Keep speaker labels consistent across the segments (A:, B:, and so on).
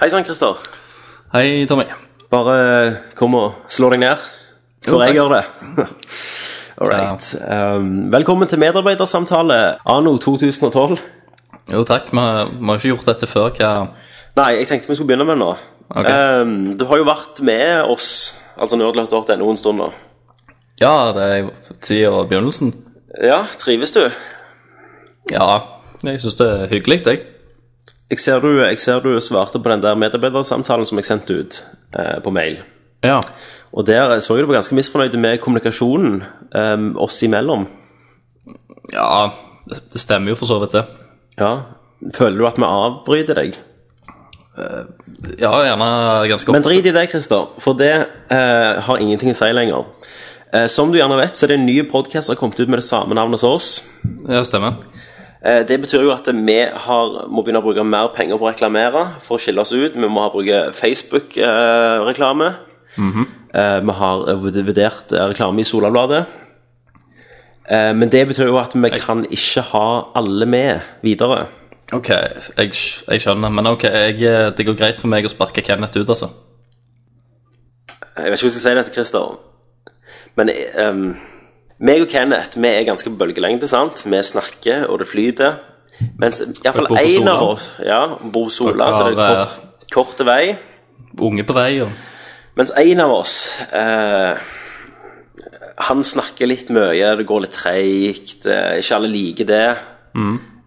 A: Hei sann, Christer.
B: Hei, Tommy.
A: Bare kom og slå deg ned. For
B: Jo,
A: jeg
B: takk.
A: gjør det. All right. Um, velkommen til medarbeidersamtale anno 2012.
B: Jo, takk. Vi har vi har ikke gjort dette før. Hva
A: Nei, jeg tenkte vi skulle begynne med det nå.
B: Ok.
A: Um, du har jo vært med oss, altså nerdløft.no, en stund nå.
B: Ja, det er jo siden begynnelsen.
A: Ja, trives du?
B: Ja, jeg syns det er hyggelig, jeg.
A: Jeg ser du, jeg ser du svarte på den der medarbeidersamtalen som jeg sendte ut eh, på mail.
B: Ja.
A: Og der så jeg du var ganske misfornøyd med kommunikasjonen um, oss imellom.
B: ja, det det stemmer jo for så vidt, det.
A: Ja. Føler du at vi avbryter deg?
B: Ja, gjerne ganske
A: Men
B: ofte.
A: drit i det, Christer, for det eh, har ingenting å si lenger. Eh, som du gjerne vet, så er det en ny podkast som har kommet ut med det samme navnet som oss.
B: Ja, stemmer.
A: Eh, det betyr jo at vi har, må begynne å bruke mer penger på å reklamere for å skille oss ut. Vi må ha bruke Facebook-reklame. eh, vi har eh, vurdert eh, reklame i Solabladet. Eh, men det betyr jo at vi kan ikke ha alle med videre.
B: Ok, jeg, skj- jeg skjønner. Men ok, jeg, eh, det går greit for meg å sparke Kenneth ut, altså.
A: Jeg vet ikke hvordan jeg skal si det til Christer, men ehm, meg og Kenneth vi er ganske på bølgelengde. sant? Vi snakker, og det flyter. Mens iallfall
B: bor på
A: én
B: Sola.
A: av oss ja, bor på Sola,
B: Dere
A: så det
B: har,
A: er kort, kort vei.
B: Unge på vei og
A: Mens én av oss eh, Han snakker litt mye, det går litt treigt, eh, ikke alle liker det.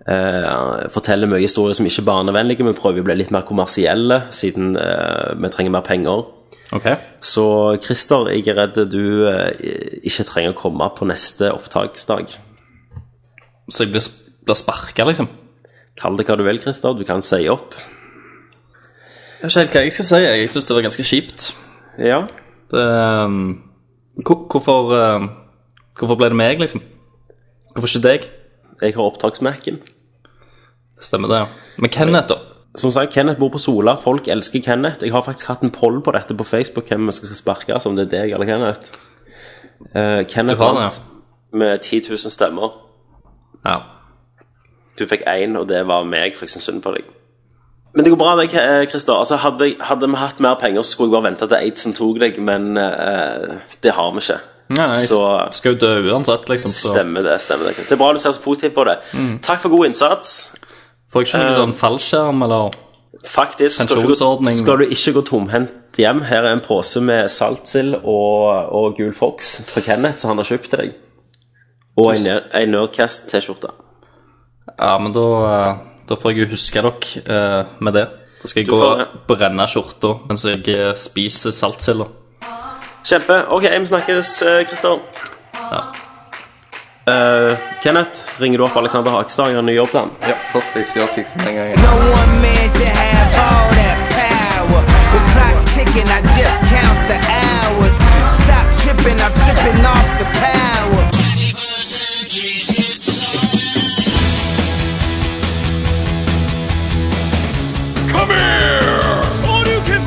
A: Eh, forteller mye historier som ikke er barnevennlige, men prøver å bli litt mer kommersielle siden eh, vi trenger mer penger.
B: Ok.
A: Så Christer, jeg er redd du eh, ikke trenger å komme på neste opptaksdag.
B: Så jeg blir, s- blir sparka, liksom?
A: Kall det hva du vil, Christer. Du kan si opp.
B: Jeg vet ikke helt hva jeg skal si. Jeg syns det var ganske kjipt.
A: Ja.
B: Det, ehm, hvor- hvorfor, ehm, hvorfor ble det meg, liksom? Hvorfor ikke deg?
A: Jeg har opptaksmerken.
B: Det stemmer det, ja. Men Kenneth, da?
A: Som sagt, Kenneth bor på Sola. Folk elsker Kenneth. Jeg har faktisk hatt en poll på dette på Facebook, hvem vi skal sparke, som det er deg eller Kenneth. Eh, Kenneth
B: Du har det, ja.
A: vant med 10 000 stemmer.
B: Ja.
A: Du fikk én, og det var meg, for jeg syns synd på deg. Men det går bra, det, eh, Christer. Altså, hadde, jeg- hadde vi hatt mer penger, så skulle jeg bare vente til Aidsen tok deg, men eh, det har vi ikke.
B: Nei, nei, jeg
A: Så-
B: s- skal jo dø uansett, liksom. Så Mm.
A: Stemmer det. stemmer Det Det er bra du ser så positivt på det. Takk for god innsats.
B: får jeg ikke
A: Eh.
B: noe sånn fallskjerm, eller
A: Faktisk skal du, ikke gå,
B: Pensjonsordning.
A: skal du ikke gå tomhendt hjem. Her er en pose med saltsild og, og gul fox fra Kenneth, som han har kjøpt til deg. Og en, ner- en Nerdcast-T-skjorte.
B: Ja, men da, eh, da får jeg jo huske dere eh, med det. Da skal jeg gå
A: får-
B: og brenne skjorta mens jeg eh, spiser saltsilda.
A: Kjempe. Ok, vi snakkes, eh, Christer. Eh, Kenneth, ringer du opp Alexander Hakestad? Jeg har en ny jobb til han.
C: Ja, flott. Jeg skal fikse den en gang.
D: No one man should have all that power. The clock's ticking, I just count the hours. Stop tripping, I'm tripping off the power.
E: Come here!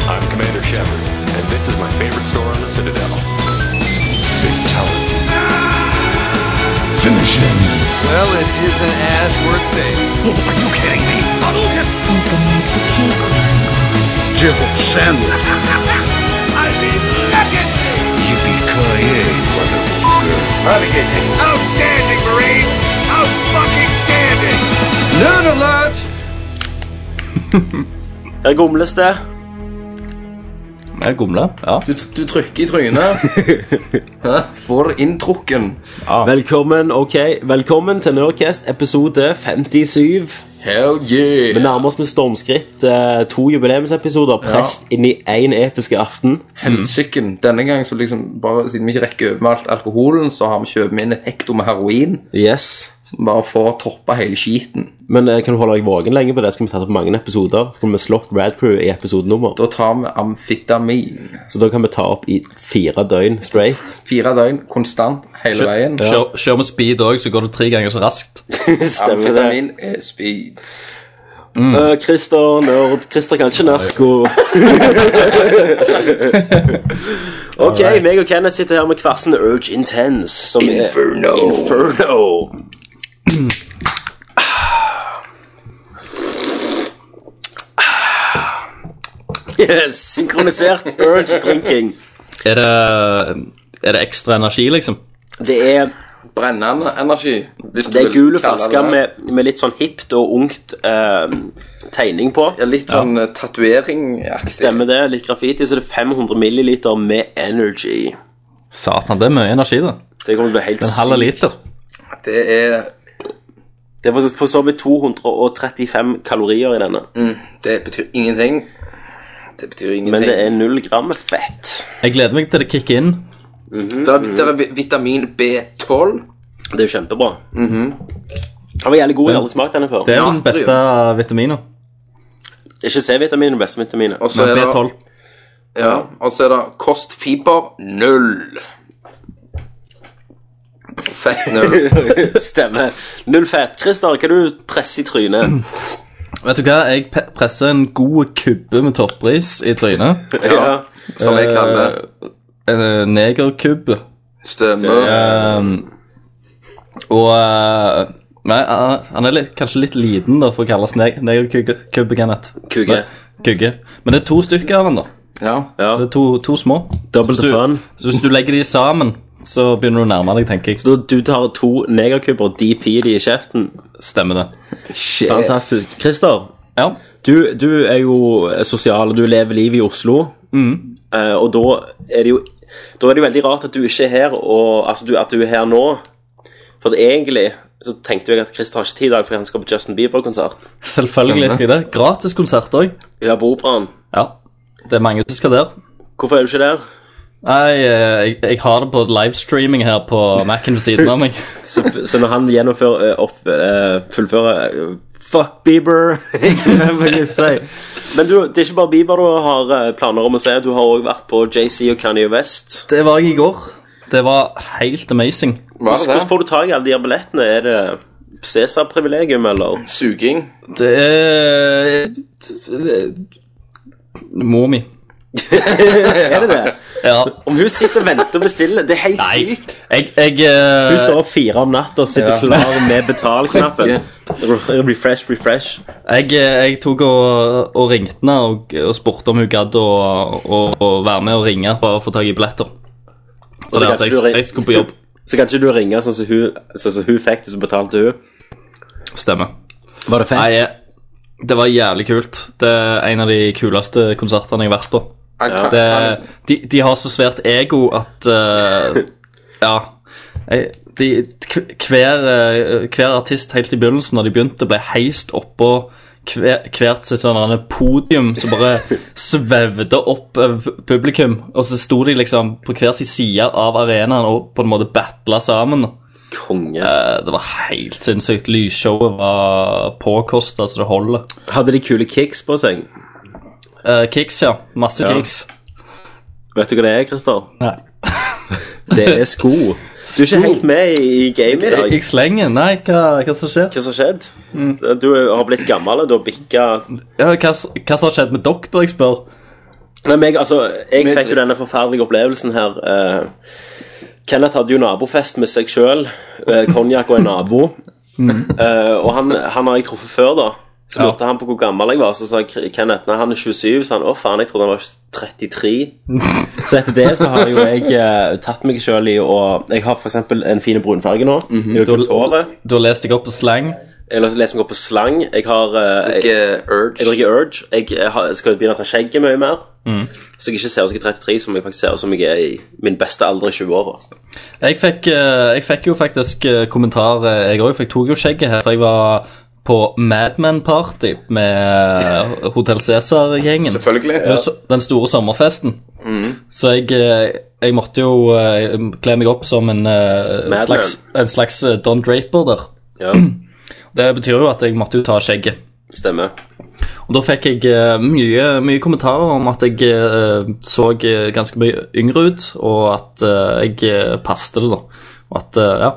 E: I'm Commander Shepard, and this is my favorite store on the Citadel. Fatality.
C: Well, it isn't as worth saying.
E: Oh, Are you kidding me? Hadouken!
F: Who's gonna make the cake?
E: I mean, look at me! Yippee-ki-yay, motherfucker. Outstanding, Marine! Out-fucking-standing!
A: Her gomles det.
B: Jeg gomler. Ja.
C: Du, du trykker i trynet. Hæ? Får det inntrukken.
A: Velkommen ok, velkommen til Nerdcast episode 57.
C: Hell
A: Vi
C: yeah.
A: nærmer oss med stormskritt eh, to jubileumsepisoder prest inn i én episke aften.
C: Helsikken. Denne gang, så liksom bare siden vi ikke rekker over med alt alkoholen, så har vi kjøpt inn et hekto med heroin.
A: Yes.
C: Som bare får toppa hele skiten.
A: Men eh, kan du holde deg våken lenge på det? Skulle vi tatt opp mange episoder? Skulle vi slått Rad Crew i episodenummer?
C: Da tar vi amfetamin.
A: Så da kan vi ta opp i fire døgn straight.
C: Fire døgn konstant hele veien.
B: Kjør, kjør med speed òg, så går du tre ganger så raskt.
A: Stemmer det.
C: Amfetamin er speed.
A: Eh, Christer, nerd. Christer kan ikke narko. ok, meg og Kenneth sitter her med hver sin Urge Intense. Som
C: Inferno.
A: Er Inferno. Synkronisert urge drinking.
B: Er det, er det ekstra energi, liksom?
A: Det er,
C: Brennende energi. Hvis
A: det er
C: vil
A: gule
C: kalle det
A: flasker
C: det.
A: med, med litt sånn hipt og ungt eh, tegning på.
C: Ja, litt sånn ja. tatuering-aktig.
A: Stemmer det. Litt graffiti. Så det er 500 milliliter med energy.
B: Satan, det er mye energi, da.
A: Det kommer til å bli helt
B: En halv
A: sykt.
B: liter.
C: Det er
A: Det er for, for så vidt 235 kalorier i denne.
C: Det betyr ingenting. Det betyr ingenting.
A: Men det er null gram fett.
B: Jeg gleder meg til det kicker inn.
C: Det er, det er vi- vitamin B12.
A: Det er jo kjempebra.
C: Mhm.
A: Den var jævlig god. Jeg har aldri smakt denne før.
B: Det er
C: Ja,
B: den beste vitamina.
A: Ikke C-vitamin, beste vitaminet.
C: Og så er
B: Men
C: det,
B: B12.
C: ja, og så er det kostfiber null. Fett null.
A: Stemmer. Null fett. Christer, hva du presser i trynet?
B: Vet du hva, jeg pe- presser en god kubbe med toppris i trynet.
A: Ja.
C: Som jeg kaller
B: En eh, negerkubbe.
C: stemme.
B: Ehm, og eh, Nei, han han er litt, kanskje litt liten, da, for å kalles neg negerkubbe, Kenneth.
A: Kugge.
B: Nei, Kugge. Men det er to stykker av han, da.
C: Ja.
A: Ja.
B: Så det er to, to små.
A: Double
B: så,
A: the
B: hvis
A: fun.
B: du, så hvis du legger de sammen, så begynner du å nærme deg, tenker jeg.
A: Så du tar to negerkubber og DP de i kjeften.
B: Stemmer det.
C: Shit.
A: Fantastisk. Christer,
B: Ja.
A: du, du er jo sosial, og du lever livet i Oslo. Eh, og da er det jo Da er det jo veldig rart at du ikke er her, og altså, du, at du er her nå. For at egentlig så tenkte jeg at Christer har ikke tid i dag fordi han skal på Justin Bieber-konsert.
B: Selvfølgelig skal jeg det. Gratiskonsert òg.
A: Ja, på operaen.
B: Ja. Det er mange som skal der.
A: Hvorfor er du ikke der?
B: Nei, eh, jeg, jeg har det på livestreaming her på Mac-en ved siden av meg.
A: Så, så når han gjennomfører eh, opp, eh, fullfører eh, Fuck Bieber! Jeg må ikke si. Men du, det er ikke bare Bieber du har eh, planer om å se. Du har òg vært på JC og Kanye West.
B: Det var jeg i går. Det var helt amazing.
C: Var det
A: Hvordan
C: det?
A: får du tak i alle de her billettene? Er det Cæsar-privilegium, eller?
C: Suging.
B: Det er Mor mi.
A: Er det det?
B: Ja.
A: Om hun sitter og venter og bestiller, det er helt
B: Nei,
A: sykt.
B: jeg, jeg
A: Hun
B: eh,
A: står opp fire om natta og sitter
C: Ja.
A: klar med betalknappen.
C: Ja.
A: Refresh, refresh.
B: Jeg, eh, jeg tok og, og ringte henne og, og spurte om hun gadd å, å, å være med og ringe for å få tak i billetter. For det
A: kan
B: Sånn at
A: ikke du
B: jeg,
A: ring-
B: jeg skulle på jobb.
A: Så kan ikke du ringe sånn som hun, sånn som hun fikk det, så betalte hun?
B: Stemmer.
A: Var det
B: Nei, det var jævlig kult. Det er en av de kuleste konsertene jeg har vært på.
C: Jeg kan,
B: Det,
C: kan,
B: de, de har så svært ego at eh, Ja. Jeg- De, hver, eh, hver artist helt i begynnelsen, når de begynte, ble heist oppå hver, hvert sitt sånn annet podium som bare svevde opp over publikum. Og så sto de liksom på hver sin side av arenaen og på en måte battla sammen.
A: Konge.
B: Eh, Det var helt sinnssykt. Lysshowet var påkosta så det holder.
A: Hadde de kule kicks på seg?
B: Eh, kicks, ja. Masse kicks.
A: Vet du hva det er, Christer? Det er sko. Du er ikke helt med i gamet i
B: Jeg,
A: dag.
B: jeg slenger. Nei, hva, hva som skjer?
A: Hva som har skjedd? Du har blitt gammel, og du har bikka
B: Ja, hva, s- hva som har skjedd med dere, bør jeg spørre.
A: Nei, meg, altså, Jeg
C: Med
A: fikk jo
C: drikk.
A: denne forferdelige opplevelsen her. eh, Kenneth hadde jo nabofest med seg sjøl. Konjakk og en nabo.
B: Mm.
A: Eh, og han, han har jeg truffet før, da. Så lurte han på hvor gammel jeg var. Så sa K- Kenneth nei, han er 27. Så han å faen, jeg trodde han var 33. Så etter det så har jo jeg eh, tatt meg sjøl i å Jeg har for eksempel en fin brunfarge nå. i det
B: Du
A: gule håret.
B: har- du har lest deg opp på slang.
A: Jeg leser leser meg opp på slang. Jeg har eh, jeg,
C: ikke urge.
A: jeg drikker Urge. Jeg, eh, har, skal begynne å ta skjegget mye mer. Så jeg ikke ser ut som jeg er 33, som jeg faktisk ser ut som jeg er i min beste alder i 20-åra.
B: Jeg fikk, eh, jeg fikk jo faktisk eh, kommentar, eh, jeg òg. For jeg tok jo skjegget her. For jeg var på Madman-party med Hotell Cæsar-gjengen.
C: Selvfølgelig.
B: Den s- Den store sommerfesten. Så jeg, eh, jeg måtte jo eh, kle meg opp som en, eh,
A: Madman.
B: slags, en slags eh, Don Draper der.
A: Ja,
B: Det betyr jo at jeg måtte jo ta skjegget.
A: stemmer.
B: Og da fikk jeg eh, mye, mye kommentarer om at jeg eh, så eh, ganske mye yngre ut, og at eh, jeg eh, passte det, da. Og at, eh, ja.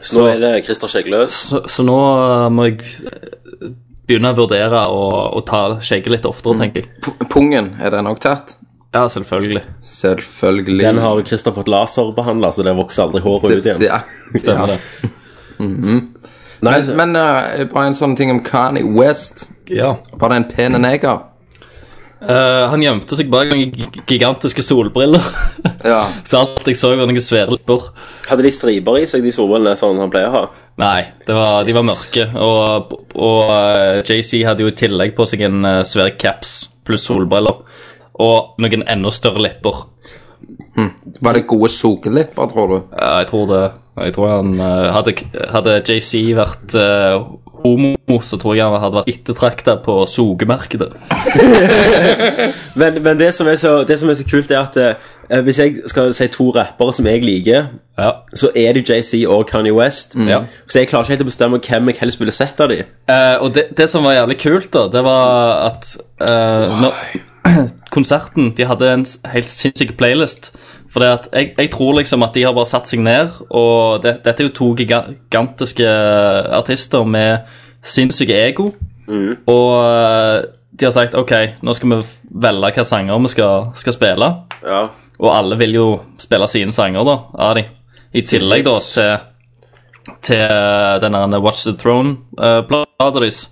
A: Så nå er det Christer Skjeggløs.
B: Så, så nå eh, må jeg eh, begynne å vurdere å, å ta skjegget litt oftere, tenker jeg.
C: P- Pungen, er den også tatt?
B: Ja, selvfølgelig.
C: Selvfølgelig.
A: Den har Christer fått laserbehandla, så det vokser aldri håret
C: det,
A: ut igjen. Mhm.
C: det er, ja.
B: Stemmer det.
A: Nei,
C: Men, men eh, bare en sånn ting om Kanye West.
B: Ja.
C: Var det en pen neger?
B: Eh, han gjemte seg bak noen gi- gigantiske solbriller.
C: Ja.
B: så alt jeg så, var noen svære lipper.
A: Hadde de striper i seg, de solbrillene, sånn han pleier å ha?
B: Nei, det var, de var mørke. Og, og eh, JC hadde jo i tillegg på seg en eh, svær caps pluss solbriller. Og noen enda større lepper.
C: Var det gode sugelipper, tror du?
B: Ja, Eh, jeg tror det. Jeg tror han eh, Hadde, hadde JC vært eh, homo, så tror jeg han hadde vært ettertrakta på sogemarkedet.
A: Men, men det, som er så, det som er så kult, er at eh, hvis jeg skal si to rappere som jeg liker,
B: Ja.
A: så er det jo JC og Kanye West.
C: Mm.
B: Ja.
A: Så jeg klarer ikke helt å bestemme hvem jeg helst ville sett av de.
B: Eh, og det, det som var jævlig kult, da, det var at eh, når, Konserten De hadde en s- helt sinnssyk playlist. For det at jeg, jeg tror liksom at de har bare satt seg ned, og det, dette er jo to giga- gigantiske artister med sinnssyke ego. Og eh, de har sagt OK, nå skal vi f- velge hvilke sanger vi skal, skal spille.
A: Ja.
B: Og alle vil jo spille sine sanger, da, av de. I tillegg da til, til den der Watch the Throne-plata deres.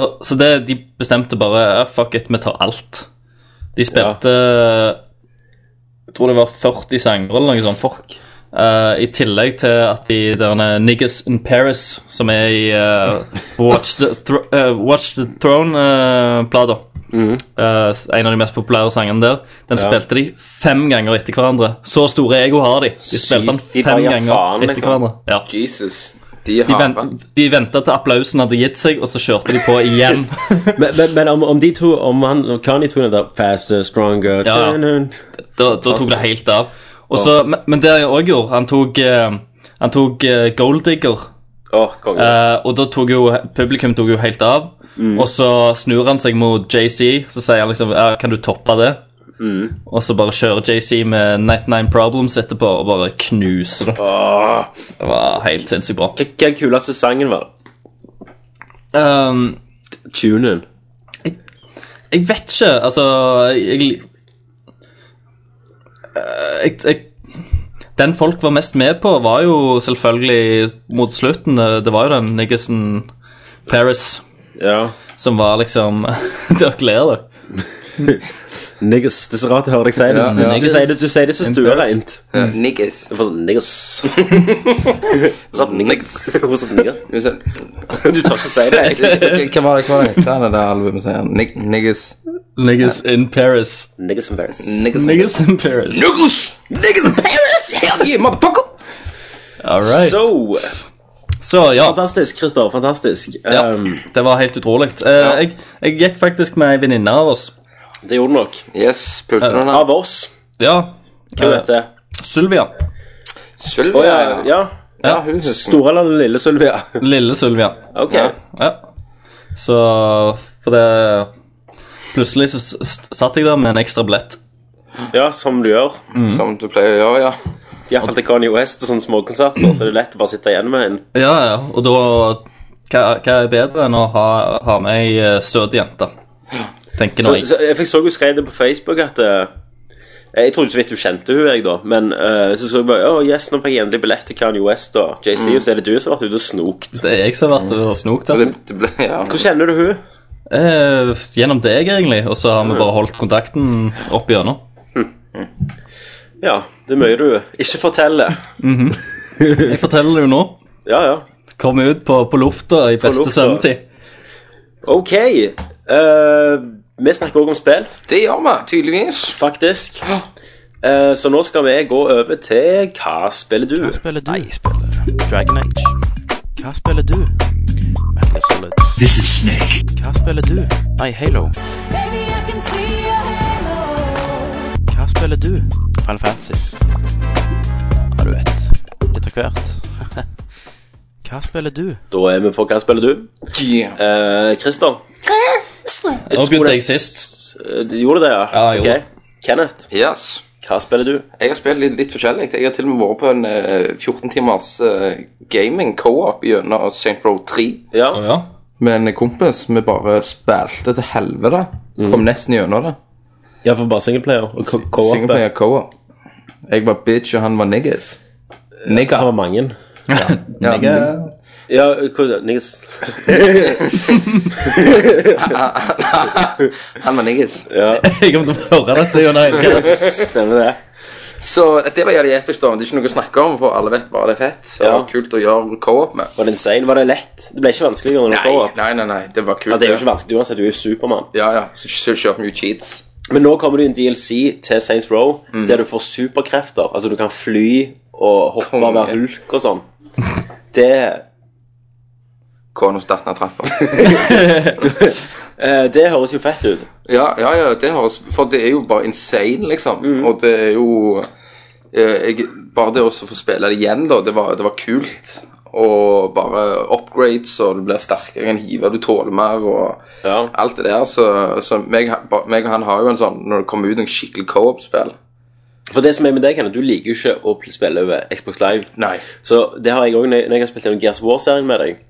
B: Og- Så det, de bestemte bare "Ah, Fuck it, vi tar alt. De spilte Jeg tror det var 40 sanger eller noe sånt. Fuck. I tillegg til at de derne Niggas in Paris, som er i eh, Watch, the Thro eh, Watch the Throne-plata
A: Mm.
B: Eh, en av de mest populære sangene der. Den spilte de fem ganger etter hverandre. Så store ego har de. De spilte den
A: Sykt. De bare
B: fem
A: gir
B: ganger
A: faen,
B: etter
A: liksom.
B: hverandre. Ja.
C: Jesus. De
B: De,
C: har
B: vent, de venta til applausen hadde gitt seg, og så kjørte de på igjen.
A: Men, men, men om, om de to, om han, om Kanye to er der Faster, stronger
B: Ja, ja.
A: dun, dun.
B: da, da tok det helt av. Og så, men, men det jeg òg gjorde Han tok, eh, han tok eh, Gold Digger.
A: Å, konge.
B: Eh, og da tok jo publikum tok jo helt av. Og så snur han seg mot JC, så sier han liksom ja, Kan du toppe det? Og så bare kjører JC med 99 Problems etterpå og bare knuser det. Det var helt sinnssykt bra.
A: Hva hva er kuleste sangen var?
B: Um,
A: Tunen.
B: Jeg vet ikke, altså Jeg, jeg, Eh, jeg, jeg Den folk var mest med på, var jo selvfølgelig mot slutten eh, Det var jo den niggesen Paris
A: Ja.
B: som var liksom Dere ler, dere.
A: Niggas. Det er så rart å høre deg si det.
C: Ja,
A: Du-
C: ja.
A: Du, sier det du sier det så stuereint.
C: Niggas.
A: Det er bare sånn, Niggas. What's up, Sånn niggas? What's up, nigga?
C: Hva
A: Du tør ikke å si det. jeg.
C: hva var det hva var det heter det der albumet sier? Nig niggas.
B: Niggas in Paris.
A: Niggas embarrassed.
C: Niggas.
B: Niggas in Paris.
C: Niggas. Niggas in Paris. Hell yeah, motherfucker.
B: All right. Så,
A: So,
B: ja.
A: fantastisk, Christer. Fantastisk.
B: ja.
A: Um,
B: Det var helt utrolig. Eh, jeg, jeg gikk faktisk med ei venninne av oss.
A: det gjorde du nok.
C: Yes, pulte du den
A: Av oss.
B: Ja. eh,
A: Hvem vet det?
B: Sylvia.
C: Sølv,
A: ja,
C: ja.
A: ja.
C: Ja, hun husker.
A: Store eller lille Sylvia?
B: Lille Sylvia.
A: Ok.
C: Ja.
B: Ja. Så For det Plutselig så s- s- satt jeg der med en ekstra billett.
A: Ja, som du gjør.
C: Som du pleier å gjøre, ja.
A: Iallfall til Kanye West og sånne småkonserter, så er det lett å bare sitte igjen med en.
B: Ja, ja, og da Hva, hva er bedre enn å ha, ha med ei eh, søt jente? Tenker
A: Så,
B: nå jeg.
A: så, jeg fikk så hun skrev det på Facebook at eh, Jeg trodde så vidt du kjente hun, jeg, da. Men eh, så så jeg bare Å, yes, nå fikk jeg endelig billett til Kanye West og JC, og så er det du som har vært ute og snokt.
B: Det er jeg som har vært og snokt
C: Det,
B: der.
C: det ble, ja.
A: Hvor kjenner du hun?
B: Eh, gjennom deg, egentlig, og så har vi bare holdt kontakten opp igjennom.
A: Ja, det er mye du ikke forteller.
B: Jeg forteller det jo nå.
A: Ja, ja.
B: Kom ut på, på lufta i beste
A: lufta.
B: sendetid.
A: OK. eh, vi snakker òg om spill,
C: Det gjør vi, tydeligvis.
A: faktisk. Eh, så nå skal vi gå over til Hva spiller du?
F: spiller du? Nei, jeg spiller Dragon Age. Hva spiller du? Metal Solid. Hva spiller du? Nei, Halo.
G: Baby, I can see your halo.
F: Hva spiller du? Final Fantasy. Ja, du vet. Litt av hvert. Hva spiller du?
A: Da er vi på Hva spiller du?
C: Yeah.
A: Eh, Christer.
B: Nå begynte jeg sist.
A: Eh, Du gjorde det, ja?
B: Ja, jeg gjorde
A: Ok. Kenneth,
C: Yes.
A: hva spiller du?
C: Jeg har spilt litt, litt forskjellig. Jeg har til og med vært på en eh, 14 timers eh, gaming co-op gjennom St. Row 3
A: Ja,
B: Å, ja.
C: med en kompis. Vi bare spilte til helvete. Kom nesten gjennom det.
A: ja for bare singleplayer og co- Mm. co-op.
C: Singleplayer co-op. Jeg var bitch, og han var niggas. Nigga.
A: Det var mange.
C: Ja, nigga.
A: Ja, hvor, Nils.
C: Han var niggis.
B: Jeg kommer til å høre dette gjennom hele
A: Stemmer det.
C: Så det var jævlig episk, da. men Det er ikke noe å snakke om, for alle vet bare det er fett. Så
A: Ja.
C: kult å gjøre co-op med.
A: Var det insane? Var det lett? Det ble ikke vanskeligere når du
C: Nei,
A: går opp.
C: nei, nei, nei, det var kult.
A: Ja, det er jo ikke vanskelig uansett, du er jo Supermann.
C: Ja, ja. Så, så kjørte vi jo cheats.
A: Men nå kommer det jo en DLC til Saints Row der du får superkrefter. Altså, du kan fly og hoppe
C: Konge.
A: og være hulk og sånn. Det
C: Kona starten av trappa.
A: eh, Det høres jo fett ut.
C: Ja, ja, ja, det høres For det er jo bare insane, liksom. Og det er jo eh, jeg, Bare det også å få spille det igjen, da, det var, det var kult. Og bare upgrades, og du blir sterkere enn hiver, du tåler mer, og
A: Ja.
C: alt det der. Så, så meg, ba- meg og han har jo en sånn Når det kommer ut en skikkelig co-op-spill
A: For det som er med deg, Kenneth, du liker jo ikke å pl- spille over Xbox Live.
C: Nei.
A: Så det har jeg òg når jeg- når jeg har spilt gjennom Gears War-serien med deg.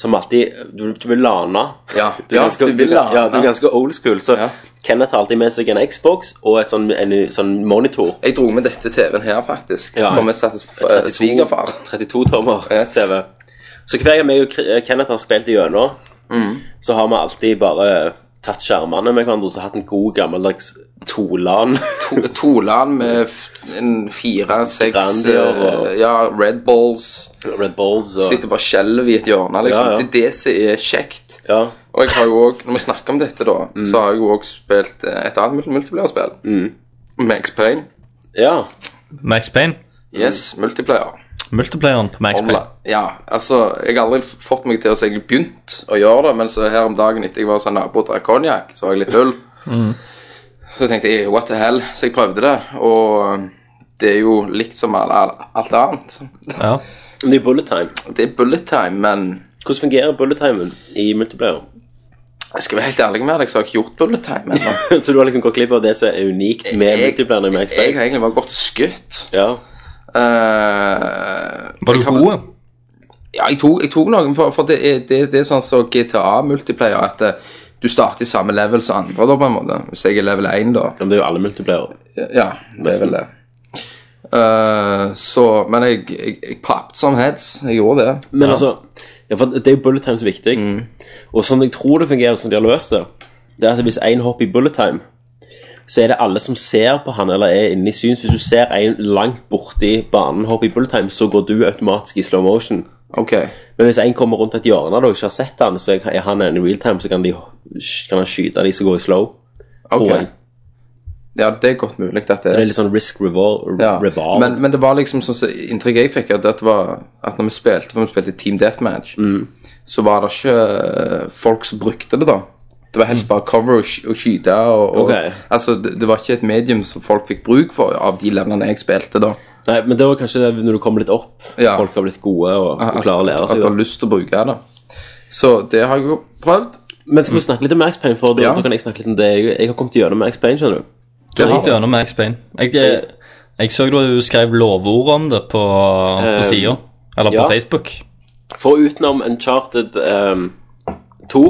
A: Som alltid Du, du vil lane.
C: Mm. Ja, ja, du vil lane.
A: Ja, du er ganske old school. Så
C: Ja.
A: Kenneth har alltid med seg en Xbox og et sånn, en, sånn monitor.
C: Jeg dro med dette TV-en her, faktisk.
A: Ja.
C: For vi satt hos eh,
A: 32
C: svigerfar.
A: 32-tommer
C: Yes.
A: TV. Så hver gang meg og Kri- eh, Kenneth har spilt igjennom,
C: Mm.
A: så har vi alltid bare tatt skjermene med hverandre og så hatt en god gammeldags Tolan.
C: To- Toland med f- en fire, seks
A: Brandy og-
C: eh, Ja, Red Balls.
A: Red Bulls og
C: Sitter bare og skjelver i et hjørne.
A: Altså.
C: liksom.
A: Ja, ja.
C: Det er det som er kjekt.
A: Ja. Mm.
C: Og jeg har jo også, når vi snakker om dette, da, så har jeg jo også spilt eh, et annet mul- multiplayer-spill. Max Payne.
A: ja.
B: Max Payne.
C: Yes, multiplayer.
B: Multiplayeren på Max Payne.
C: Online. Ja, altså, jeg har aldri f- fått meg til å så egentlig begynt å gjøre det, men så her om dagen etter jeg var hos en nabo og drakk konjakk, så var jeg litt full.
A: Mm.
C: Så tenkte jeg "Eh, what the hell, så jeg prøvde det, og um, det er jo likt som all- all- alt annet.
B: Ja.
A: Men det er bullet time.
C: Det er bullet time, men
A: Hvordan fungerer bullet timen i multiplayer?
C: jeg skal være helt ærlig med deg, så har jeg ikke gjort bullet time ennå.
A: så du har liksom gått glipp av det som er unikt med
C: Jeg-
A: multiplayer i Max
C: Jeg
A: Payne?
C: har egentlig bare gått og skutt.
A: Ja.
C: Eh,
B: Var
C: jeg
B: du
C: har-
B: god?
C: Ja, jeg tok, jeg tok noen, for, for det, er, det, det er sånn som GTA-multiplayer, at eh, du starter i samme level som andre, da, på en måte. Hvis jeg er level 1, da.
A: Ja, Men det er jo alle multiplayer.
C: Ja, det er vel det. Eh, så Men jeg, jeg, jeg pappet som heads. Jeg gjorde det.
A: Men altså, ja, for det er jo bullet time som er viktig.
C: Mm.
A: Og sånn jeg tror det fungerer, som de har løst det, det er at hvis én hopper i bullet time, så er det alle som ser på han eller er inne i syns. Hvis du ser en langt borti banen hoppe i bullet time, så går du automatisk i slow motion.
C: OK.
A: Men hvis en kommer rundt et hjørne og du ikke har sett han, så er han en i real time, så kan, de, kan han skyte de som går i slow. tror
C: ok.
A: jeg.
C: Ja, det er godt mulig, at
A: Så
C: det
A: det er litt sånn risk reward.
C: ja.
A: reward.
C: men, men det var liksom sånn som inntrykk jeg fikk, at, det var, at når vi spilte for vi spilte Team Deathmatch,
A: Mm.
C: så var det ikke eh, folk som brukte det, da. Det var helst bare cover og, sk- og skyte. Og, og,
A: Ok.
C: Altså, det, det var ikke et medium som folk fikk bruk for av de levelene jeg spilte, da.
A: Nei, men det var kanskje det når du kommer litt opp,
C: Ja.
A: folk har blitt gode og, og klarer å lære
C: at, at
A: seg
C: du
A: det.
C: har lyst til å bruke det. Så det har jeg jo prøvd.
A: Men skal vi snakke litt om Max Payne, for da,
C: Ja.
A: da kan jeg snakke litt om det. Jeg, jeg har kommet gjennom Max Payne, skjønner du.
C: Det
B: Drit gjennom Max Payne. Jeg, jeg, jeg så du skrev lovord om det på, på sida. Eller på
A: ja.
B: Facebook.
A: For utenom Uncharted um, 2,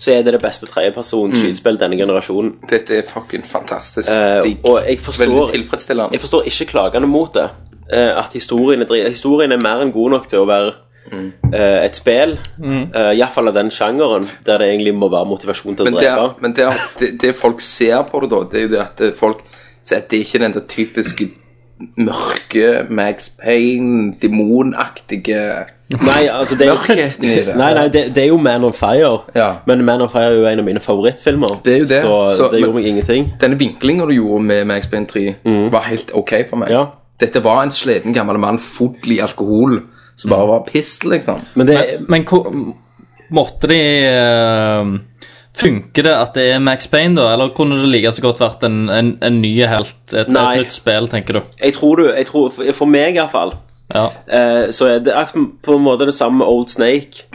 A: så er det det beste
C: Mm.
A: tredjepersons skytespill denne generasjonen.
C: Dette er fucking fantastisk.
A: Eh,
C: Digg.
A: og jeg forstår-
C: Veldig tilfredsstillende.
A: Jeg forstår ikke klagene mot det. eh, at historien er, dri- historien er mer enn god nok til å være
C: Mm.
A: eh, et spill. eh, i hvert Iallfall av den sjangeren, der det egentlig må være motivasjon til å
C: Men, det,
A: drepe.
C: er- men det, er- det, det folk ser på det, da, det er jo det at det- folk sier at det er ikke den der typiske mørke Max Payne, demonaktige
A: Nei, altså det er
C: Mørkheten i det.
A: Nei, nei, det, det er jo Man on Fire.
C: Ja.
A: Men Man on Fire er jo en av mine favorittfilmer.
C: Det er jo det.
A: Så,
C: Så-
A: det gjorde
C: men-
A: meg ingenting.
C: Denne vinklingen du gjorde med Max Payne 3, var helt ok for
A: Mm.
C: meg.
A: Ja.
C: Dette var en sliten gammel mann full i alkohol som bare var pissed, liksom.
A: Men Mm. det
B: Men, men hvor Måtte de eh, Funker det at det er Max Payne, da? Eller kunne det like så godt vært en, en, en ny helt? Et,
A: Nei.
B: et nytt spill, tenker du?
A: jeg tror du jeg tror, For for meg, iallfall,
B: Ja.
A: eh, så er det akkurat på en måte det samme med Old Snake.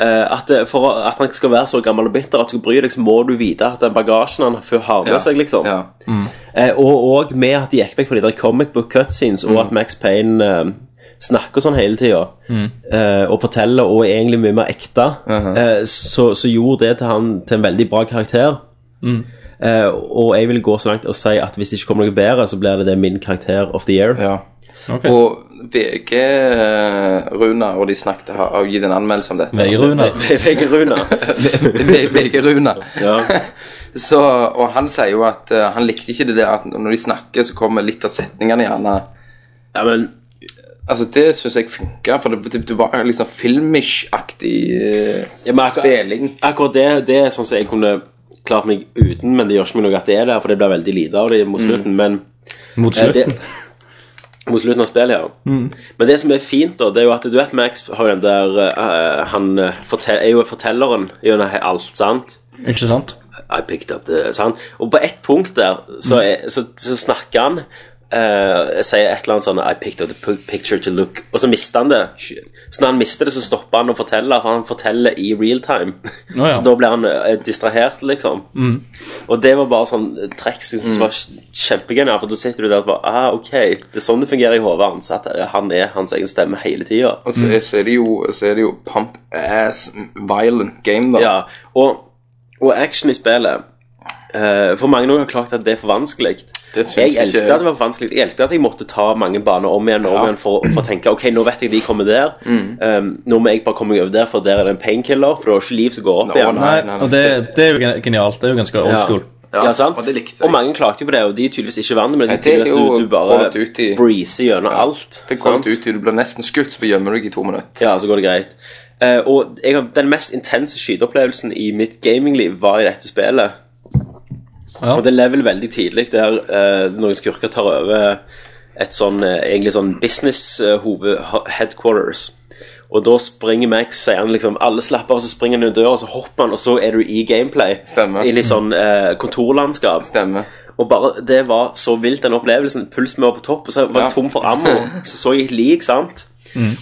A: Eh, at det, For å- at han skal være så gammel og bitter at du bryr deg, så må du vite at den bagasjen han før har med seg, liksom.
C: Ja.
A: Eh, og, og med at de gikk vekk fra de der comic book cutscenes, og at Max Payne eh, snakker sånn hele tida, eh, og forteller, og er egentlig mye mer ekte, eh, så, så gjorde det til han til en veldig bra karakter. Mm. Eh, og jeg vil gå så langt og si at hvis det ikke kommer noe bedre, så blir det det min karakter of the year.
C: ja.
B: Ok.
C: Og VG, eh, Runa, og de snakket har, har gitt en anmeldelse om dette.
B: Veiruner.
A: VG Runa.
C: VG, Runa.
A: Ja.
C: Så, og han sier jo at eh, han likte ikke det der at når de snakker, så kommer litt av setningene gjerne
A: ja, men
C: Altså, det syns jeg funka, for det, det, det var liksom filmish-aktig eh,
A: Ja, men akkurat-
C: spilling.
A: Akkurat det, det er sånn som jeg kunne klart meg uten, men det gjør ikke meg noe at det er der, for det blir veldig lite av det mot slutten. Men
B: Mot
A: eh,
B: slutten. Mm.
A: Det, mot slutten av spillet, ja. Men det som er fint, da, det er jo at du vet Max har jo den der eh, Han eh, fortell, er jo fortelleren gjennom he- alt, sant?
B: Ikke sant?
A: I picked up the sant? Og på ett punkt der så,
B: Mm.
A: er, så, så snakker han eh, sier et eller annet sånn I picked up the pu- picture to look Og så mister han det. Så når han mister det, så stopper han å fortelle, for han forteller i real time.
B: Å, ja. Mm.
A: Så da blir han eh, distrahert, liksom. Og det var bare sånn eh, trekk som jeg synes var kjempegenialt, for da sitter du der og bare ah, OK, det er sånn det fungerer i hodet hans, at eh, han er hans egen stemme hele tida.
C: Og så, så, er det jo, så er det jo pump ass violent game, da.
A: Ja, og, og action i spillet eh, For mange nå har klart at det er for vanskelig
C: Det syns
A: Jeg
C: ikke
A: elsket
C: jeg.
A: at det var for vanskelig Jeg elsket at jeg måtte ta mange baner om igjen og om
C: Ja. Mm.
A: igjen for, for å tenke, ok, nå vet jeg de kommer der Ehm, Nå må jeg bare komme meg over der For der er det en painkiller, for det var ikke liv som går opp
C: Nå,
A: igjen
C: Nei,
B: Nei,
C: nei, nei.
B: og det, det er jo gen- genialt. Det er jo ganske old
A: Ja.
B: school.
A: Ja,
C: Ja,
A: sant?
C: og det likte jeg.
A: Og mange klagde jo på det, og de er tydeligvis ikke vant med det.
C: Nei,
A: De
C: det er
A: tydeligvis du,
C: jo
A: du bare
C: kommet ut i-
A: breezer gjennom alt.
C: Det kommer
A: sant?
C: du ut til du blir nesten skutt, så gjemmer du deg i to minutter.
A: Ja, så går det greit. Eh, og jeg, har- den mest intense skyteopplevelsen i mitt gamingliv var i dette spillet.
B: Ja.
A: Og det er level veldig tidlig der eh, noen skurker tar over et sånn eh, egentlig sånn business eh, hoved, ho- headquarters. Og da springer Max, sier han liksom Alle slapper av, så springer han ut døra, og så hopper han, og så er du i gameplay.
C: Stemmer.
A: Inn i sånn eh, kontorlandskap.
C: Stemmer.
A: Og bare, Det var så vilt, den opplevelsen. Pulsen min var på topp, og så var jeg
C: Ja.
A: tom for ammo. Så så jeg et lik, sant.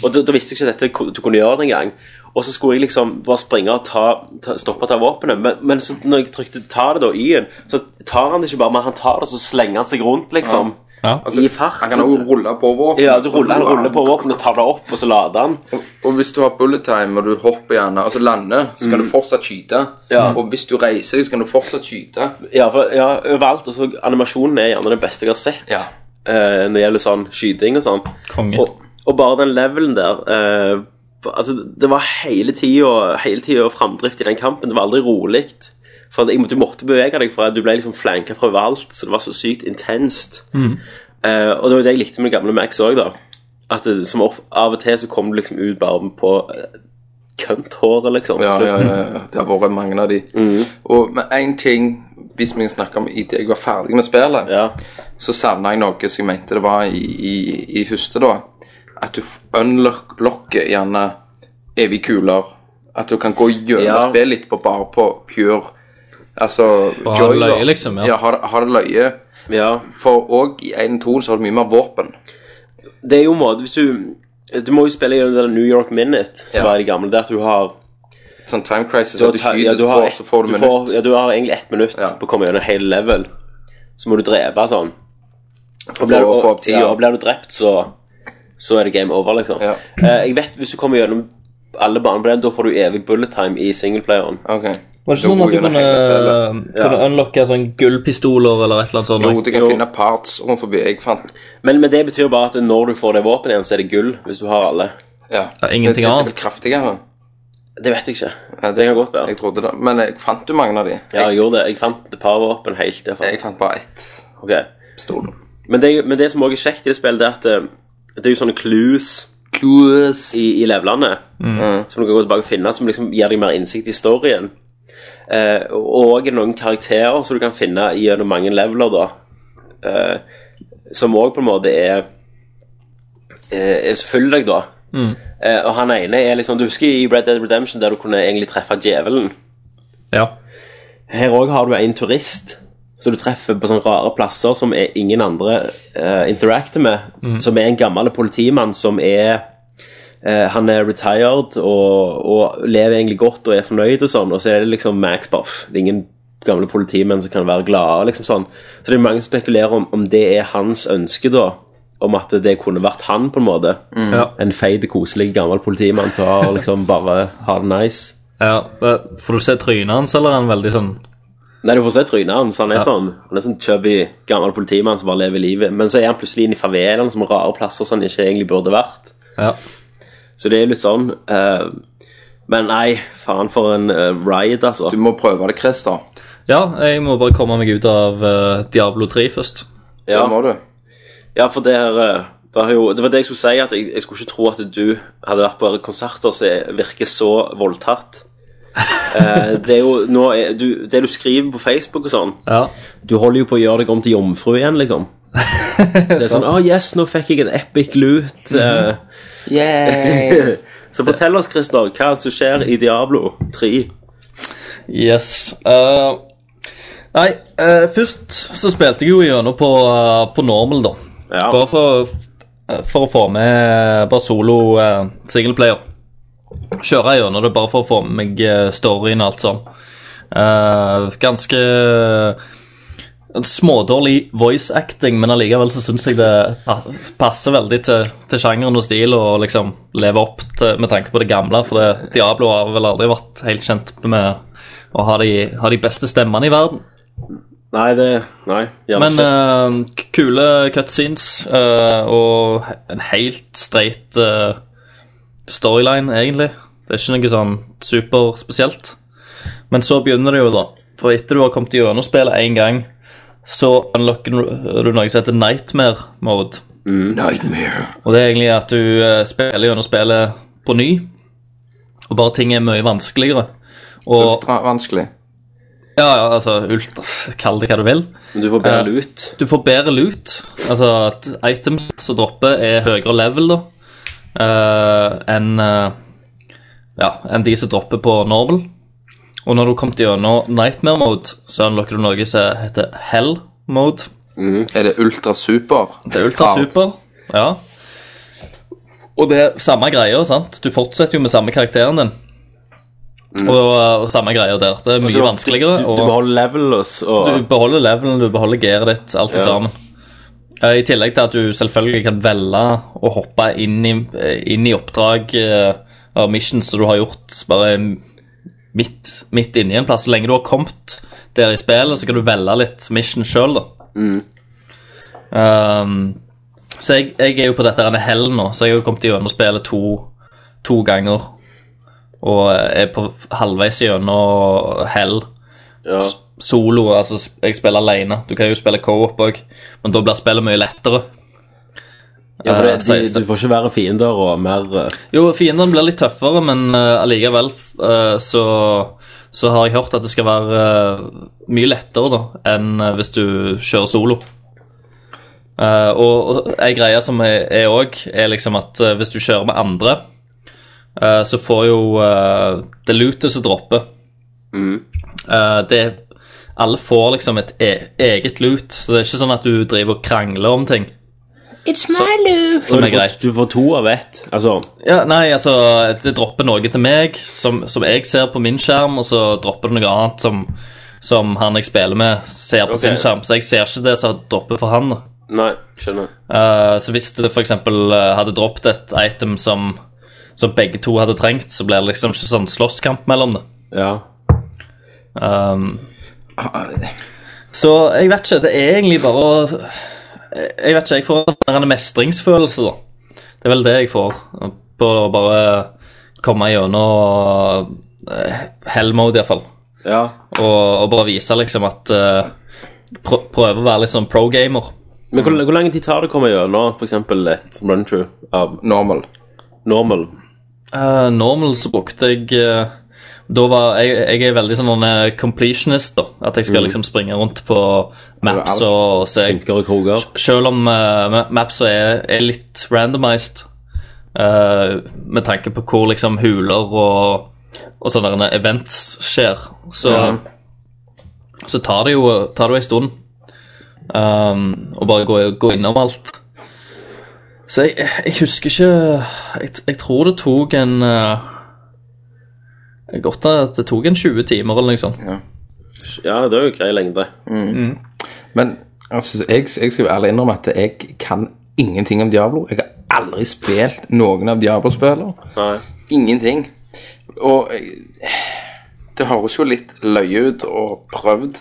A: Og da, da visste jeg ikke at dette ko- du kunne gjøre det engang. Og så skulle jeg liksom bare springe og ta, ta, stoppe og ta våpenet. Men, men så når jeg trykte 'ta det', da, y-en, så tar han det ikke bare, men han tar det, så slenger han seg rundt, liksom.
B: Ja.
A: I fart.
C: Altså, Han kan også rulle på våpen.
A: ja, du ruller, han ruller på våpenet, tar det opp, og så lader han.
C: Og, og hvis du har bullet time, og du hopper gjerne, altså lander, så kan du fortsatt skyte.
A: Mm. Ja.
C: Og hvis du reiser deg, så kan du fortsatt skyte.
A: Ja, for, ja overalt. Og så animasjonen er gjerne det beste jeg har sett
C: Ja.
A: eh, når det gjelder sånn skyting og sånn.
B: Konge.
A: Og, og bare den levelen der eh, Altså, det var hele tida Hele tiden framdrift i den kampen. Det var aldri rolig. For at jeg- du måtte bevege deg, for at du ble liksom flanka fra overalt. Så det var så sykt intenst. Eh, og det var det jeg likte med det gamle Max òg, da. At det, som of, Av og til så kom du liksom ut bare på eh, kønthåret, liksom.
C: Ja, ja, ja, ja. Det har vært mange av de.
A: Mm.
C: Og med én ting, hvis vi snakker om idet jeg var ferdig med spillet,
A: Ja.
C: så savna jeg noe som jeg mente det var i, i, i første, da. At du f- unlocker gjerne evig kuler. At du kan gå gjennom
A: Ja.
C: spillet litt på bare på pure Altså
B: ha
C: joy,
B: det
C: da.
B: løye, liksom, ja.
C: ja ha, det- ha det løye.
A: ja.
C: For òg i 1-2 så har du mye mer våpen.
A: det er jo en måte Hvis du Du må jo spille gjennom det der New York Minute Som
C: Ja.
A: var i det gamle Der at du har
C: Sånn time crisis,
A: du
C: at du
A: har-
C: skyter,
A: ja, du
C: så,
A: har
C: får,
A: ett-
C: så får du minutt.
A: Ja, du har egentlig ett minutt
C: Ja.
A: På å komme gjennom hele level Så må du drepe sånn Og
C: For
A: blir,
C: å
A: du-
C: få opp tida.
A: ja, og blir du drept så Så er det game over liksom
C: Ja.
A: eh, Jeg vet hvis du kommer gjennom alle baner på den Da får du evig bullet time i singleplayeren
C: Ok.
B: Var det ikke sånn at du
C: gjennom
B: kunne,
C: hele spillet.
B: kunne unlocke sånn gullpistoler eller et eller annet sånt?
C: Jo, du kan
A: Jo.
C: finne parts rundt forbi. Jeg fant
A: men, men det betyr bare at når du får det våpen igjen Så er det gull hvis du har alle
C: Ja.
B: Ja, ingenting
C: Det- det er
B: annet.
C: vel Kraftigere.
A: Det vet jeg ikke
C: Ja,
A: Det kan godt være
C: Jeg trodde det. Men jeg fant jo mange av de.
A: Ja, jeg gjorde det Jeg fant et par våpen helt til jeg fant-
C: Jeg fant bare ett
A: Ok
C: pistol.
A: Men det, men det som også er kjekt i det spillet, det er at eh, det, det er jo sånne clues
C: Clues.
A: i, i levelene som du kan gå tilbake og finne, som liksom gir deg mer innsikt i storyen. Eh, og noen karakterer som du kan finne gjennom mange leveler, da. Eh, som òg på en måte er eh, er- Følger deg, da. Eh, og han ene er liksom Du husker i Red Dead Redemption der du kunne egentlig treffe djevelen?
B: Ja.
A: Her òg har du en turist som du treffer på sånne rare plasser som er ingen andre eh, interacter med. Som er en gammel politimann som er eh, Han er retired og, og lever egentlig godt og er fornøyd og sånn, og så er det liksom Max bare, pff, Det er ingen gamle politimenn som kan være glade, liksom sånn. Så det er mange som spekulerer om, om det er hans ønske, da. Om at det kunne vært han, på en måte.
B: Ja.
A: En feit, koselig gammel politimann som har liksom bare har det nice.
B: eh, ja. Får du se trynet hans, eller er han veldig sånn
A: Nei, du får se trynet hans. Han er sånn Han er sånn chubby gammel politimann som bare lever livet. Men så er han plutselig inne i favelaen, som rare plasser som han ikke egentlig burde vært.
B: Ja.
A: Så det er litt sånn eh, Men nei, faen for en eh, ride, altså.
C: Du må prøve det, Chris, da.
B: ja, jeg må bare komme meg ut av eh, Diablo 3 først.
C: Det
A: Ja.
C: må du.
A: Ja, for det her eh, det, har jo, det var det jeg skulle si, at jeg, jeg skulle ikke tro at du hadde vært på konserter som virker så voldtatt. Eh, det er jo nå er, du, Det du skriver på Facebook og sånn
B: Ja.
A: Du holder jo på å gjøre deg om til jomfru igjen, liksom. Det er sånn Å, yes, nå fikk jeg en epic loot.
B: Mhm.
A: eh, så fortell oss, Christer, hva som skjer i Diablo 3.
B: Yes. eh, nei, eh, først så spilte jeg jo gjennom på, eh, på normal, da.
A: Ja.
B: Bare for, eh, for å få med eh, bare solo uh, singleplayer. Kjøre gjennom det bare for å få med meg eh, storyen og alt sånn. Eh, ganske en smådårlig voice acting, men allikevel så syns jeg det pa- passer veldig til, til sjangeren og stil og liksom leve opp til, med tanke på det gamle, for det, Diablo har vel aldri vært helt kjent med å ha de, ha de beste stemmene i verden.
A: Nei, det Nei. Gjerne
B: Men
A: ikke.
B: eh, k- kule cutscenes eh, og he- en helt streit eh, storyline, egentlig. Det er ikke noe sånn superspesielt. Men så begynner det jo, da. For etter du har kommet gjennom spillet én gang, så unlocker du- du noe som heter nightmare mode.
C: Nightmare.
B: Og det er egentlig at du eh, spiller gjennom spillet på ny, og bare ting er mye vanskeligere. Og,
C: Ultra vanskelig.
B: ja, ja, altså, ultra, kall det hva du vil.
A: Men du får
B: eh,
A: bedre loot.
B: Du får bedre loot. Altså at items som dropper, er høyere level da eh, enn eh, ja, enn de som dropper på normal. Og når du kommer gjennom nightmare mode, så unlocker du noe som heter hell mode.
C: Er det ultra-super?
B: Det er ultrasuper. Ja. Og det er samme greia, sant? Du fortsetter jo med samme karakteren din. Og, eh, og samme greia der. Det er mye vanskeligere.
A: Altså, Du,
B: og-
A: du beholder level og, og
B: du beholder levelen, du beholder gearet ditt, alt det
A: Ja.
B: sammen. Eh, I tillegg til at du selvfølgelig kan velge å hoppe inn i, eh, inn i oppdrag eh, av missions som du har gjort bare midt, midt inni en plass. Så lenge du har kommet der i spillet, så kan du velge litt mission sjøl, da.
A: Mm.
B: Ehm, så jeg, jeg er jo på dette her hell nå, så jeg har jo kommet gjennom spillet to, to ganger. Og eh, er på halvveis gjennom hell
A: ja.
B: solo, altså sp- jeg spiller alene. Du kan jo spille co-op òg, men da blir spillet mye lettere.
A: ja, for det,
B: Eh, sies
A: de,
B: det.
A: Du får ikke verre fiender og mer eh,
B: Jo, fiendene blir litt tøffere, men eh, allikevel f- eh, så, så har jeg hørt at det skal være eh, mye lettere da, enn eh, hvis du kjører solo. Eh, og og ei greie som er òg, er liksom at eh, hvis du kjører med andre, eh, så får jo eh, det lootet som dropper Eh, det, Alle får liksom et e eget loot, så det er ikke sånn at du driver og krangler om ting. It's my loot! Som
A: du,
B: er greit.
A: får, du får to av ett. Altså
B: Ja, nei, altså, det dropper noe til meg som, som jeg ser på min skjerm, og så dropper det noe annet som, som han jeg spiller med, ser på sin skjerm. Så jeg ser ikke det som dropper for han. da.
A: Nei, skjønner.
B: Eh, så hvis det f.eks. hadde droppet et item som, som begge to hadde trengt, så blir det liksom ikke sånn slåsskamp mellom det.
A: Ja.
B: Ehm, så jeg vet ikke. Det er egentlig bare å Jeg vet ikke, jeg får en sånn mestringsfølelse, da. Det er vel det jeg får. På å bare komme gjennom eh, hell mode, iallfall.
A: ja.
B: Og, og bare vise liksom at eh, prø- Prøve å være litt sånn pro-gamer.
A: Men hvor, hvor lang tid tar det å komme gjennom f.eks. et run-through av
C: Normal.
A: normal?
B: Eh, normal så brukte jeg eh, Da var jeg, jeg er veldig sånn eh, completionist, da. At jeg skal liksom springe rundt på maps
C: Overalt.
B: og, og se
A: Benker og kroger?
B: Selv om eh, ma- mapsa er, er litt randomized, eh, med tanke på hvor liksom huler og, og sånne der events skjer, så, så tar det jo tar det jo en stund um, å bare gå, gå innom alt. Så jeg, jeg husker ikke jeg, jeg tror det tok en uh, Godt at det tok en 20 timer eller noe sånt.
A: Ja, det er jo grei lengde.
C: Men altså, jeg, jeg skal jo ærlig innrømme at jeg kan ingenting om Diablo. Jeg har aldri spilt noen av Diablo-spillene.
A: Nei.
C: Ingenting. eh, Og jeg, det høres jo litt løye ut og prøvd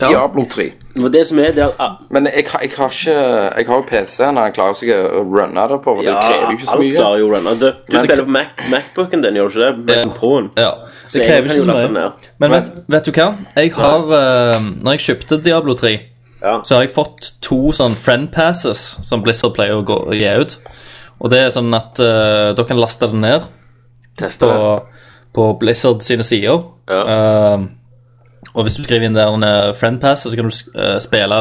C: Diablo 3.
A: Det var det som er der ah,
C: Men jeg, har- jeg har ikke Jeg har jo PC-en, han klarer seg å runne det på, og det
A: Ja,
C: krever jo ikke så
A: alt
C: mye.
A: klarer jo å runne. Du, du
B: Men-
A: spiller på Mac, Macbooken din, gjør du ikke det? Mac Pro-en.
B: Ja.
A: Så
B: Det
A: jeg
B: krever
A: kan jo
B: ikke
A: laste
B: så
A: den
B: mye.
A: ned.
B: Men vet, vet du hva? Jeg har eh, Når jeg kjøpte Diablo 3,
A: Ja.
B: så har jeg fått to sånn friend passes som Blizzard pleier å gå, gi ut. Og det er sånn at eh, dere kan laste den ned
A: Teste
B: på,
A: det.
B: på Blizzard sine sider. Eh, og hvis du skriver inn der en eh, friend pass, så kan du sk- eh, spille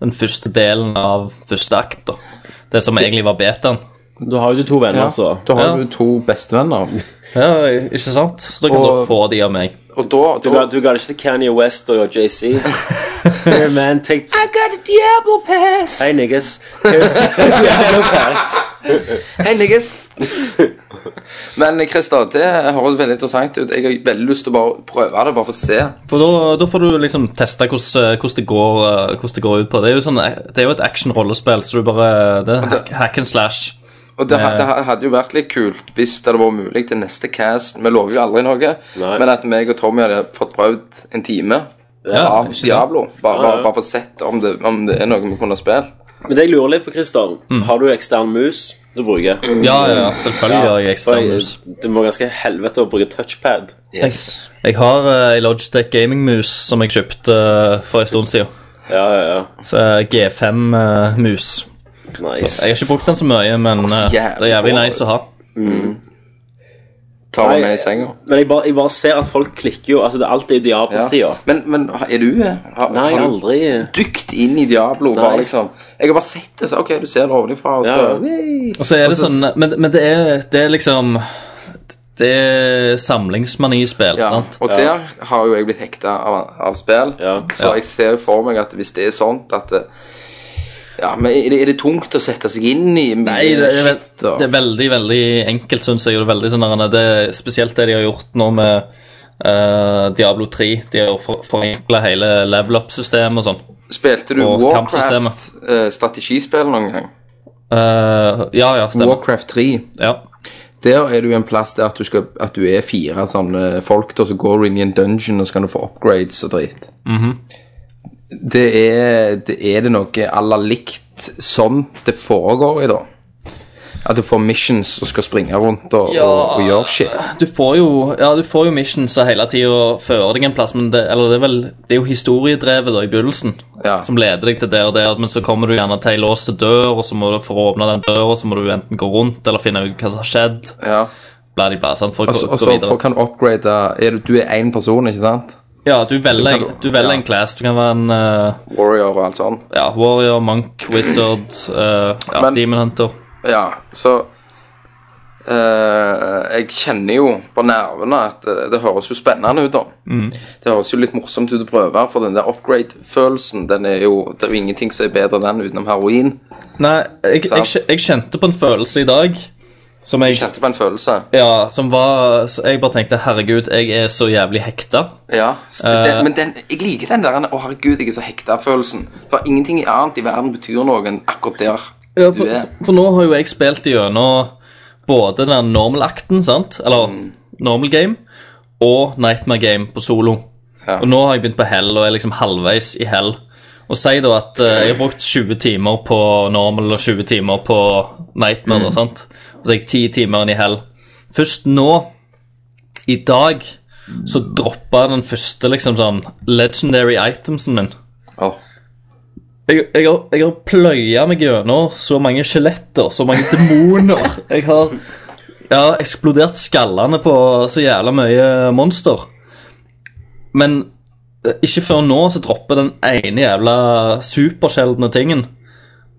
B: den første delen av første akt. da. Det som egentlig var betaen.
A: Du har jo de to venner, altså.
C: Ja,
A: så.
C: da har
B: Ja.
C: du to bestevenner.
B: Ja, ikke sant? Så da kan
C: Og-
B: dere få de av meg.
C: Og da,
A: Du
C: da
A: ga, du ga det ikke til Kanye West og JC. Here, man, take I got a Diablo pass. Hei, niggas. Here's a Diablo pass.
C: Hei, niggas! Men Christer, det høres veldig interessant ut. Jeg har veldig lyst til å bare prøve det, bare for å se.
B: For da, da får du liksom teste hvordan, hvordan, det går, eh, hvordan det går ut på. Det er jo, sånn, det er jo et action-rollespill, så du bare Det er hack, hack and slash.
C: Og det, ha- det ha- hadde jo vært litt kult hvis det hadde vært mulig til neste cast. Vi lover jo aldri noe,
A: Nei.
C: men at meg og Tommy hadde fått prøvd en time
B: Ja,
C: av
B: ikke sant?
C: Diablo. Bare, bare, bare for å sett om det, om det er noe vi kunne spilt.
A: Men det jeg lurer litt på, Christer,
B: Mm.
A: har du ekstern mus du bruker?
B: Ja, ja, ja, selvfølgelig gjør
A: For
B: jeg
A: jeg-
B: eksternmus.
A: Det må ganske helvete å bruke touchpad.
B: Jeg har eh, ei Logitech gaming-mus som jeg kjøpte eh, for en stund siden.
A: Ja, ja, ja.
B: Så eh, G5-mus.
A: Nice.
B: eh, Jeg har ikke brukt den så mye, men eh, det er jævlig nice å ha.
C: Tar vi
A: Nei,
C: med i senga.
A: Men jeg bare, jeg bare ser at folk klikker jo. Altså, det er alt er i Diablo-tida.
C: Ja. Men, men er du eh, har,
A: Nei,
C: har du
A: aldri.
C: dykt inn i Diablo?
A: Nei.
C: Bare, liksom. Jeg har bare sett det. Så, ok, du ser det ovenfra, og så
A: Ja,
B: Og så er det sånn Men, men det, er, det er liksom Det er samlingsmanispill,
C: Ja,
B: sant?
C: og der har jo jeg blitt hekta av, av spill.
A: Ja.
C: Så jeg ser jo for meg at hvis det er sånn at eh, Ja, men er det, er det tungt å sette seg inn i mye
B: Nei, det, det,
C: shit?
B: er-
C: og-
B: det er veldig veldig enkelt, syns jeg. og Det er veldig sånn der, det, er spesielt det de har gjort nå med eh, Diablo 3. De har jo for- forenkla hele level up-systemet og sånn.
C: Spilte du
B: og
C: Warcraft
B: kampsystemet.
C: eh, strategispill noen gang?
B: Eh, ja, ja, stemmer.
C: Warcraft 3.
B: Ja.
C: Der er du en plass der at du, skal, at du er fire sånne folk, og så går du inn i en dungeon, og så kan du få upgrades og dritt. det, er, det er det noe aller likt sånn det foregår i, da? At du får missions og skal springe rundt og, og, og gjøre shit.
B: Du får jo, ja, du får jo missions og hele tida fører deg en plass, men det, eller det, er vel, det er jo historiedrevet da i begynnelsen
C: Ja.
B: som leder deg til der og der, men så kommer du gjerne til ei låst dør, og så må du for å åpne den døra, så må du enten gå rundt eller finne ut hva som har skjedd.
C: Ja.
B: Bla, bla, bla, sant, for å
C: Og så-
B: gå,
C: og
B: gå
C: så
B: videre.
C: får- kan du upgrade er du, du er én person, ikke sant?
B: Ja, du velger,
C: Så kan
B: du,
C: du-
B: velger
C: ja.
B: en class. Du kan være en eh,
C: Warrior og alt sånt.
B: ja, warrior, monk, wizard, eh, ja,
C: Men-
B: demon hunter.
C: Ja, så eh, Jeg kjenner jo på nervene at det, det høres jo spennende ut, da. Det høres jo litt morsomt ut å prøve, for den der upgrade-følelsen Den er jo, Det er jo ingenting som er bedre enn den utenom heroin.
B: Nei, jeg, jeg,
C: Sant.
B: kje- jeg kjente på en følelse i dag som jeg
C: Kjente på en følelse.
B: ja, som var så Jeg bare tenkte 'herregud, jeg er så jævlig hekta'.
C: Ja. s- Den, men den, jeg liker den der 'Å, herregud, jeg er så hekta'-følelsen. For ingenting annet i verden betyr noe enn akkurat der
B: for,
C: du er.
B: for- for nå har jo jeg spilt gjennom både den der normal-akten, sant, eller
C: Mm.
B: normal game, og nightmare game på solo.
C: Ja.
B: Og nå har jeg begynt på hell, og er liksom halvveis i hell. Og si da at eh, jeg har brukt 20 timer på normal og 20 timer på nightmare,
C: Mm.
B: og sant? Og så er jeg 10 timer inn i hell. Først nå, i dag, så droppa den første liksom sånn legendary itemsen min.
C: Å,
B: Jeg, jeg, har, jeg har pløya meg gjennom så mange skjeletter, så mange demoner. Jeg har, jeg har eksplodert skallene på så jævla mye monster. Men eh, ikke før nå så dropper den ene jævla supersjeldne tingen.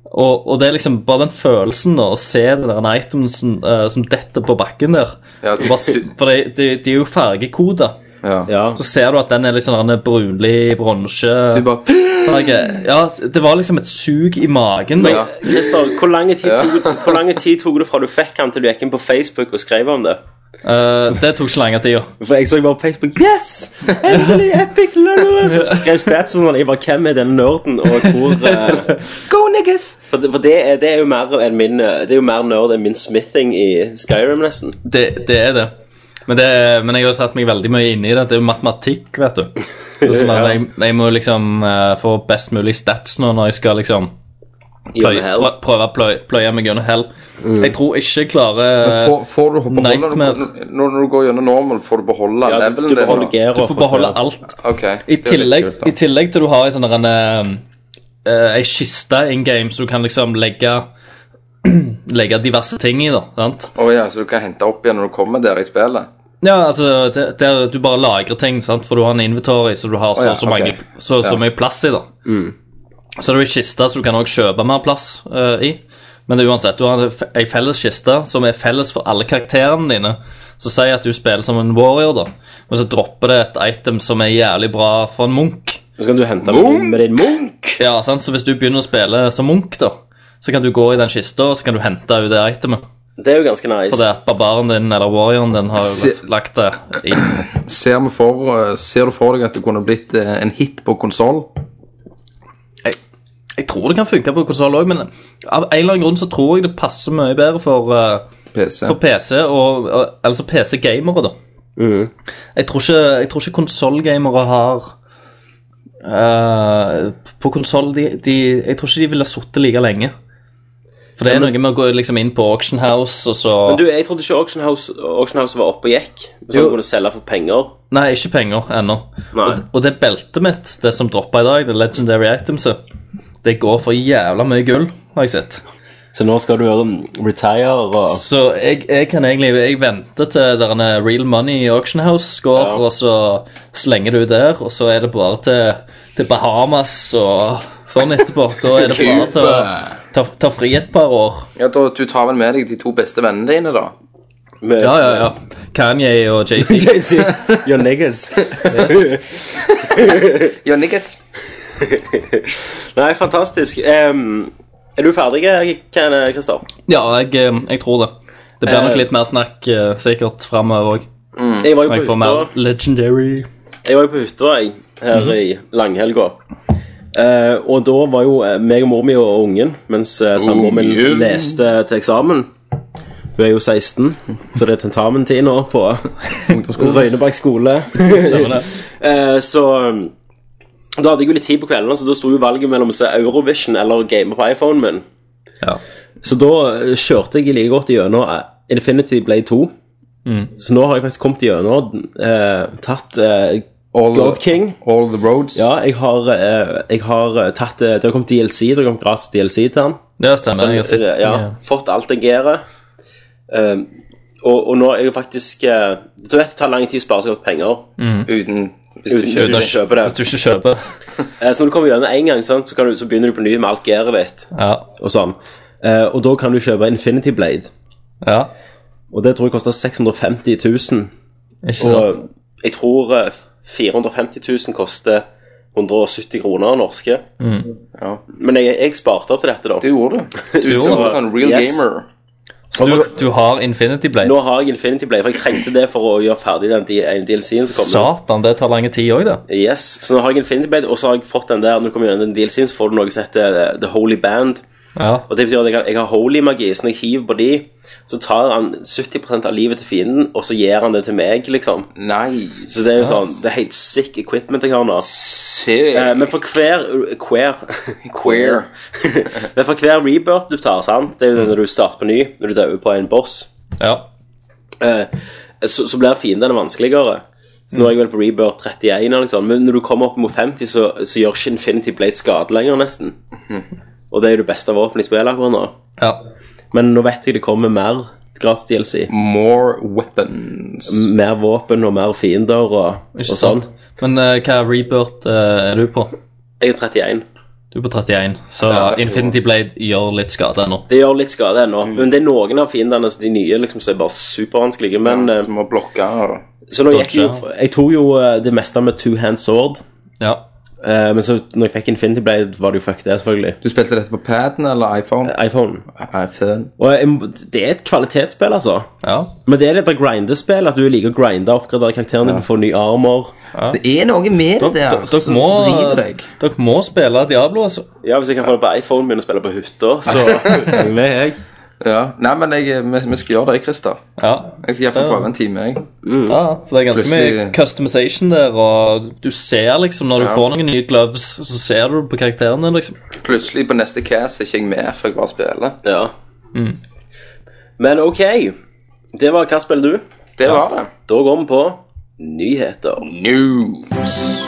B: Og, og det er liksom bare den følelsen da, å se den der itemsen eh, som detter på bakken der.
C: Ja,
B: Og bare se- For de, de, de er jo fargekoda.
C: ja.
A: Ja.
B: Så ser du at den er liksom den er brunlig bronse.
C: Du bare
B: Norge. Ja, det var liksom et sug i magen.
C: Ja.
A: Christer, hvor lang tid, tok- hvor lang tid tok det fra du fikk han til du gikk inn på Facebook og skrev om det?
B: Eh, det tok så lang tid.
A: For jeg så bare på Facebook Yes! Endelig Epic Lørdag! Så skrev Stats og sånn. Jeg bare Hvem er den nerden, og hvor eh,
C: Go, niggas!
A: For, det, for det, er, det er jo mer enn min eh, Det er jo mer nerd enn min smithing i Skyrim, nesten.
B: Det, det er det. Men, det. men jeg har satt meg veldig mye inn i det. Det er jo matematikk, vet du. Det er sånn at jeg, jeg må liksom eh, få best mulig stats nå når jeg skal liksom pløye,
A: Gjennom hell.
B: prø- prøve å pløye, pløye meg gjennom hell. Jeg tror ikke jeg klarer eh,
C: Får, får Mm. du beholde
B: Nightmare.
C: Når, når du går gjennom normal, får du beholde
A: Ja, du,
C: levelen
A: du
C: din?
A: beholder
C: da?
A: gear
B: Du får beholde alt.
C: Ok,
B: I
C: det er litt
B: tillegg,
C: kult, da.
B: I tillegg til du har en sånn der en eh, eh, Ei kiste in game så du kan liksom legge Legge diverse ting i, da. Sant?
C: Å ja, så du kan hente opp igjen når du kommer der i spillet?
B: Ja, altså der, der du bare lagrer ting, sant? for du har en inventory så du har så,
C: Å ja,
B: så,
C: ok.
B: mange, så, så
C: Ja. Mm.
B: mye plass i. da Så det er jo en kiste så du kan også kjøpe mer plass eh, i. Men det er uansett, du har en f- ei felles kiste som er felles for alle karakterene dine. Så si at du spiller som en warrior, da, men så dropper det et item som er jævlig bra for en munk.
A: Så kan du hente med din, med din munk.
B: Ja, sant? Så hvis du begynner å spille som munk, da, så kan du gå i den kista og så kan du hente ut det itemet.
A: Det er jo ganske nice.
B: For det at barbaren din eller warrioren din har jo
C: Se-
B: lagt det inn.
C: Ser, vi for, eh, ser du for deg at det kunne blitt eh, en hit på konsoll?
B: Jeg tror det kan funke på konsoll òg, men av en eller annen grunn så tror jeg det passer mye bedre for, eh,
C: PC?
B: for PC og og- Altså PC-gamere, da.
A: Mhm.
B: Jeg tror ikke, jeg tror ikke konsollgamere har eh, På konsoll de, de Jeg tror ikke de ville sittet like lenge. For det er noe med å gå liksom inn på Auction House, og så
A: Men du, jeg trodde ikke Auction House, Auction House var oppe og gikk. Så
B: Jo.
A: du kunne selge for penger.
B: Nei, ikke penger ennå.
A: Nei.
B: Og, og det beltet mitt, det som droppa i dag, det Legendary Itemset, det går for jævla mye gull, har jeg sett.
A: Så nå skal du um, retire og
B: Så jeg, jeg kan egentlig Jeg venter til der en Real Money Auction House går,
A: Ja.
B: og så slenger du der, og så er det bare til, til Bahamas og sånn etterpå. Da er det bare til å ta, ta fri et par år.
C: Ja, da, du tar vel med deg de to beste vennene dine, da?
B: Ja, ja, ja. Kanye og JC.
A: Jay-Z, your niggas.
C: Ja, Nikes.
A: Nei, fantastisk. Em, er du ferdig, Ken eh, Christer?
B: Ja, jeg, eh, jeg tror det. Det blir
A: Eh.
B: nok litt mer snakk eh, sikkert framover òg.
A: Jeg var jo
B: Jeg
A: på
B: får
A: hytta.
B: mer legendary.
A: Jeg var jo på hytta jeg, her i langhelga. Eh, og da var jo eh, meg og mor mi og ungen, mens eh, samboeren min
C: Ungen.
A: leste til eksamen. Hun er jo 16, så det er tentamentid nå på Røyneberg skole. Eh, så um, da hadde jeg jo litt tid på kveldene, så da sto jo valget mellom å se Eurovision eller game på iPhonen min.
B: Ja.
A: Så da eh, kjørte jeg like godt gjennom eh, Infinity Blade 2. Så nå har jeg faktisk kommet gjennom, eh, tatt eh,
C: All,
A: God
C: the-
A: King.
C: all the roads.
A: Ja, jeg har, eh, jeg har eh, tatt eh, Det har kommet DLC, det har kommet gratis DLC til han.
B: Ja, stemmer. jeg har sett
A: Eh, ja, Fått alt jeg gjør. Eh, og, og nå er jeg faktisk eh, Du vet det tar lang tid å spare seg opp penger.
C: Uten Hvis du
A: Uten-
C: kjøper
A: uten å kjøpe det.
B: Hvis du ikke kjøper.
A: Eh, så når du kommer gjennom én gang, sant, så, kan du, så begynner du på ny med alt gearet ditt.
B: Ja.
A: Og sånn Eh, Og da kan du kjøpe Infinity Blade.
B: ja.
A: Og det tror jeg koster 650 000.
B: Ikke
A: Og
B: sant.
A: jeg tror eh, 450 000 koster 170 kroner norske.
B: Mm.
C: Ja.
A: Men jeg, jeg sparte opp til dette, da.
C: Du gjorde det. Du
A: gjorde
C: gjorde
A: det.
C: sånn real
A: Yes.
C: gamer.
B: Du, du har Infinity Blade.
A: Nå har jeg Infinity Blade, for jeg trengte det for å gjøre ferdig den D- ene DLC-en som kommer.
B: Satan, det tar lang tid òg, det.
A: Yes, så nå har jeg Infinity Blade, og så har jeg fått den der, når du kommer gjennom den DLC-en, så får du noe som heter eh, The Holy Band.
B: Ja.
A: Og det betyr at jeg, har- jeg har holy magi, så når jeg hiver på de, så tar han 70% av livet til fienden, og så gir han det til meg, liksom.
C: Nice.
A: Så det er jo sånn, det er helt sick equipment jeg har nå. Eh,
C: Sick.
A: Men for hver, hver,
C: Queer.
A: men for hver rebirth du tar, sant? Det er jo når du starter på ny, når du dør på en boss.
B: ja.
A: Eh, så, så blir fiendene vanskeligere. Så nå er jeg vel på Rebirth 31, eller noe sånt, men når du kommer opp mot 50, så, så gjør ikke Infinity Blade skade lenger, nesten. Og det er jo det beste våpenet i spillet akkurat nå.
B: ja.
A: Men nå vet jeg det kommer mer gratis DLC.
C: More weapons.
A: Mer våpen og mer fiender og, og
B: Ikke
A: sånn.
B: sant. Men eh, hva rebirth eh, er du på?
A: Jeg er 31.
B: Du er på 31, så
C: det er
B: Infinity Blade gjør litt skade ennå.
A: Det gjør litt skade ennå,
B: Mm.
A: men det er noen av fiendene, så de nye, liksom, som er bare supervanskelige. Men eh,
C: Du må blokke og
A: Så nå gikk jeg jo
B: Dodge,
A: for- Jeg tok jo eh, det meste med two hand sword,
B: Ja.
A: eh, men så når jeg fikk Infinity Blade, var det jo fuck det, selvfølgelig.
C: Du spilte dette på paden eller iPhone? Ah,
A: iPhone.
C: iPhone.
A: Og jeg, må- det er et kvalitetsspill, altså.
B: ja.
A: Men det er litt av grindespill, at du liker å grinde og oppgradere karakteren din, få ny armor.
C: Det er noe med det der
B: Dere
C: som
B: må, eh,
C: driver deg.
B: dere må spille Diablo, altså.
A: Ja, hvis jeg kan få det på iPhonen min og spille på hytta, så er jeg med, jeg.
C: Ja. Nei, men jeg, eh, vi, vi skal gjøre det, Christer.
B: Ja.
C: Jeg skal iallfall prøve en time, jeg.
A: Mm.
B: ja, så det er ganske mye
C: Plutselig-
B: customization der, og du ser liksom når du
C: Ja.
B: får noen nye gloves, så ser du på karakteren din, liksom.
C: Plutselig på neste cast er ikke jeg med før jeg bare spiller.
A: Ja. Men ok. Det var Hva spiller du?
C: Det var det.
A: Da går vi på nyheter.
C: News.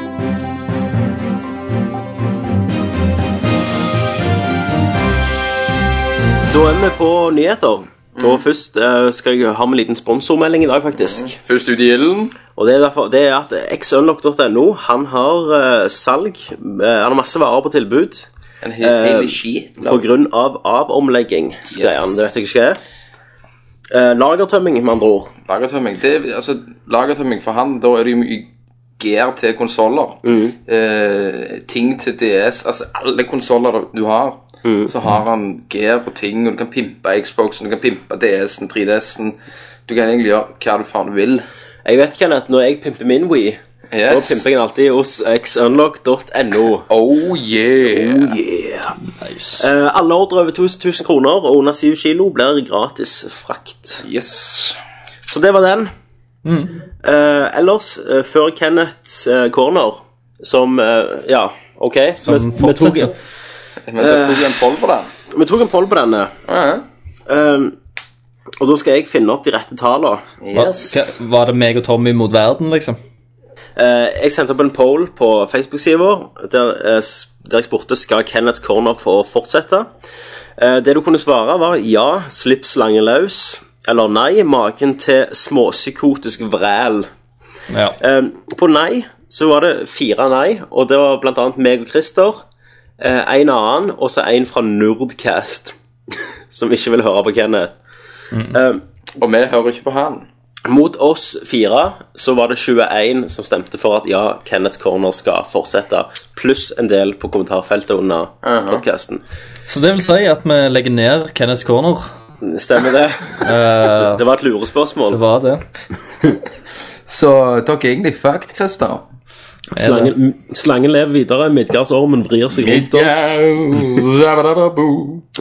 A: Da er vi på nyheter. Og først eh, skal jeg ha med en liten sponsormelding i dag, faktisk.
C: Først ut i ilden.
A: Og det er, derfor, det er at xunlock.no han har eh, salg. eh, han har masse varer på tilbud.
C: En hel, hel
A: Eh,
C: skit.
A: På grunn av avomlegging. Yes. Det
C: Yes.
A: vet jeg ikke hva er. Eh, lagertømming, med andre ord.
C: Lagertømming. Det, er- altså, lagertømming for han, da er det jo mye gear til konsoller. Eh, ting til DS. Altså alle konsoller du har, så har han gear på ting, og du kan pimpe Xboxen, du kan pimpe DS-en, 3DS-en. Du kan egentlig gjøre hva du faen vil.
A: Jeg vet ikke at når jeg pimper min Wii, da
C: Yes.
A: pimper jeg den alltid hos xunlock.no.
C: Oh yeah.
A: Yeah. Eh, alle ordrer over 1000 1000 kroner og under 7 kilo blir gratis frakt.
C: Yes.
A: Så det var den. Eh, ellers, eh, før Kenneths eh, corner, som eh, Ja, OK.
B: Som
A: vi, vi, tok,
B: fortsetter.
C: Men så tok jeg en poll på den.
A: vi tok en poll på denne.
C: Ja, ja.
A: Eh, og da skal jeg finne opp de rette tallene.
B: Hva- hva- Var det meg og Tommy mot verden, liksom?
A: Eh, jeg sendte opp en poll på Facebook-sida vår der, eh, s- der jeg spurte skal Kenneths corner få fortsette. Eh, det du kunne svare, var ja, slipp slangen løs. Eller nei, maken til småpsykotisk vræl.
B: Ja.
A: Eh, på nei så var det fire nei, og det var blant annet meg og Christer. eh, en annen, og så en fra Nerdcast som ikke vil høre på Kenneth.
C: Og vi hører ikke på han.
A: Mot oss fire så var det 21 som stemte for at ja, Kenneths Corner skal fortsette. Pluss en del på kommentarfeltet under
C: Aha.
A: podcasten.
B: Så det vil si at vi legger ned Kenneths Corner.
A: Stemmer det? det var et lurespørsmål.
B: Eh, Det var det.
C: Så dere er egentlig fucked, Christer.
A: Slangen, slangen lever videre, midgardsormen vrir seg rundt oss.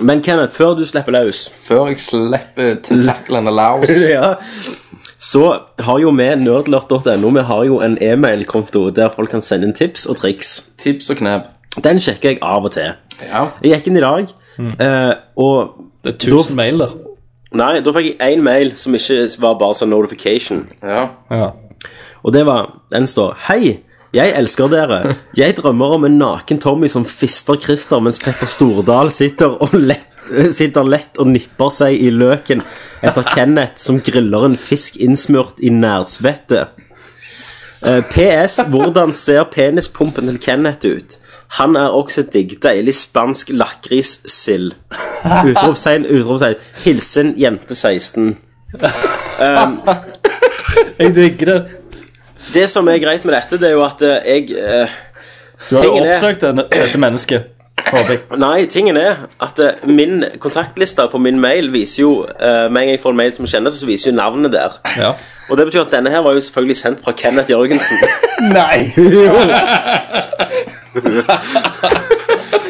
A: Men Kenneth, før du slipper løs,
C: Før jeg slipper tentaklene løs
A: så har jo vi nerdlert.no Vi har jo en e-mailkonto der folk kan sende inn tips og triks.
C: Tips og knep.
A: Den sjekker jeg av og til.
C: Ja.
A: Jeg gikk inn i dag,
B: Mm.
A: eh, og
B: Det er 1000 mail der.
A: Nei, da fikk jeg én mail som ikke var bare sånn notification.
C: ja.
B: Ja.
A: Og det var Den står Hei, jeg elsker dere. Jeg drømmer om en naken Tommy som fister Christer mens Petter Stordal sitter og lett Sitter lett og nipper seg i løken etter Kenneth som griller en fisk innsmurt i nærsvette. Eh, PS. Hvordan ser penispumpen til Kenneth ut? Han er også digg. Deilig spansk lakrissild. Utropstegn, utropstegn. Hilsen jente 16.
B: Jeg digger det.
A: Det som er greit med dette, det er jo at eh, jeg eh,
B: Du har jo
A: Tingen er-
B: oppsøkt denne, dette mennesket. Håper jeg.
A: Nei, tingen er at eh, min kontaktliste på min mail viser jo eh, Med en gang jeg får en mail som kjennes, så viser jo navnet der.
B: Ja.
A: Og det betyr at denne her var jo selvfølgelig sendt fra Kenneth Jørgensen.
B: Nei!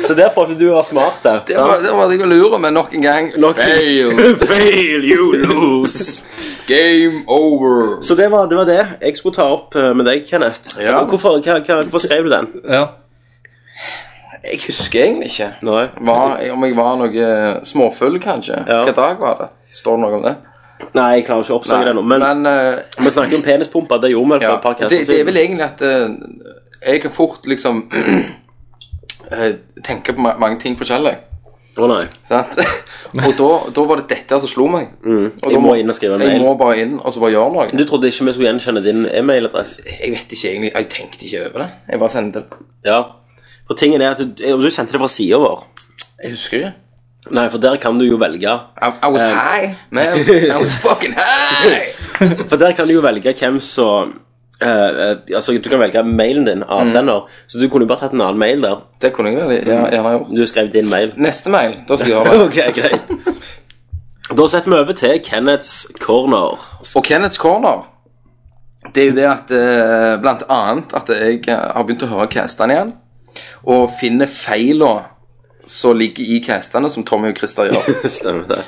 A: Så der prøvde du å være smart der.
C: Det var, det var det jeg lurer med nok en gang.
A: Nok-
C: Fail.
A: Fail, you lose!
C: Game over.
A: Så det var, det var det jeg skulle ta opp eh, med deg, Kenneth.
C: Ja.
A: Og Hvorfor, hva, hva, hvorfor skrev du den?
B: Ja.
C: Jeg husker egentlig ikke.
A: Nei.
C: Var, om jeg var noe eh, småfull, kanskje.
A: Ja.
C: Hva dag var det? Står det noe om det?
A: Nei, jeg klarer ikke å oppsøke det nå. Men
C: men eh,
A: vi snakker om penispumper. Det gjorde vi for
C: ja.
A: et par
C: det,
A: kasser
C: det er vel
A: siden.
C: egentlig at eh, jeg kan fort liksom eh, tenke på ma mange ting på kjellet.
A: Å nei.
C: Sant? og da, da var det dette som slo meg. Og da
A: Mm. Jeg må inn og skrive en
C: Jeg
A: mail.
C: må bare inn og så bare gjøre noe.
A: Du trodde ikke vi skulle gjenkjenne din e-mailadresse?
C: Jeg vet ikke egentlig, jeg tenkte ikke over det. Jeg bare sendte det.
A: Ja. For tingen er at du, og du sendte det fra sida vår.
C: Jeg husker ikke.
A: Nei, for der kan du jo velge.
C: I, I
A: Eh.
C: was high, man. I was fucking high!
A: For der kan du jo velge hvem som eh, eh, altså Du kan velge mailen din, avsender. Så du kunne jo bare tatt en annen mail der.
C: Det kunne jeg vel
A: Mm.
C: gjerne gjerne gjort.
A: Du skrev din mail.
C: Neste mail, da skal jeg gjøre det.
A: Ok, greit. Da setter vi over til Kenneths corner.
C: Og Kenneths Corner, det er jo det at eh, blant annet at jeg eh, har begynt å høre castene igjen, og finner feilene som ligger i castene som Tommy og Christer gjør.
A: Stemmer det.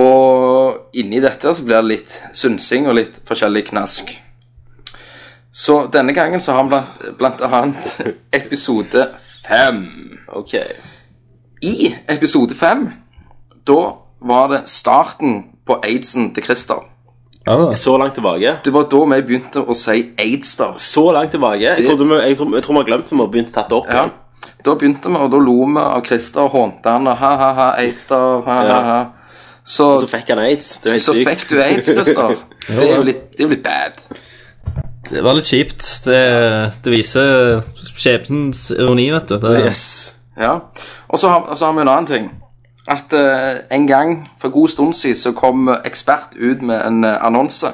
C: Og inni dette så blir det litt synsing og litt forskjellig knask. Så denne gangen så har han blant, blant annet episode fem.
A: Ok.
C: I episode fem, da var det starten på aidsen til Christer.
A: Så langt tilbake.
C: Det var da vi begynte å si aidster.
A: Så langt tilbake. Jeg, trodde vi, jeg, tror, jeg tror vi har glemt som vi har begynt å tatt det opp.
C: Ja. Da begynte vi, og da lo vi av Christer og hånte han og ha-ha-ha, aidster, ha-ha-ha. Så,
A: Så fikk han aids. Det er
C: så
A: helt
C: fikk
A: sykt.
C: du aids, Christer. Det er jo litt, det er jo litt bad.
B: Det var litt kjipt. Det, det viser skjebnens ironi, vet du. Det,
A: Yes.
C: Ja, og så har, og så har vi en annen ting. At eh, en gang for god stund siden så kom eh, Ekspert ut med en eh, annonse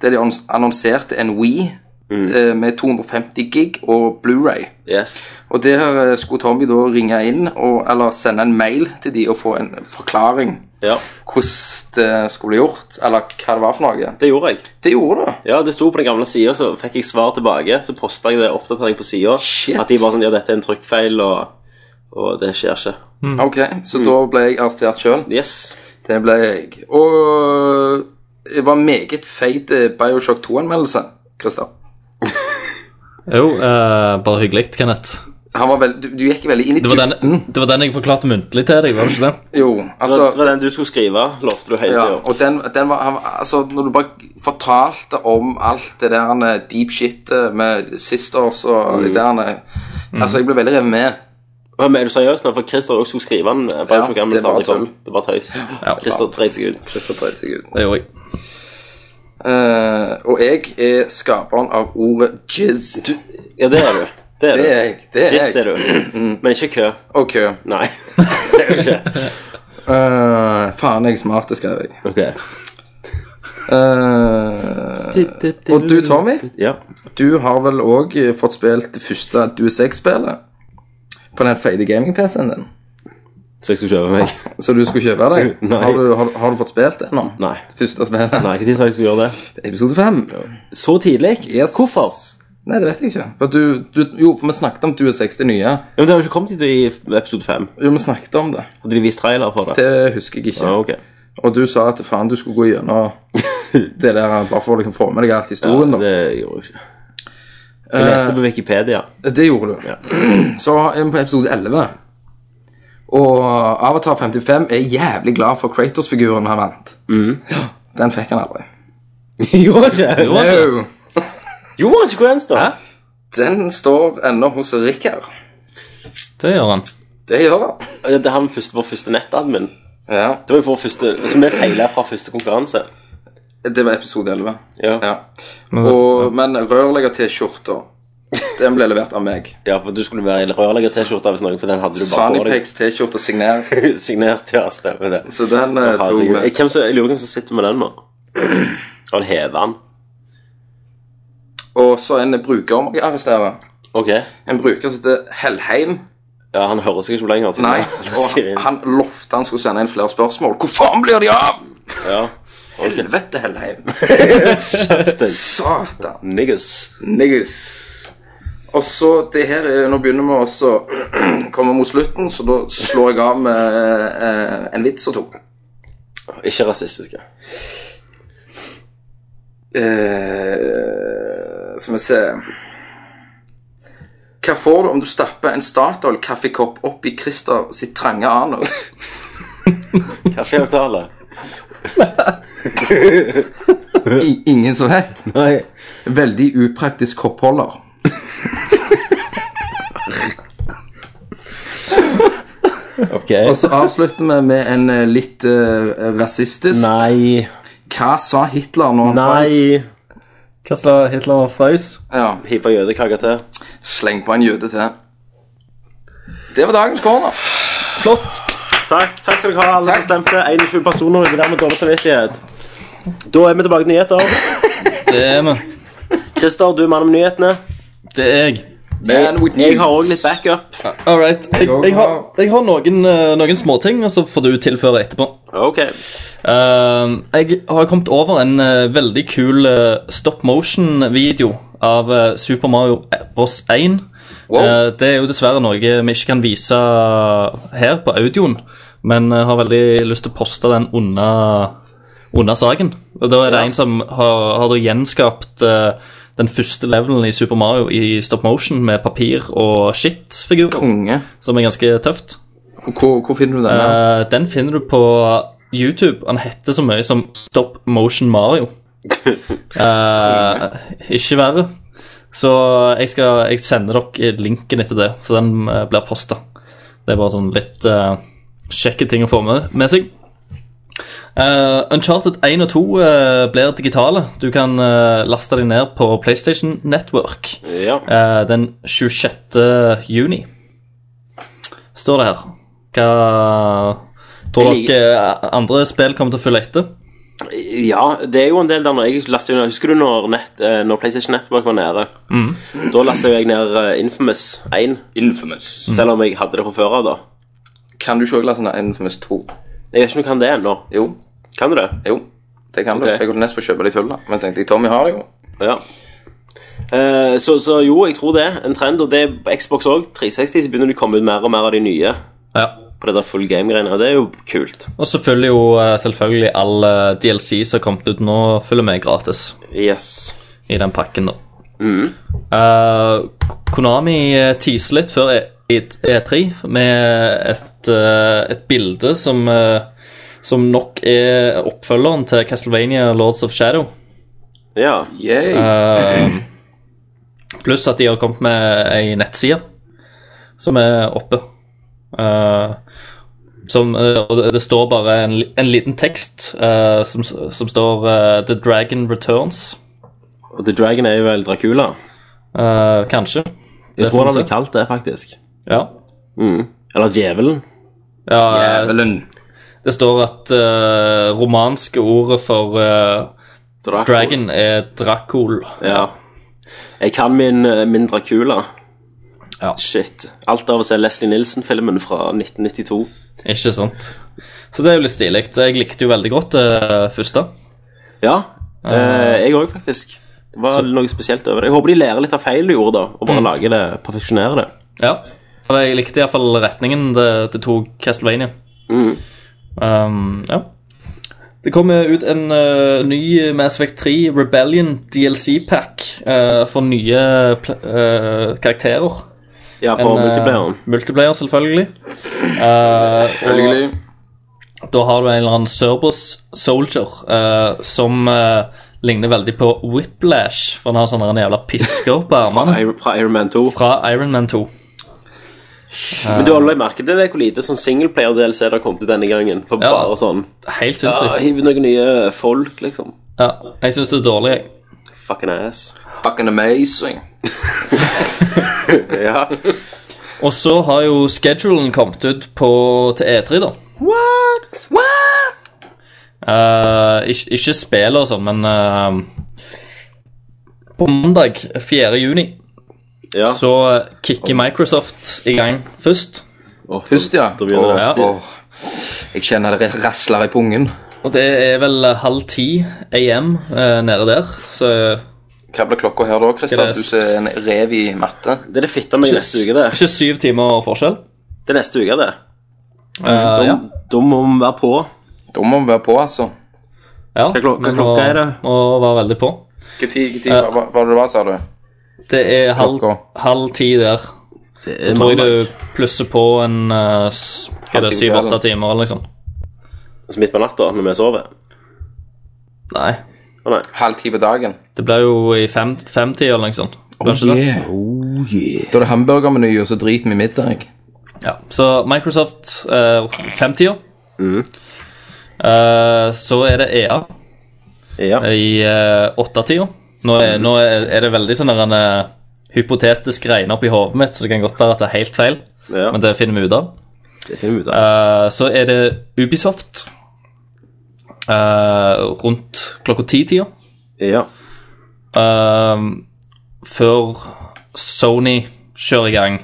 C: der de annons- annonserte en Wii eh, med 250 gig og Blu-ray.
A: Yes.
C: Og der eh, skulle Tommy da ringe inn og, eller sende en mail til de og få en forklaring
A: Ja.
C: hvordan det skulle bli gjort, eller hva det var for noe.
A: Det gjorde jeg.
C: Det gjorde det.
A: Ja, Det sto på den gamle sida, så fikk jeg svar tilbake. Så posta jeg det oppdatering på sida.
C: Shit.
A: At de bare sånn Ja, dette er en trykkfeil, og, og det skjer ikke.
C: Ok, så da ble jeg arrestert sjøl.
A: Yes.
C: Det ble jeg. Og jeg var meget feit eh, Bioshock 2-anmeldelse, Christer.
B: Jo, eh, bare hyggelig, Kenneth.
C: Han var veld... du, du gikk veldig inn i
B: Det var, den, det var den jeg forklarte muntlig til deg, var det ikke det?
C: Jo,
A: Det
C: altså
A: var- det var den du skulle skrive, lovte du hele
C: ja,
A: tida.
C: og den, den var, han, var- altså, Når du bare fortalte om alt det der eh, deep shit eh, med sisters og
B: Mm.
C: det der eh, Altså, jeg ble veldig revet med.
A: Men er du seriøs nå? For Christer også skulle skrive den. Bare
C: Ja,
A: for gammel,
C: det
A: sa han
C: var
A: det kom.
C: tull.
A: Det var tøys. Christer dreit seg ut.
C: Christer dreit seg ut.
B: Det gjorde jeg.
C: Eh, og jeg er skaperen av ordet jizz.
A: Ja, det er du. Det er
C: Det er
A: du.
C: jeg. Det er
A: Jizz er
C: jeg. Mm.
A: du. Men ikke kø.
C: Ok.
A: Nei. Det er du ikke.
C: Eh, faen, jeg er smart, det skrev jeg.
A: Ok.
C: Eh, og du, Tommy?
A: Ja.
C: Du har vel òg fått spilt det første DU6-spillet på den feite gaming-PC-en din.
A: Så jeg skulle kjøpe meg?
C: Så du skulle kjøpe deg.
A: Nei.
C: Har du, har, har du fått spilt det nå?
A: Nei.
C: Første spillet?
A: Nei, ikke tid sa jeg skulle gjøre det.
C: Episode 5.
A: Så tidlig? Hvorfor?
C: Nei, det vet jeg ikke. For du, du, jo, for vi snakket om DU6, det nye.
A: Ja, men Det har jo ikke kommet hit i episode fem.
C: Jo, vi snakket om det.
A: Hadde de vist trailer for det?
C: Det husker jeg ikke.
A: Ja, ok.
C: Og du sa at faen, du skulle gå gjennom det der bare for å liksom få med deg alt historien.
A: Ja,
C: da.
A: det gjorde jeg ikke.
C: Eh.
A: Jeg leste på Wikipedia.
C: Det gjorde du.
A: Ja.
C: Så er vi på episode 11. Og Avatar 55 er jævlig glad for Kratos-figuren han vant.
A: Mm.
C: Ja, Den fikk han aldri.
A: gjorde ikke?
B: Hva da?
C: Au.
A: Gjorde han ikke hvor den står?
C: Den står ennå hos Rikard.
B: Det gjør han.
C: Det gjør han.
A: Ja, Det er han første, vår første nettadmin.
C: Ja,
A: Det var jo vår første, Så vi feila fra første konkurranse.
C: det var episode 11.
A: Ja,
C: Ja. Og, men rørlegger til skjorta, den ble levert av meg.
A: ja for du skulle være i rørlegger-T-skjorte hvis noen, for den hadde du bare på deg.
C: Sanipex T-skjorte signert.
A: Signert, ja, stemmer det.
C: Så den eh, tok
A: Herregud.
C: vi.
A: Hvem som, jeg lurer hvem som sitter med den nå. Har han hevet den?
C: Og så en bruker må jeg arrestere.
A: Ok.
C: En bruker som heter Hellheim.
A: Ja, han hører seg ikke lenger. så
C: Nei,
A: han
C: og
A: skriver inn.
C: han lovte han skulle sende inn flere spørsmål. Hvor faen blir de av?
A: Ja. Ok.
C: Helvete, Hellheim.
A: Deg.
C: Satan.
A: Niggas.
C: Niggas. Og så det her er, Nå begynner vi også å komme mot slutten, så da slår jeg av med eh, en vits og to.
A: Ikke rasistiske.
C: Eh, skal vi se Hva får du om du stapper en Statoil-kaffekopp opp i Christer sitt trange anus?
A: Kaffeavtale.
C: I, ingen som vet.
A: Nei.
C: Veldig upraktisk koppholder.
A: Ok.
C: Og så avslutter vi med en eh, litt eh, rasistisk
A: Nei.
C: Hva sa Hitler når han frøs?
A: Nei.
B: Hva sa Hitler og frøys?
C: Ja,
A: Hippa jødekaker til.
C: sleng på en jøde til. Det var dagens corner.
B: Flott.
A: Takk takk skal dere ha, alle
C: Takk.
A: som stemte. 21 personer ute der med dårlig samvittighet. Da er vi tilbake til nyheter.
B: Det er vi.
A: Christer, du er mannen med nyhetene.
B: Det er jeg.
C: Man with
A: Jeg
C: news.
A: har òg litt backup.
B: All right. Jeg, jeg har, jeg har noen, eh, noen småting, og så får du tilføre etterpå.
A: Ok.
B: Eh, jeg har kommet over en eh, veldig kul eh, stop motion-video av eh, Super Mario Bros. 1. Eh, det er jo dessverre noe vi ikke kan vise her på audioen, Men jeg har veldig lyst til å poste den under, under saken. Og da er det en som har, har da gjenskapt eh, den første levelen i Super Mario i stop motion med papir og shit-figurer,
C: Konge.
B: som er ganske tøft.
C: Hvor, hvor finner du denne?
B: Eh, den finner du på YouTube. Han heter så mye som Stop Motion Mario. Eh, ikke verre. Så jeg, skal, jeg sender dere linken etter det, så den eh, blir posta. Det er bare sånn litt eh, kjekke ting å få med, med seg. Eh, Uncharted 1 og 2 eh, blir digitale. Du kan eh, laste dem ned på PlayStation Network
A: Ja.
B: eh, den 26. juni. Står det her. Hva Tror
A: Jeg
B: dere eh, andre spill kommer til å følge etter?
A: Ja, det er jo en del der når jeg lastet jo ned Husker du når, nett, eh, når PlayStation Network var nede? Da lastet jo jeg ned eh, Infamous 1,
C: Infamous.
A: selv om jeg hadde det fra før av, da.
C: Kan du ikke også lese den Infamous 2?
A: Jeg vet ikke om du kan det ennå.
C: Jo.
A: Kan du det?
C: Jo. Det kan du.
A: Ok.
C: Jeg holdt nesten på å kjøpe de fulle, men jeg tenkte Tommy har det jo.
A: Ja. Eh, så, så jo, jeg tror det. En trend, og det er på Xbox òg. 360 så begynner det å komme ut mer og mer av de nye
B: Ja.
A: på det der full game-greiene. og Det er jo kult.
B: Og så følger jo eh, selvfølgelig all eh, DLC som har kommet ut nå, følger med gratis
A: Yes.
B: i den pakken, da. Eh, K- Konami eh, teaser litt før E- E- E3 med et, eh, et bilde som, eh, som nok er oppfølgeren til Castlevania Lords of Shadow.
A: Ja.
C: Yay.
B: Eh, Pluss at de har kommet med ei nettside som er oppe. Eh, som, eh, og det- det står bare en, li- en liten tekst eh, som, som står eh, 'The Dragon Returns'.
A: Og The Dragon er jo vel Dracula.
B: eh, kanskje.
A: Jeg
B: Det
A: tror
B: får
A: han
B: vi
A: ble kalt det, sånn faktisk.
B: Ja.
A: Mm. Eller Djevelen.
B: ja eh,
C: Jævelen.
B: det står at eh, romanske ordet for eh,
A: Dracula.
B: dragon er Dracul.
A: Ja. Jeg kan min, eh, min Dracula.
B: Ja.
A: Shit. Alt av å se Leslie Nilsen-filmen fra 1992.
B: Ikke sant? Så det er jo litt stilig. Jeg likte jo veldig godt det første.
A: Ja, eh, jeg òg, faktisk. Det var noe spesielt over det. Jeg håper de lærer litt av feil de gjorde, da, og bare lager det, perfeksjonerer det.
B: Ja, for jeg likte iallfall retningen det, det tok Castlevania. Um, ja. Det kommer ut en eh, ny Mass Effect 3 Rebellion DLC-pack eh, for nye pl eh, karakterer.
A: Ja, på
B: En, eh,
A: multiplayeren.
B: multiplayer, selvfølgelig. Eh, og
C: Selvfølgelig.
B: da har du en eller annen Cerberus Soldier eh, som eh, ligner veldig på Whiplash, for han har sånne jævla pisker på armene
A: Iron- Fra Iron Man 2.
B: fra Iron Man 2.
A: Men du har allerede merket det, det er hvor lite sånn singleplayer-DLC det har kommet ut denne gangen. For
B: Ja.
A: bare sånn
B: Helt
A: ah,
B: sinnssykt.
A: Hiv noen nye folk, liksom.
B: Ja, jeg syns det er dårlig, jeg.
A: Fucking ass.
C: Fucking amazing.
A: Ja.
B: Og så har jo schedulen kommet ut på, til E3, da.
A: What? What?
B: Eh, ikke, ikke spillet og sånn, men eh, På mandag 4. juni
A: Ja.
B: så kicker Microsoft i gang først.
A: Å,
C: Pust, ja.
A: Da begynner det.
B: Ja.
C: Åh, jeg kjenner det rasler i pungen.
B: Og det er vel halv ti AM eh, nede der, så
C: Hva ble klokka her da,
B: Skal
C: Kristian?
B: det-
C: Du ser en rev i matte.
A: Det er det fitte med neste uke, det.
B: ikke syv timer forskjell.
A: Det er neste uke, det.
B: Eh,
A: Da,
B: ja.
A: da må vi være på.
C: Da må vi være på, altså.
B: Ja,
A: Hva klok- hva
B: vi må-
A: klokka er det?
B: Må være veldig på.
C: Hva tid, hva tid hva- hva var det det var, sa du?
B: Det er halv,
C: Klokka.
B: halv ti der.
A: Det er
B: Tror jeg
A: mandag.
B: du plusser på en eh, s- hva er det,
C: Halvtime til,
B: syv-åtte
C: eller?
B: timer eller noe sånt.
A: Altså midt på natta når vi sover.
B: Nei.
A: Å nei.
C: Halv ti på dagen.
B: Det blir jo i fem- femtida eller noe sånt. Det blir ikke det?
C: yeah. Da er det hamburgermeny, og så driter vi i middag.
B: Ja. Så Microsoft eh, femtida. Mm. Eh, så er det EA
A: Ja.
B: i eh, åttetida. Nå, er- nå er er det veldig sånn der en eh, hypotetisk regn opp i hodet mitt, så det kan godt være at det er helt feil,
A: ja.
B: men det finner vi ut av.
A: Det finner vi ut av.
B: Eh, så er det Ubisoft eh, rundt klokka ti-tida. Eh.
A: Ja.
B: Ehm, før Sony kjører i gang.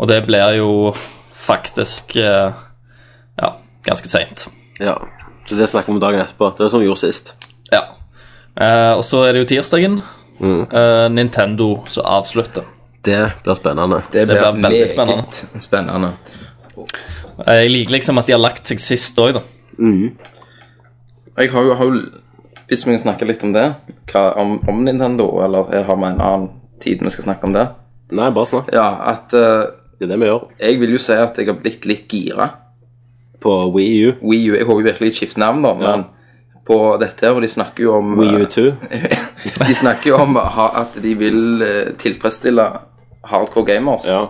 B: Og det blir jo faktisk eh, ja, ganske seint.
A: ja. Så det snakker vi om dagen etterpå. Det er som vi gjorde sist.
B: Ja. Eh, og så er det jo tirsdagen.
A: Mm.
B: eh, Nintendo som avslutter.
A: Det blir spennende.
C: Det blir
B: blir veldig
C: meget
B: spennende.
C: spennende.
B: Jeg liker liksom at de har lagt seg sist òg, da.
C: Jeg har jo, har jo Hvis vi snakker litt om det, hva, om, om Nintendo, eller har vi en annen tid vi skal snakke om det?
A: Nei, bare snakk.
C: Ja, at eh,
A: Det er det vi gjør.
C: jeg vil jo si at jeg har blitt litt gira.
A: På Wii U.
C: Wii U, Jeg håper jo virkelig de skifter navn, da, men på dette her, og de snakker jo om eh,
A: Wii U 2.
C: De snakker jo om ha- at de vil eh, tilfredsstille hardcore gamers.
A: Ja.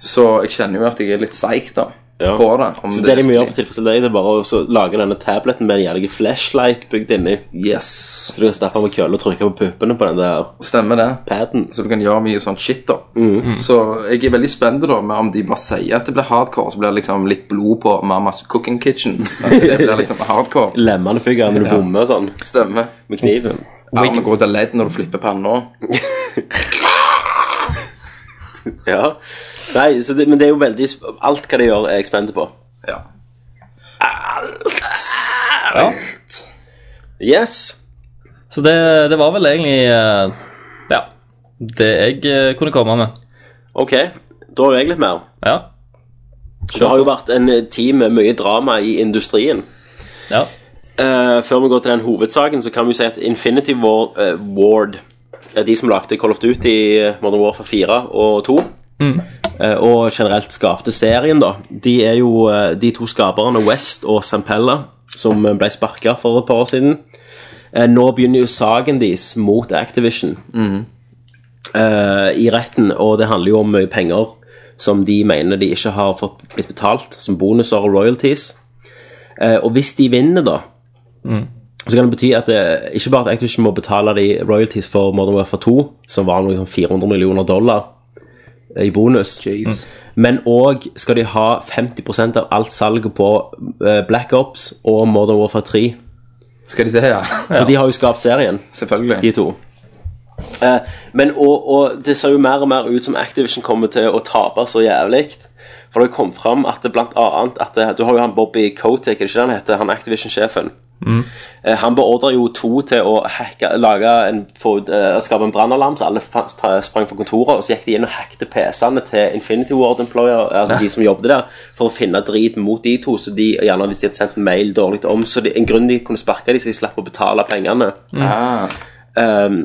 C: Så jeg kjenner jo at jeg er litt seig da,
A: Ja.
C: på det. om
A: Så det de må gjøre for å
C: virkelig-
A: tilfredsstille deg, det er bare å så lage denne tableten med en jævlig flashlight bygd inni.
C: Yes,
A: Så du kan stappe med kølle og trykke på puppene på den der
C: stemmer det.
A: paden.
C: Så du kan gjøre mye sånn shit, da.
A: Mm.
C: Så jeg er veldig spent da med om de bare sier at det blir hardcore, så blir det liksom litt blod på Mamas cooking kitchen. At det blir liksom hardcore.
A: Lemmene fyker når du
C: Ja.
A: bommer og sånn
C: Stemmer.
A: med kniven.
C: Armen går ut av ledd når du flipper panna.
A: Ja. Nei, så det, men det er jo veldig sp- Alt hva de gjør, er jeg spent på.
C: Ja.
A: Yes.
B: Så det, det var vel egentlig eh, Ja. Det jeg eh, kunne komme med.
A: Ok. Da har jo jeg litt mer.
B: Ja.
A: Det har jo vært en tid med mye drama i industrien.
B: ja.
A: Eh, før vi går til den hovedsaken, så kan vi jo si at Infinity War, eh, Ward eh, De som lagde Call of Duty, eh, Modern Warfare 4 og 2, eh, og generelt skapte serien, da De er jo eh, de to skaperne, West og Sampella, som eh, ble sparka for et par år siden. Eh, nå begynner jo saken deres mot Activision eh, i retten, og det handler jo om mye penger som de mener de ikke har fått blitt betalt, som bonuser og royalties. Eh, og hvis de vinner, da, så kan det bety at det, ikke bare at Activision må betale de royalties for Modern Warfare 2, som var noe sånn 400 millioner dollar eh, i bonus,
C: Jeez.
A: men òg skal de ha 50 av alt salget på eh, Black Ops og Modern Warfare 3.
C: Skal de det, ja?
A: For de har jo skapt serien de
C: Selvfølgelig.
A: to. Eh, men og, og det ser jo mer og mer ut som Activision kommer til å tape så jævlig. For det kom fram at det blant annet at det, Du har jo han Bobby Kotick, er det ikke det han heter? Han Activision-sjefen. Eh, han beordrer jo to til å hacke, lage en, få, ut, eh, skape en brannalarm, så alle fa- sp- sprang fra kontoret. Og så gikk de inn og hackte PC-ene til Infinity Ward Employer, altså de som jobbet der, for å finne drit mot de to. Så de gjerne hvis de hadde sendt en mail dårlig om, så det- en grunn de kunne sparke de, så de slapp å betale pengene.
C: Ah,
A: Um,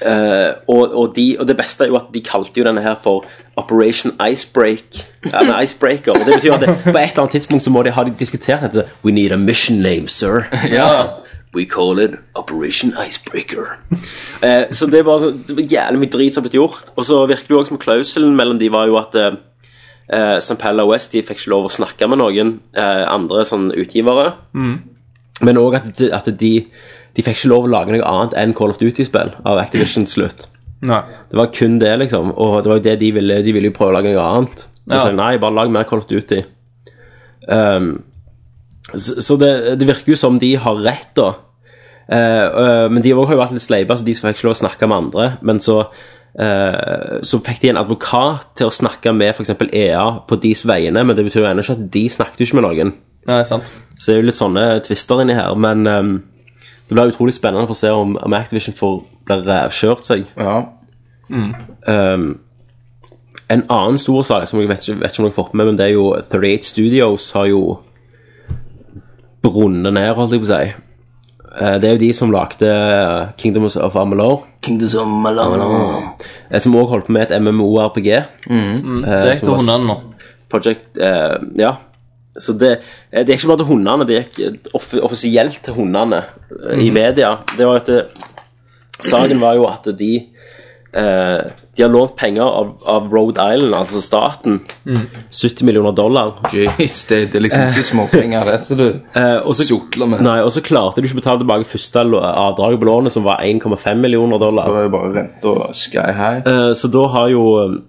A: eh, og, og, de, og det beste er jo at de kalte jo denne her for Operation Icebreak Eller Icebreaker. Og det betyr jo at det, på et eller annet tidspunkt så må de ha de diskutert dette. We need a mission name, sir.
C: ja.
A: We call it Operation Icebreaker. Eh, så det er bare sånn, det var jævlig mye drit som har blitt gjort. Og så virker det jo også som klausulen mellom de var jo at eh, eh, Sampella og West de fikk ikke lov å snakke med noen eh, andre sånn utgivere. Men òg at, de- at de, de fikk ikke lov å lage noe annet enn Call of Duty-spill av Activision slutt.
B: Nei.
A: Det var kun det, liksom. Og det var jo det de ville. De ville jo prøve å lage noe annet. Og
B: Ja.
A: så sa de, nei, bare lag mer Call of Duty. Um, så så det, det virker jo som de har rett, da. Eh, eh, men de også har jo vært litt sleipe, så de som fikk ikke lov å snakke med andre. Men så, eh, så fikk de en advokat til å snakke med f.eks. EA på deres vegne, men det betyr jo ennå ikke at de snakket jo ikke med noen.
B: Nei, sant.
A: Så det er jo litt sånne twister inni her, men ehm, det blir utrolig spennende for å se om, om Activision får blir rævkjørt seg.
C: ja.
A: Ehm, en annen stor sak som jeg vet ikke, vet ikke om dere har fått med, men det er jo 38 Studios har jo brunnet ned, holdt jeg på å si. Eh, Det er jo de som lagde eh, Kingdoms of Amalur. Kingdoms of Amalur. Som også holdt på med et MMORPG.
B: Det gikk
A: som
B: til
A: var s-
B: hundene nå.
A: Project eh, Ja. Så det, eh, det er ikke bare til hundene, det gikk off offisielt til hundene eh, i media. Det var at det, Saken var jo at de eh, De har lånt penger av, av Rhode Island, altså staten. 70 millioner dollar.
C: Jeez, det, det er liksom ikke småpenger, det, så du
A: Eh, og så-
C: sjokler med.
A: Nei, og så klarte de ikke å betale tilbake første lå- avdraget på lånet, som var 1,5 millioner dollar.
C: Det er jo bare rente og sky high.
A: Eh, Så da har jo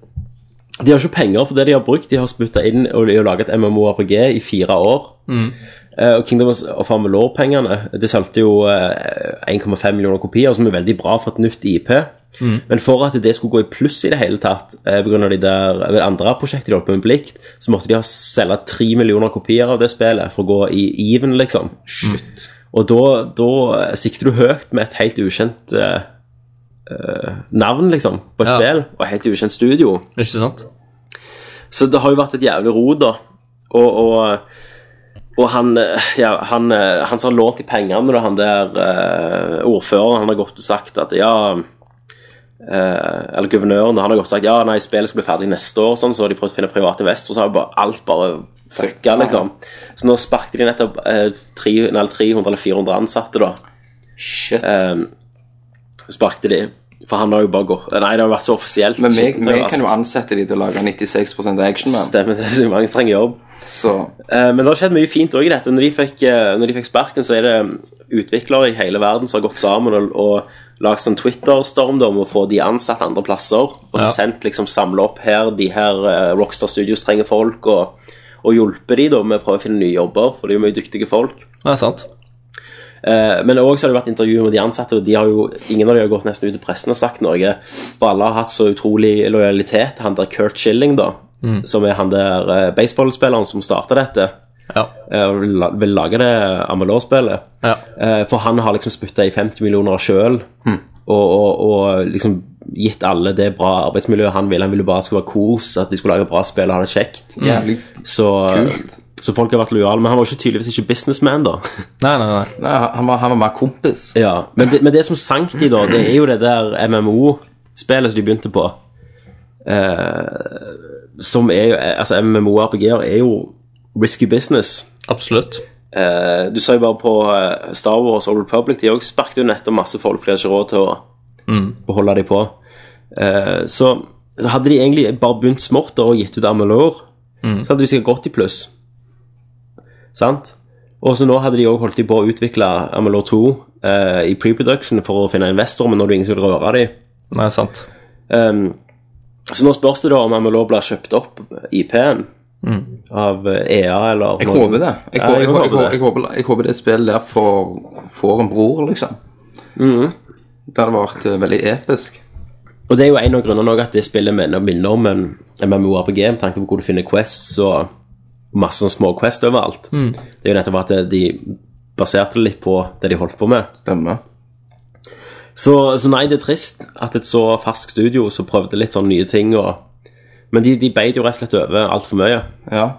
A: De har ikke penger for det de har brukt. De har spytta inn og de har laget MMORPG i fire år. Eh, og Kingdom of Amalur-pengene Det solgte jo eh, 1,5 millioner kopier, som er veldig bra for et nytt IP. Men for at det skulle gå i pluss i det hele tatt, eh, på grunn av de der eh, andre prosjektet de holdt på med Blikt, så måtte de ha selge 3 millioner kopier av det spillet for å gå i even, liksom. Og da, da sikter du høyt med et helt ukjent eh, eh, navn, liksom, på et
B: Ja.
A: spill, og et helt ukjent studio.
B: Ikke sant?
A: Så det har jo vært et jævlig ro, da. Og, og, og han eh, ja, han, eh, han som har lånt de pengene, da, han der eh, ordføreren, han har gått og sagt at ja eh, Eller guvernøren, da, han har gått og sagt ja, nei, spillet skal bli ferdig neste år, og sånn, så har de prøvd å finne privat investor, så har jo bare alt bare fucka, liksom. Så nå sparket de nettopp eh, tre- nei, 300 eller 400 ansatte, da
C: Shit.
A: eh, sparkte de. For han har jo bare gått Nei, det har jo vært så offisielt.
C: Men meg,
A: Skittent,
C: meg
A: altså.
C: kan jo ansette de til å lage 96 action, man.
A: Stemmer, det er så mange som trenger jobb.
C: Så
A: Eh, men det har skjedd mye fint òg i dette. Når de, fikk, eh, når de fikk sparken, så er det utviklere i hele verden som har gått sammen og, og lagd sånn Twitter-storm da, om å få de ansatt andre plasser. Og
B: Ja.
A: sendt liksom samle opp her de her eh, Rockstar Studios trenger folk, og, og hjulpet de da med å prøve å finne nye jobber, for de er mye dyktige folk.
B: Det er sant.
A: Eh, Men også har det vært intervjuer med de ansatte, og de har jo, ingen av de har gått nesten ut i pressen og sagt noe. For alle har hatt så utrolig lojalitet til han der Kurt Schilling, da. Som er han der eh, baseballspilleren som starta dette.
B: Ja.
A: eh, Og vil la- vil lage det Amalor-spillet.
B: Ja.
A: Eh, For han har liksom spytta i 50 millioner sjøl. Og, og, og liksom gitt alle det bra arbeidsmiljøet han ville. Han ville bare at det skulle være kos, at de skulle lage bra spill og ha det kjekt.
C: jævlig
A: Så,
C: Hmm. Kult.
A: så folk har vært lojale. Men han var jo ikke tydeligvis ikke businessman, da.
B: Nei, nei, nei.
C: Nei, han var, han var mer kompis.
A: Ja, men det, men det som sank de da, det er jo det der MMO-spillet som de begynte på. Eh, som er jo Altså, MMO-RPG-er er jo risky business.
B: Absolutt.
A: Eh, du sa jo bare på eh, Star Wars og Republic, de òg sparket jo nettopp masse folk, for de har ikke råd til å
C: Mm.
A: beholde de på. Eh, så hadde de egentlig bare begynt smått da og gitt ut Amalur,
C: Mm.
A: så hadde de sikkert gått i pluss. Sant? Og så nå hadde de òg holdt de på å utvikle Amalur 2 eh, i pre-production for å finne investor, men nå er det ingen som vil røre de.
B: Nei, sant.
A: Ehm, så nå spørs det da om Amalur blir kjøpt opp, IP-en, av eh, EA eller
C: Mm. Jeg håper det. Jeg,
A: Ja,
C: hå-
A: jeg
C: jeg, hå- jeg,
A: håper
C: hå-
A: det.
C: jeg, håper, jeg håper det spillet der får, får en bror, liksom.
A: Mm.
C: Det hadde vært eh, veldig episk.
A: Og det er jo en av grunnene også at det spillet minner, minner om en MMORPG, med tanke på hvor du finner quests og masse sånne små quest overalt. Det er jo nettopp at de baserte det litt på det de holdt på med.
C: Stemmer.
A: Så, så nei, det er trist at et så ferskt studio som prøvde litt sånn nye ting og Men de, de beit jo rett og slett over altfor mye.
C: Ja.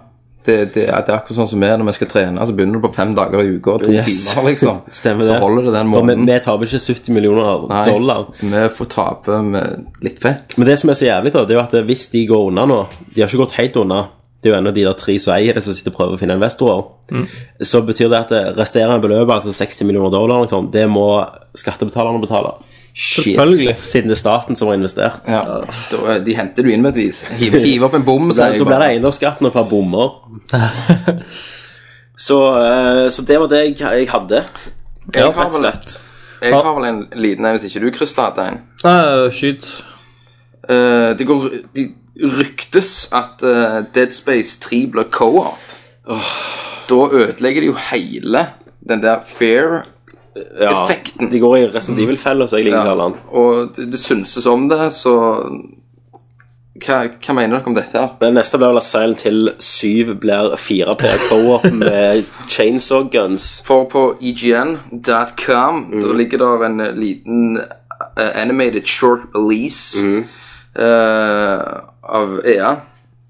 C: Det, det, er- det er akkurat sånn som er når vi skal trene. Så begynner du på fem dager i uka og to timer, liksom.
A: Stemmer
C: så
A: det.
C: holder det den
A: Og vi,
C: måneden.
A: vi taper ikke 70 millioner
C: Nei,
A: dollar.
C: Vi får tape med litt fett.
A: Men det som er så jævlig, da, det er jo at hvis de går unna nå De har ikke gått helt unna. Det er jo en av de der tre som eier det, som sitter og prøver å finne investorer. Så betyr det at det resterende beløp, altså 60 millioner dollar, eller noe sånt, det må skattebetalerne betale.
B: Selvfølgelig.
A: Siden det er staten som har investert.
C: Ja. Da, de henter du inn med et vis. Hiv, hiv opp en bom,
A: Så
C: sier
A: da
C: jeg
A: blir det
C: bare.
A: eiendomsskatten og et par bommer. så, eh, så det var det jeg, jeg hadde.
C: Jeg
A: rett
C: har
A: og
C: vel,
A: slett.
C: jeg har vel en liten en, hvis ikke du, Christer, hadde en.
B: Nei, skyt.
C: Eh, det går de ryktes at eh, Dead Space 3 blir co-op. Da ødelegger de jo hele den der fair
A: Ja,
C: Effekten.
A: De går i Resident Evil-fella, som jeg liker å kalle den.
C: Og det, det synses om det, så hva, hva mener dere om dette her?
A: Den neste blir vel at Silent Hill 7 blir 4P co-op med chainsaw guns.
C: For på E egn.com
A: Mm.
C: Da ligger det en eh, liten eh, animated short release
A: Mm.
C: eh, av EA.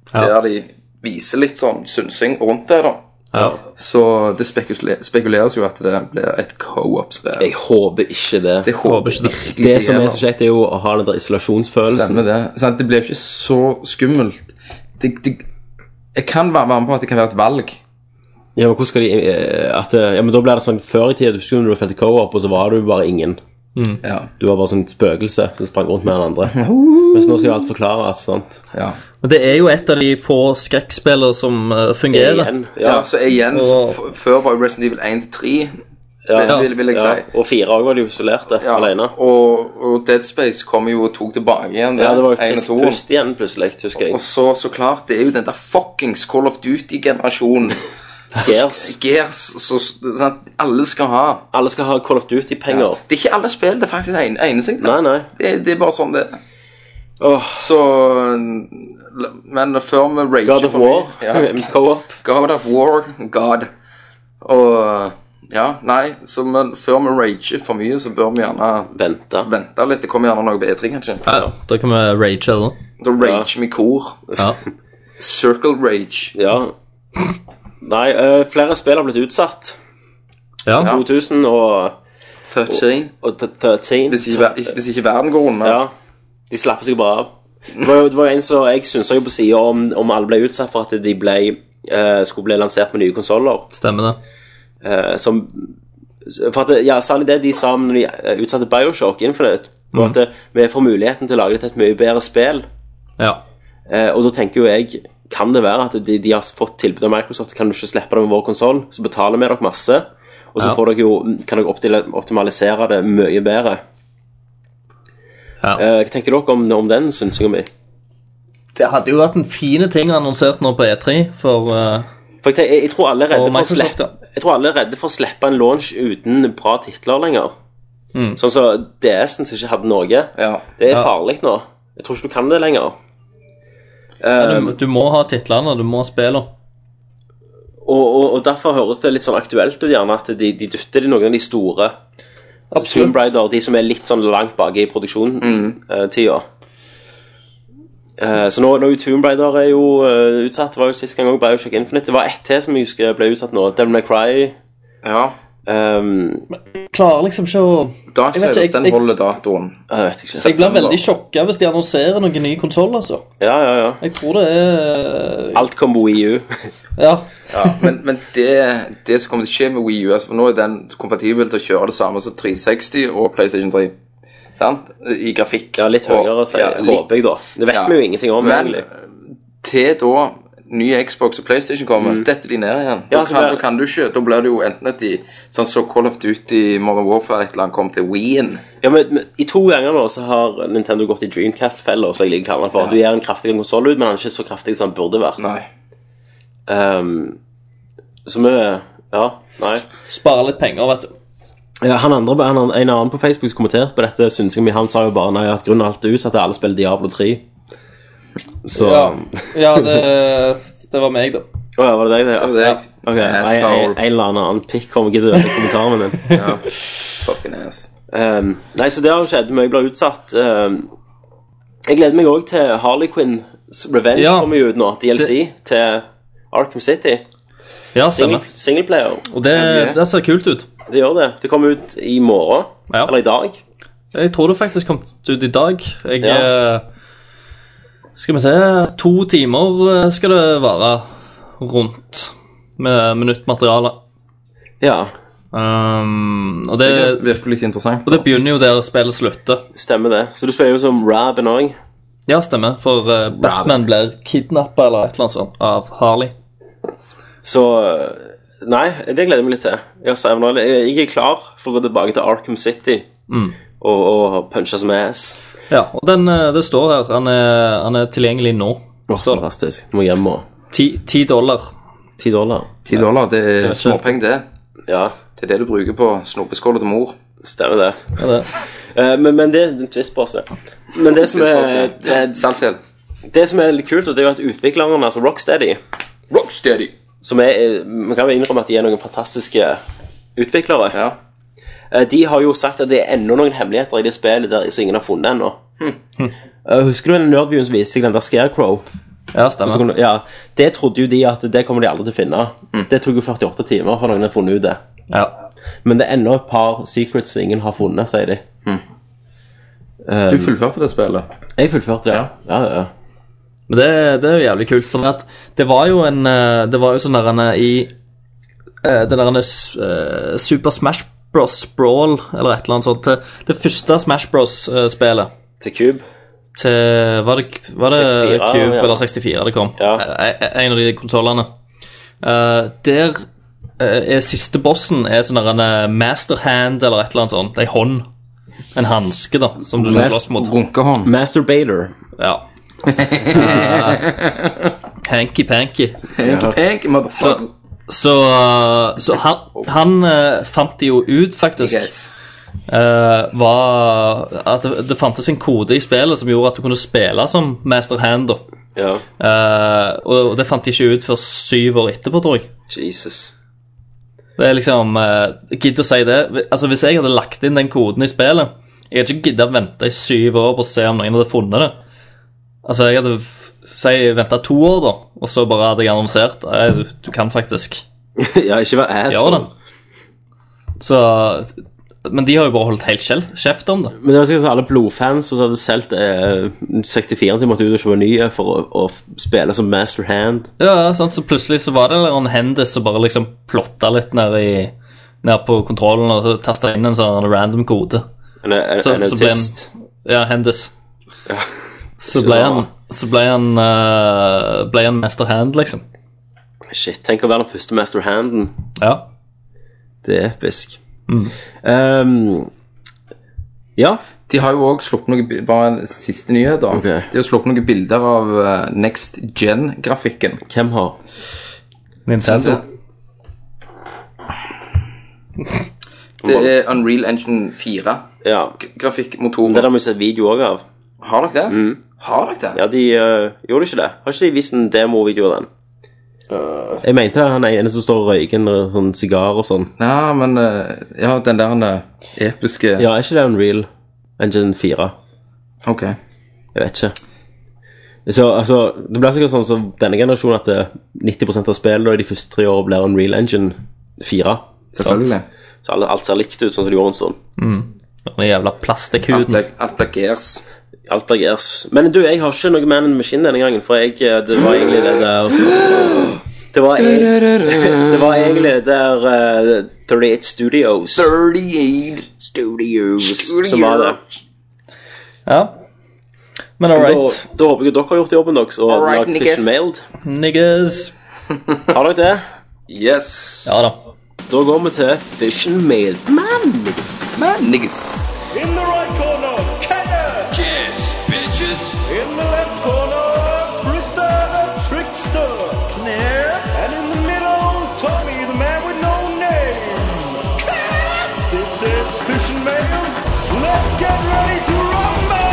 C: Der de viser litt sånn synsing rundt det, da.
B: Ja.
C: Så det spekule- spekuleres jo at det blir et co-op-spill.
A: Jeg håper ikke det.
C: Det håper
B: ikke det.
C: virkelig
A: Det som er
C: gjelder.
A: så kjekt, er jo å ha den der isolasjonsfølelsen.
C: Stemmer det. Sant? Det blir jo ikke så skummelt. Det, det, jeg kan være være med på at det kan være et valg.
A: Ja, men hvordan skal de eh, at, eh, Ja, men da blir det sånn før i tida du skulle når du spilte co-op, og så var du bare ingen.
C: Ja.
A: Du var bare sånn et spøkelse som sprang rundt med den andre. Mens nå skal jo alt forklares, sant.
C: ja.
B: Men det er jo et av de få skrekkspillene som eh, fungerer.
A: Igjen. Ja,
C: så igjen,
B: Og-
C: f før var jo Resident Evil 1 til 3,
A: ja,
C: vil, vil jeg
A: ja.
C: si.
A: Og fire òg var de isolerte,
C: Ja,
A: alene.
C: Og, og Dead Space kom jo og tok tilbake igjen.
A: Ja, det var jo
C: en og
A: trist
C: to.
A: pust igjen, plutselig, husker
C: Og
A: jeg.
C: så, så klart, det er jo den der fuckings Call of Duty-generasjonen.
A: Gears.
C: Gears, så, sant? alle skal ha.
A: Alle skal ha Call of Duty-penger.
C: Det er ikke alle spill, det er faktisk en, eneste.
A: Nei, nei.
C: Det, det er bare sånn det er.
A: Åh,
C: Så Men før vi rager
A: God of
C: for
A: War.
C: mye- Ja,
A: Co-op.
C: God of War, God. Og Ja, nei, så men før vi rager for mye, så bør vi gjerne
A: Vente.
C: vente litt. Det kommer gjerne noe bedre, kanskje.
B: Ja, Da kan vi rage, eller?
C: Da rager vi i kor.
B: Ja.
C: Circle Rage.
A: Ja. Nei, eh, flere spill har blitt utsatt.
B: Ja.
A: 2000 og,
C: 13.
A: og t- 13.
C: Hvis ikke, ver- hvis ikke verden går under.
A: Ja. De slapp seg bare av. Det var jo, det var jo en som jeg synsa jo på sida om, om alle ble utsatt for at de ble, eh, skulle bli lansert med nye konsoller.
B: Stemmer det.
A: Eh, som for at, det- ja, Særlig det de sa når de eh, utsatte Bioshock Infinite, var at eh, vi får muligheten til å lage dette et mye bedre spill.
B: Ja.
A: Eh, og da tenker jo jeg kan det være at de, de har fått tilbud av Microsoft kan du ikke slippe det med vår konsoll, så betaler vi dere masse, og så
B: Ja.
A: får dere jo, kan dere optile- optimalisere det mye bedre.
B: Ja.
A: Eh, hva tenker dere om, om den synsinga mi?
B: Det hadde jo vært en fine ting annonsert nå på E3, for eh,
A: For jeg, tenker, jeg, jeg, tror alle er redde
B: Og
A: for å
B: Microsoft,
A: slippe, jeg tror alle er redde for å slippe en launch uten bra titler lenger. Sånn som DS-en som ikke hadde noe.
C: Ja.
A: Det er
B: Ja.
A: farlig nå. Jeg tror ikke du kan det lenger.
B: du, du må ha titlene, du må ha spillene.
A: Og, og, og derfor høres det litt sånn aktuelt ut gjerne at de, de dytter de noen av de store. Altså, Tomb Raider, de som er litt sånn langt bak i
C: Mm.
A: produksjonstida. Eh, så nå, nå er jo Tomb Raider er jo eh, utsatt. Det var jo sist gang òg Bioshock Infinite. Det var ett til som jeg husker ble utsatt nå. Devil May Cry.
C: ja.
A: ehm,
B: Klarer liksom ikke å
C: Dark
B: Jeg vet ikke,
C: Souls,
B: jeg-
C: den
B: jeg-
C: holder datoen.
A: eh, jeg vet ikke.
B: Jeg blir veldig sjokka hvis de annonserer noen ny konsoll, altså.
A: Ja, ja, ja.
B: Jeg tror det er eh,
A: Alt kom på EU.
B: Ja.
C: Ja, men, men det, det som kommer til å skje med Wii U altså, For nå er den kompatibel til å kjøre det samme som 360 og PlayStation 3. Sant? I grafikk.
A: Ja, litt
C: Og-
A: høyere, sier
C: ja,
A: jeg.
C: litt-
A: Håper jeg, da. Det vet
C: ja.
A: vi jo ingenting om,
C: Men
A: egentlig.
C: til da nye Xbox og PlayStation kommer, så detter de ned igjen.
A: Mm. Ja,
C: da,
A: så
C: kan,
A: det-
C: da kan du ikke. Da blir det jo enten at de sånn så Call of Duty Modern Warfare et eller annet kom til Wii-en.
A: Ja, men, men I to ganger nå så har Nintendo gått i Dreamcast-feller, som jeg liker å kalle den for. Du gir en kraftig konsoll ut, men den er ikke så kraftig som den burde vært.
C: Nei.
A: Ehm, så vi Ja, nei.
B: Spare litt penger, vet du.
A: Ja, han andre, han, andre- en annen på Facebook som kommenterte på dette, syns jeg han sa jo bare nei, at grunnen til alt det utsatte er alle spiller Diablo 3. Så
B: Ja,
A: Å
B: ja det, det var meg, da.
A: ja, var det deg, det? Ja.
C: Og det,
A: Ok, nei, en,
C: Asshole.
A: en eller annen pikk kommer ikke til å ødelegge kommentaren min.
C: Ja. Fucking ass.
A: Ehm, nei, så det har jo skjedd. Mye blir utsatt. Ehm, jeg gleder meg òg til Harley Quinns Revenge
B: Ja.
A: kommer jo ut nå. DLC til Arkham City.
B: Ja,
A: Single,
B: stemmer.
A: singleplayer.
B: Og det,
C: Ja, det-
B: det ser kult ut.
A: Det gjør det. Det kommer ut i morgen.
B: Ja.
A: Eller i dag.
B: Jeg tror det faktisk kom ut i dag. Jeg
A: Ja.
B: eh, Skal vi se To timer eh, skal det vare rundt med minuttmateriale.
A: Ja,
B: Um, og,
C: Det
B: det,
C: virker litt interessant.
B: og det begynner jo der spillet slutter.
A: stemmer det. Så du spiller jo som Rabin òg.
B: Ja, stemmer. For eh, Batman blir kidnappa eller et eller annet sånt av Harley.
A: Så eh, Nei, det gleder jeg meg litt til. Jeg, har savnet det. jeg jeg er klar for å gå tilbake til Arkham City Mm. og, og punche som ass.
B: Ja, og den, eh, det står her. Han er, han er tilgjengelig nå.
A: Åh, fantastisk. Du må hjem og
B: Ti ti dollar.
A: Ti dollar.
C: 10 dollar, det er
B: vet ikke.
C: småpenger, det.
A: Ja,
C: Det er det du bruker på snopeskåla til mor.
A: stemmer det.
B: Er det?
A: Eh, men, men det en twistpose. Men det som er
C: Ja,
A: det,
C: Salgsel.
A: det som er litt kult, og det er jo at utviklerne, altså Rocksteady
C: Rocksteady.
A: som er, eh, Man kan vel innrømme at de er noen fantastiske utviklere.
C: Ja.
A: Eh, De har jo sagt at det er enda noen hemmeligheter i det spillet der som ingen har funnet ennå. Eh, Husker du en nerdbyen som viste deg den der Scarecrow?
B: Ja,
A: Så
B: stemmer.
A: kunne- Ja, det trodde jo de at det kommer de aldri til å finne. Det tok jo 48 timer før noen har funnet ut det.
B: Ja.
A: Men det er ennå et par secrets som ingen har funnet, sier de.
C: Du fullførte det spillet.
A: Jeg fullførte det. Ja, ja, ja.
B: Men det, det er jo jævlig kult, for at det var jo en eh, Det var jo sånn der en eh, i eh, Den der en s- eh, Super Smash Bros. Brawl, eller et eller annet sånt, til det første Smash Bros.-spillet.
A: Til Cube.
B: Til Var det, var det
A: 64,
B: Cube
A: ja.
B: eller 64 det kom?
A: Ja.
B: Eh, eh, En av de konsollene. Eh, der eh, er siste bossen er sånn der en eh, master hand, eller et eller annet sånt. Ei hånd. En hanske, da, som du skal slåss mot.
C: Runkehånd.
A: Masturbator.
B: Ja. Eh, Hanky-panky.
C: Jeg, motherfucker.
B: Så, eh, så han, han eh, fant de jo ut, faktisk,
C: Yes.
B: eh, var at det, det fantes en kode i spillet som gjorde at du kunne spille som Master Hand. da.
A: Ja.
B: Eh, og, og det fant de ikke ut før syv år etterpå, tror jeg.
A: Jesus.
B: Det er liksom eh, Gidd å si det. Altså, Hvis jeg hadde lagt inn den koden i spillet Jeg hadde ikke giddet å vente i syv år på å se om noen hadde funnet det. Altså, jeg hadde f- si venta to år, da, og så bare hadde jeg annonsert «Nei, du, du kan faktisk
A: ja, ikke vær
B: gjøre det.
A: asshole.
B: Så Men de har jo bare holdt helt kjell, kjeft om det.
A: Men det var sikkert sånn alle blodfans som hadde solgt eh, 64-en sin, måtte ut og kjøpe nye for å, å f- spille som master hand.
B: Ja, sant? Så plutselig så var det en eller annen hendis som bare liksom plotta litt ned, i, ned på kontrollen og tasta inn en sånn random kode.
A: En, en,
B: Så-
A: en
B: så ble
A: autist.
B: Ja, hendis.
A: Ja.
B: Så
A: Ikke
B: ble
A: så
B: han,
A: rart.
B: så ble han, eh, ble han master hand, liksom.
A: Shit, tenk å være den første master handen.
B: Ja.
A: Det er episk. Ehm, ja.
C: De har jo òg sluppet noe bi- Bare en siste nyhet, da.
A: Ok.
C: De har sluppet noen bilder av eh, Next Gen-grafikken.
A: Hvem har
B: Nintendo.
C: Det er Unreal Engine 4.
A: Ja. Det der
C: Grafikkmotorer.
A: må vi se video òg av.
C: Har dere det? Har dere det?
A: Ja, de øh, gjorde ikke det. Har ikke de vist en demovideo av den? Jeg mente det, han ene som står og røyker en øh, sånn sigar og sånn.
C: Ja, men eh, Ja, den der eh, episke
A: Ja, er ikke det Unreal Engine 4?
C: Ok.
A: Jeg vet ikke. Så altså, Det blir sikkert sånn som denne generasjonen at eh, 90 av spillene i de første tre årene blir Unreal Engine 4.
C: Selvfølgelig.
A: Så alle- alt ser likt ut, sånn som det gjorde en stund.
B: Den jævla
C: Alt
B: plastikkhuden.
C: ble, alt ble gears.
A: Alt blir gears. Men du, jeg har ikke noe Man in the Machine denne gangen, for jeg, eh, det var egentlig det der Det var, e- det var egentlig det der eh, 38 Studios
C: 38
A: Studios som var det.
C: Studios.
B: Ja. Men all
A: Da,
B: right,
A: da håper jeg at dere har gjort jobben deres og
C: Alright,
A: lagd
C: niggas.
A: Fish Mailed.
B: niggas.
A: Har dere det?
C: Yes.
B: Ja da.
A: Da går vi til Fish and Mailed.
C: Man, niggas.
E: In the right corner, Kenner. Yes, bitches. In the left corner, Brister the Trickster. And in the middle, Tommy, the man with no name. This is Fish and Mail. Let's get ready to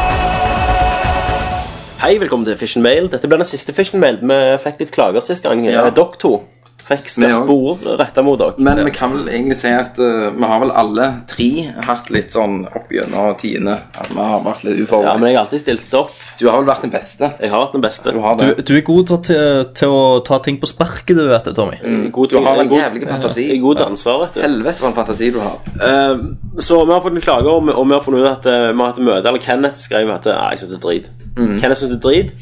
E: rumble!
A: Hei, velkommen til Fish and Mailed. Dette ble den siste Fish and Mailed. Vi fikk litt klager sist gang.
C: Ja.
A: Eh, Dere to fikk
C: Vi
A: skarpe ord retta mot dere.
C: Men vi kan vel egentlig si at eh, vi har vel alle tre hatt litt sånn opp gjennom tidene. At vi har vært litt
A: Ja,
C: uforberedt.
A: men jeg har alltid stilt opp.
C: Du har vel vært den beste.
A: Jeg har vært den beste.
C: Du har
B: Du,
C: det.
B: du er god til, å- til å ta ting på sparket, du vet det, Tommy.
A: God
C: Du
A: ting-
C: har en
A: god-
C: jævlig fantasi.
A: Jeg er god til ansvar, vet du.
C: Helvete for en fantasi du har.
A: Eh, så vi har fått en klage, og vi, og vi har funnet ut at eh, vi har hatt et møte, eller Kenneth skrev at eh, «Nei, jeg synes det er drit.
C: Mm.
A: Kenneth synes det er drit.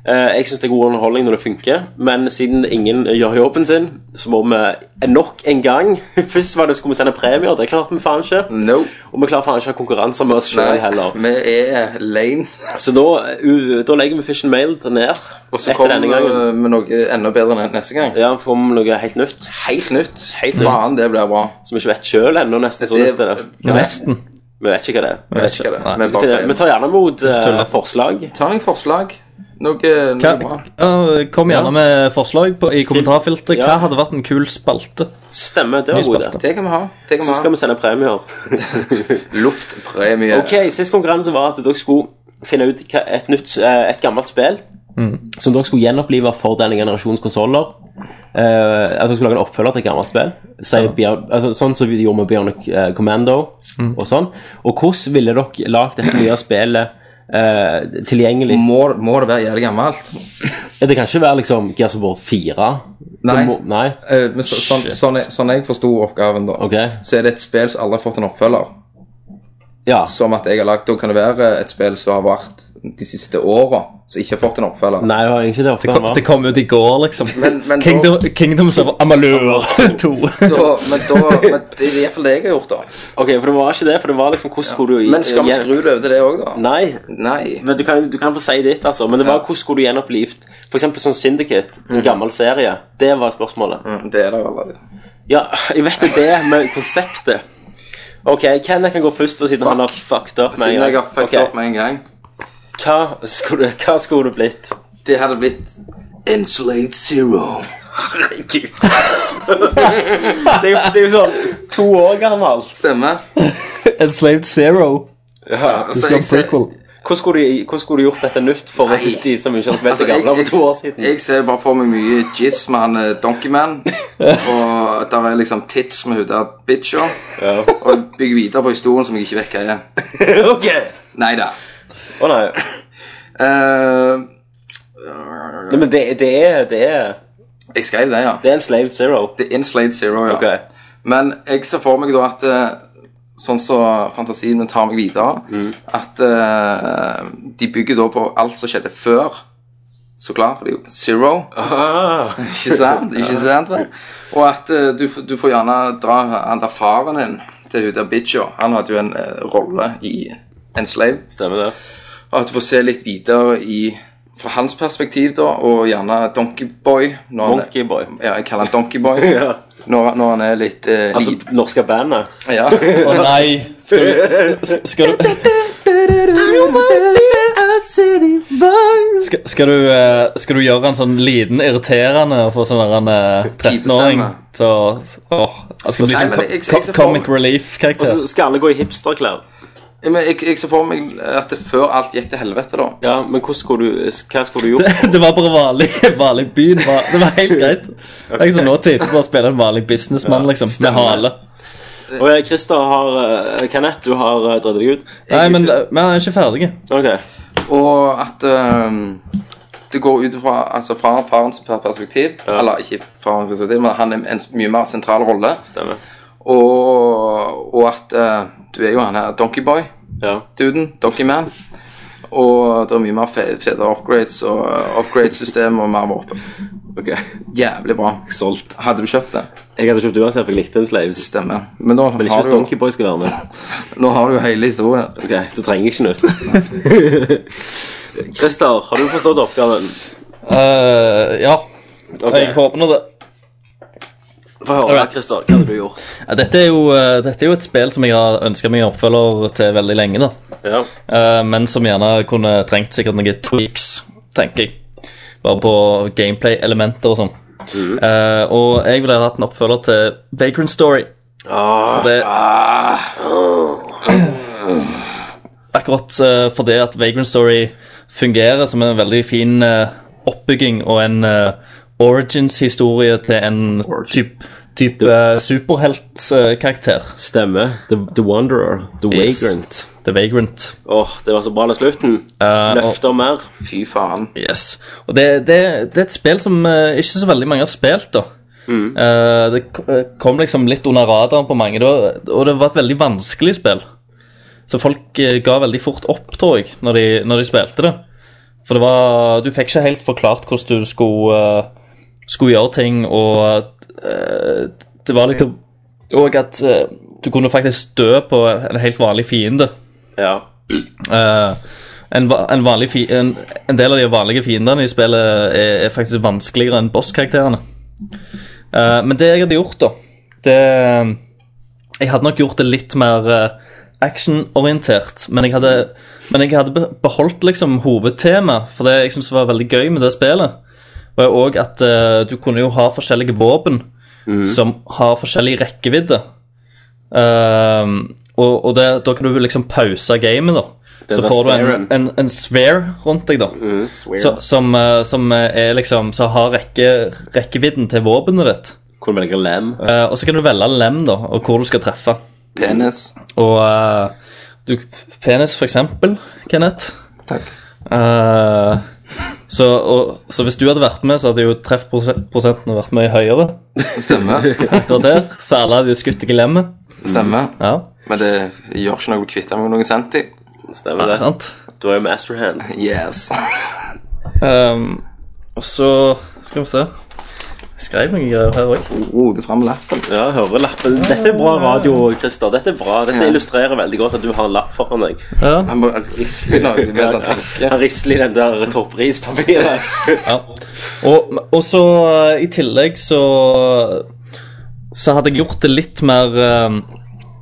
A: Eh, jeg synes det er god underholdning når det funker, men siden ingen gjør jobben sin, så må vi nok en gang Først var det skulle vi sende premier, det klarte vi faen ikke.
C: No.
A: Og vi klarer faen ikke å ha konkurranser med oss
C: Nei,
A: selv heller.
C: vi er lame.
A: Så da, u- da legger vi Fish and Mail ned.
C: Og så
A: etter
C: kommer
A: denne
C: vi
A: gangen.
C: eh, med noe enda bedre ne- neste gang.
A: Ja, får vi noe helt nytt
C: Helt nytt.
A: Helt nytt.
C: Faen, det blir bra.
A: som vi ikke vet sjøl ennå, nesten. Så nytt er det.
C: Nei,
B: Nesten.
A: Vi vet ikke hva det er.
C: Jeg vet ikke det.
B: Nei.
C: Men bare
A: Finne- Vi
C: si
A: tar gjerne imot eh,
B: tuller.
A: forslag.
C: Ta en forslag. Noe, noe bra.
B: Hva, ja, kom gjerne med forslag på, i kommentarfeltet. Hva
A: Ja.
B: hadde vært en kul spalte?
A: Stemmer, det var
B: Ny
A: en god idé.
B: spalte.
C: Det kan vi ha. Det kan
A: Så skal
C: vi ha.
A: vi sende premier.
C: Luftpremie.
A: Ok, Sist konkurranse var at dere skulle finne ut hva- et, nytt, eh, et gammelt spill
B: Mm.
A: som dere skulle gjenopplive for denne generasjons konsoller. Eh, at dere skulle lage en oppfølger til et gammelt spill. Si, Bjørn- altså, sånn som vi gjorde med Bionic eh, Commando.
B: Mm.
A: Og sånn Og hvordan ville dere lagd dette nye spillet eh, tilgjengelig?
C: Må, må det være jævlig gammelt?
A: Ja, Det kan ikke være liksom Gears of War 4?
C: Nei.
A: Det må, nei?
C: Eh, men så, sånn, sånn, jeg, sånn jeg forsto oppgaven, da,
A: Ok.
C: så er det et spill som aldri har fått en oppfølger.
A: Ja.
C: Som at jeg har lagt, Da kan det være et spill som har vært de siste åra, som ikke har fått en oppfølger.
A: Nei, det var egentlig det
B: Det
A: oppgaven
B: kom,
A: var.
B: det kom ut i går, liksom.
C: Men- men da-
B: Kingdom, Kingdoms of Amalur 2.
C: Da, men da, men det er iallfall det jeg har gjort, da.
A: Ok, For det var ikke det. for det var liksom hvordan skulle du...
C: Men skal vi skru det over til det òg, da?
A: Nei,
C: Nei.
A: Men du kan, du kan få si ditt, altså. Men det var hvordan skulle du gjenopplivd For eksempel sånn Syndicate, en gammel serie. Det var spørsmålet.
C: Mm, Det er det jo allerede.
A: Ja, jeg vet jo det med konseptet. Ok, Kenneth kan gå først, og siden han har fucked up
C: Siden jeg har fucket
A: Ok,
C: opp med en gang.
A: Hva skulle, hva skulle det blitt?
C: Det hadde blitt Enslate Zero.
A: Herregud. det, er jo, det er jo sånn to år gammelt.
C: Stemmer.
B: Enslaved Zero.
C: Altså, jeg, ser-
A: Hvordan skulle, du, hvordan skulle du gjort dette nytt for de som ikke har spilt
C: altså,
A: seg
C: jeg,
A: gamle for to år
C: jeg,
A: siden?
C: jeg ser bare for meg mye jizz med han eh, Donkeyman. Og der er liksom tits med hun der bitcha.
A: Ja.
C: Og bygger videre på historien som jeg ikke vet hva er.
A: ok.
C: Nei da.
A: Å nei.
C: Eh,
A: Nei, men det, det, er, det, er,
C: Jeg skrev det, ja.
A: det er en Slave Zero.
C: The Inslade Zero, ja.
A: Ok.
C: Men jeg ser for meg da at eh, Sånn som fantasien min tar meg videre
A: Mm.
C: At eh, de bygger da på alt som skjedde før Så klart, for det er jo zero
A: Ah,
C: Ikke sant? Ikke sant vel? Og at eh, du, f- du får gjerne dra han der faren din Til hun der bitcha Han hadde jo en eh, rolle i Enslaved
A: stemmer det.
C: og at du får se litt videre i fra hans perspektiv, da, og gjerne Donkey Boy. når han-
A: Monkey Boy.
C: Ja, jeg kaller han Donkey Boy.
A: Ja.
C: når, når han er litt eh,
A: Altså,
C: liten.
A: norske bandet.
C: Ja.
B: Å nei! Skal du, s- skal du Skal, skal, du, eh, skal du gjøre en sånn liten irriterende for sånn der en eh, 13-åring
C: Pipestemme.
B: til å åh, Han skal bli sånn
C: Nei, men
B: co-
C: jeg- jeg- jeg
B: co-
C: ser for meg-
B: comic
A: Og
B: relief-karakter?
A: så skal alle gå i hipsterklær.
C: Men jeg, jeg ser for meg at det før alt gikk til helvete, da.
A: Ja, men hvordan skulle du, hva skulle du gjort?
B: Det var bare vanlig, vanlig byen. Var, det var helt greit. Det er ikke sånn nå type bare spille en vanlig businessmann liksom, med
C: stemmer.
B: hale.
A: Og eh, Christer har eh, Kanett, du har eh, dredd deg ut.
B: Nei, men eh, men han er ikke ferdig.
A: Ok.
C: Og at ehm, det går ut fra, altså fra farens perspektiv, eller ikke farens perspektiv, men han er en s- mye mer sentral rolle,
A: Stemmer.
C: og, og at eh, du er jo han her Donkey Boy.
A: Ja.
C: duden, Donkey Man. Og det er mye mer fe- fete upgrades og uh, upgrade-system og mer våpen.
A: Ok.
C: Jævlig bra.
A: Solgt.
C: Hadde du kjøpt det?
A: Jeg hadde kjøpt uansett, for jeg likte en slave.
C: Stemmer. Men nå
A: Men ikke
C: har,
A: hvis
C: du,
A: Donkeyboy skal være med.
C: nå har du jo hele historien.
A: Ok, Du trenger ikke nytt. Christer, har du forstått oppgaven?
B: Eh, ja,
A: Ok,
B: jeg håper nå det.
A: Få høre, Christer. Hva hadde du gjort?
B: Ja, dette, er jo, eh, dette er jo et spill som jeg har ønska meg en oppfølger til veldig lenge. da
A: Ja.
B: Eh, men som gjerne kunne trengt sikkert noen tweaks, tenker jeg. Bare på gameplay-elementer og sånn. Eh, og jeg ville hatt en oppfølger til Vagrant Story. For det, akkurat eh, fordi at Vagrant Story fungerer som en veldig fin eh, oppbygging og en eh, origins-historie til en type typ, eh, superheltkarakter.
A: Stemmer. The, the Wanderer. The
B: Yes.
A: Vagrant.
B: The Vagrant.
A: Åh, det var så bra den slutten.
B: Eh,
A: Løfter mer.
C: Fy faen.
B: Yes. Og det, det, det er et spill som eh, ikke så veldig mange har spilt, da. Eh, det k- eh, kom liksom litt under radaren på mange, da, og det var et veldig vanskelig spill. Så folk eh, ga veldig fort opp, tror jeg, når de, når de spilte det. For det var Du fikk ikke helt forklart hvordan du skulle, eh, skulle gjøre ting, og eh, det var liksom Og at eh, du kunne faktisk stø på en en helt vanlig fiende.
A: Ja.
B: Eh, en, va- en, vanlig fi en, en del av de vanlige fiendene i spillet er, er faktisk vanskeligere enn bosskarakterene. Eh, men det jeg hadde gjort, da det, eh, Jeg hadde nok gjort det litt mer eh, actionorientert. Men jeg hadde, men jeg hadde be- beholdt liksom hovedtemaet, for det jeg syntes var veldig gøy med det spillet, var òg at eh, du kunne jo ha forskjellige våpen som har forskjellig rekkevidde. Ehm, og og det, da kan du liksom pause gamet, da. Så
A: var
B: får du en,
A: swearen.
B: en, en sphere rundt deg, da. så, som, eh, som er liksom Som har rekke, rekkevidden til våpenet ditt.
A: Kunne velge lem.
B: Eh, og så kan du velge lem, da, og hvor du skal treffe.
C: Penis.
B: Og eh, du, penis, for eksempel, Kenneth.
C: Takk.
B: Eh, så, og, så hvis du hadde vært med, så hadde jo treffprosenten vært mye høyere.
C: Stemmer.
B: akkurat der, Så alle hadde jo skutt deg i lemmet.
C: Stemmer.
B: Ja,
C: Men det gjør ikke noe å kvitte meg med noen centi.
A: Stemmer det.
B: sant?
A: Du var jo masterhand.
C: Yes.
B: Ehm, og så skal vi se Jeg skrev noen greier her òg.
C: Rode fram lappen.
A: Ja, jeg hører lappen. Dette er bra radio, Christer. Dette er bra. Dette
C: Ja.
A: illustrerer veldig godt at du har en lapp foran deg.
C: Han bare risper noe mens han trykker.
A: Han risler i den der topprispapiret.
B: Ja. Og, og så eh, i tillegg så Så hadde jeg gjort det litt mer eh,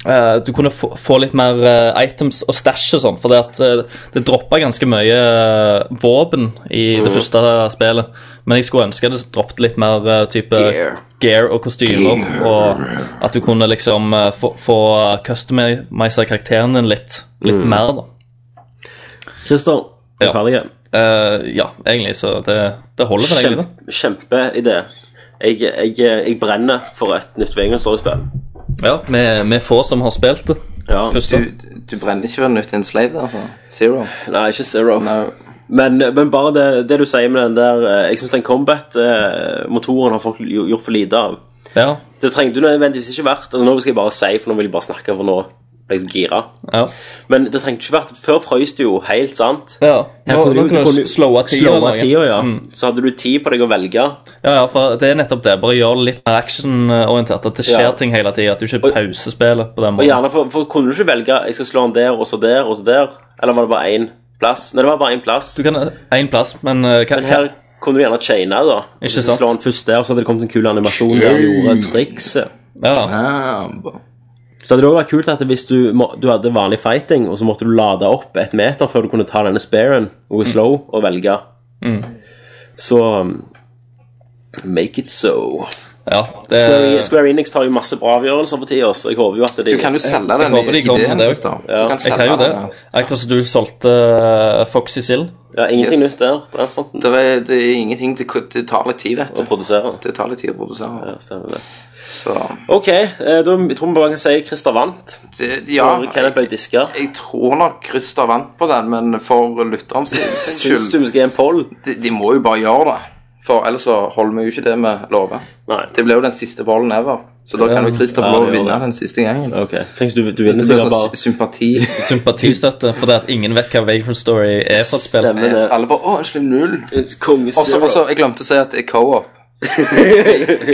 B: eh, Du kunne få, få litt mer eh, items og stæsj og sånn, for det, at, eh, det droppa ganske mye eh, våpen i det første spillet. Men jeg skulle ønske det droppet litt mer eh, type
C: Gear.
B: gear og kostymer. Og at du kunne liksom eh, få, få customize karakteren din litt, litt mer, da.
A: Christer, du er
B: Ja.
A: ferdig.
B: Eh, ja, egentlig, så det, det holder for deg, da.
A: Kjempe, kjempeidé. Jeg, jeg, jeg brenner for et nytt Vegan Story-spill.
B: Ja, med, med få som har spilt det.
A: Ja.
B: Først, da.
C: Du, du brenner ikke for nytt enslaved, altså? Zero?
A: Nei, ikke Zero.
C: No.
A: Men, men bare det, det du sier med den der eh, Jeg syns den combat-motoren har folk jo- gjort for lite av.
B: Ja,
A: Det trengte du nødvendigvis ikke vært altså, Nå skal jeg bare si, for nå vil jeg bare snakke, for nå ble jeg gira.
B: ja.
A: Men det trengte ikke vært Før frøys det jo helt, sant?
B: ja.
A: Her
B: Nå,
A: kunne
B: nå
A: du- du
B: kan du
A: kunne-
B: slowe tida. Mm.
A: Slowe
B: noe.
A: tida, ja. Så hadde du tid på deg å velge.
B: Ja, ja, for det er nettopp det. Bare gjør det litt mer actionorientert. At det skjer
A: Ja.
B: ting hele tida. At du ikke
A: Og-
B: pauser spillet på den
A: Og
B: måten.
A: gjerne, for, for kunne du ikke velge Jeg skal slå han der, og så der, og så der? Eller var det bare én plass? Nei, det var bare én plass.
B: Du kan én plass, men eh, hva,
A: Men her kunne du gjerne chaine, da.
B: Ikke
A: Hvis du
B: sant?
A: slår han først der, så hadde det kommet en kul animasjon der han gjorde trikset.
B: hva ja.
C: Ah,
A: Så hadde det også vært kult at hvis du, må, du hadde vanlig fighting, og så måtte du lade opp et meter før du kunne ta denne sparen, og slow, og velge. Så um, Make it so.
B: ja, det
A: Square, Square Enix tar jo masse bra avgjørelser for tida, så jeg håper jo at de
C: Eh. du kan jo selge
B: jeg
C: den
B: håper de kommer med
C: ideen.
B: det
C: hvis da.
B: også.
C: Du kan
B: Jeg
C: selge
B: kan jo det.
C: den.
B: Akkurat som du solgte eh, Foxy Sild.
A: ja, Ingenting
C: Yes.
A: nytt der på den fronten
C: Det er, det er ingenting til Det tar litt tid, vet
A: å
C: du.
A: produsere.
C: Det tar litt tid å produsere.
A: Ja, stemmer det.
C: Så
A: OK, eh, da tror vi bare kan si Christer vant.
C: det,
A: Ja,
C: ja, jeg,
A: Kenneth ble diska.
C: jeg tror nok Christer vant på den, men for lytteren sin sin
A: Syns du
C: skyld
A: vi skal gi en poll?
C: de, de må jo bare gjøre det. For ellers så holder vi jo ikke det vi lover.
A: Nei.
C: Det ble jo den siste ballen ever, så da kan jo Christer få
A: Ja,
C: lov å
A: det gjør
C: vinne
A: det.
C: den siste gangen.
A: Ok, tenk så du, du
C: Det
A: vinner
C: blir
A: sikkert
C: sånn
A: bare
C: sympati.
B: Sympatistøtte, fordi at ingen vet hva Vagrant Story er for et spill.
A: Stemmer det.
C: Alle bare 'Å, en slem null'.
A: Konge
C: Og så- og så,
A: Zero.
C: jeg glemte å si at det er co-op.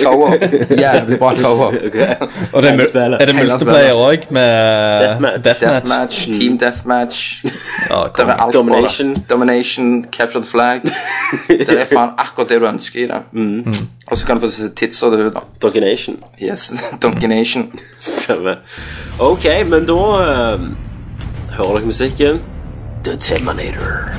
C: co-op. Jævlig bra co-op.
B: Og det er,
A: Hele spillet.
B: mu- er det
C: Hele
B: multiplayer òg, med
A: Deathmatch.
B: Deathmatch? hmm.
C: Deathmatch, Team Deathmatch.
B: Ja,
C: Det er
B: konge.
C: alt
A: Domination.
C: på det. Domination, Capture the Flag. Det er faen akkurat det du ønsker i det.
A: Mm.
B: Mm.
C: Og så kan du få se tits og det ut. da.
A: Domination.
C: Yes, Domination.
A: Stemmer. Ok, men da eh, hører dere musikken. The Terminator.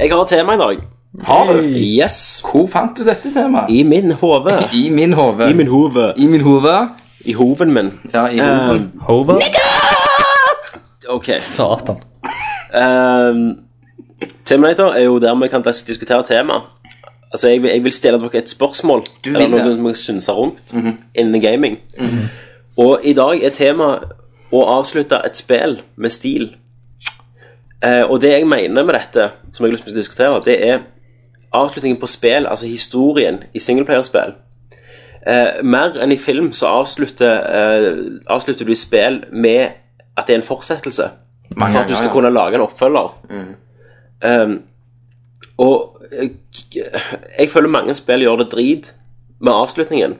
A: Jeg har et tema i dag.
C: Har du?
A: Yes.
C: Hvor fant du dette temaet?
A: I min hode.
C: I min hode.
A: I min hode.
C: I min hode.
A: I hoven min.
C: Ja, i
A: Um,
C: hoven.
B: Hover?
A: Ok.
B: Satan.
A: ehm, Terminator er jo der vi kan dis- diskutere tema. Altså, jeg vil, jeg vil stille dere et spørsmål.
C: Du vil
A: eller noe
C: det. Mhm.
A: som jeg synser rundt innen gaming. Og i dag er temaet å avslutte et spill med stil. Eh, og det jeg mener med dette, som jeg har lyst til å diskutere, det er avslutningen på spill, altså historien i singleplayerspill. Eh, mer enn i film så avslutter, eh, avslutter du i spill med at det er en fortsettelse.
C: Mange
A: For at du
C: ganger,
A: skal
C: ja. Mm.
A: kunne lage en oppfølger. Um, og eh, jeg føler mange spill gjør det drit med avslutningen.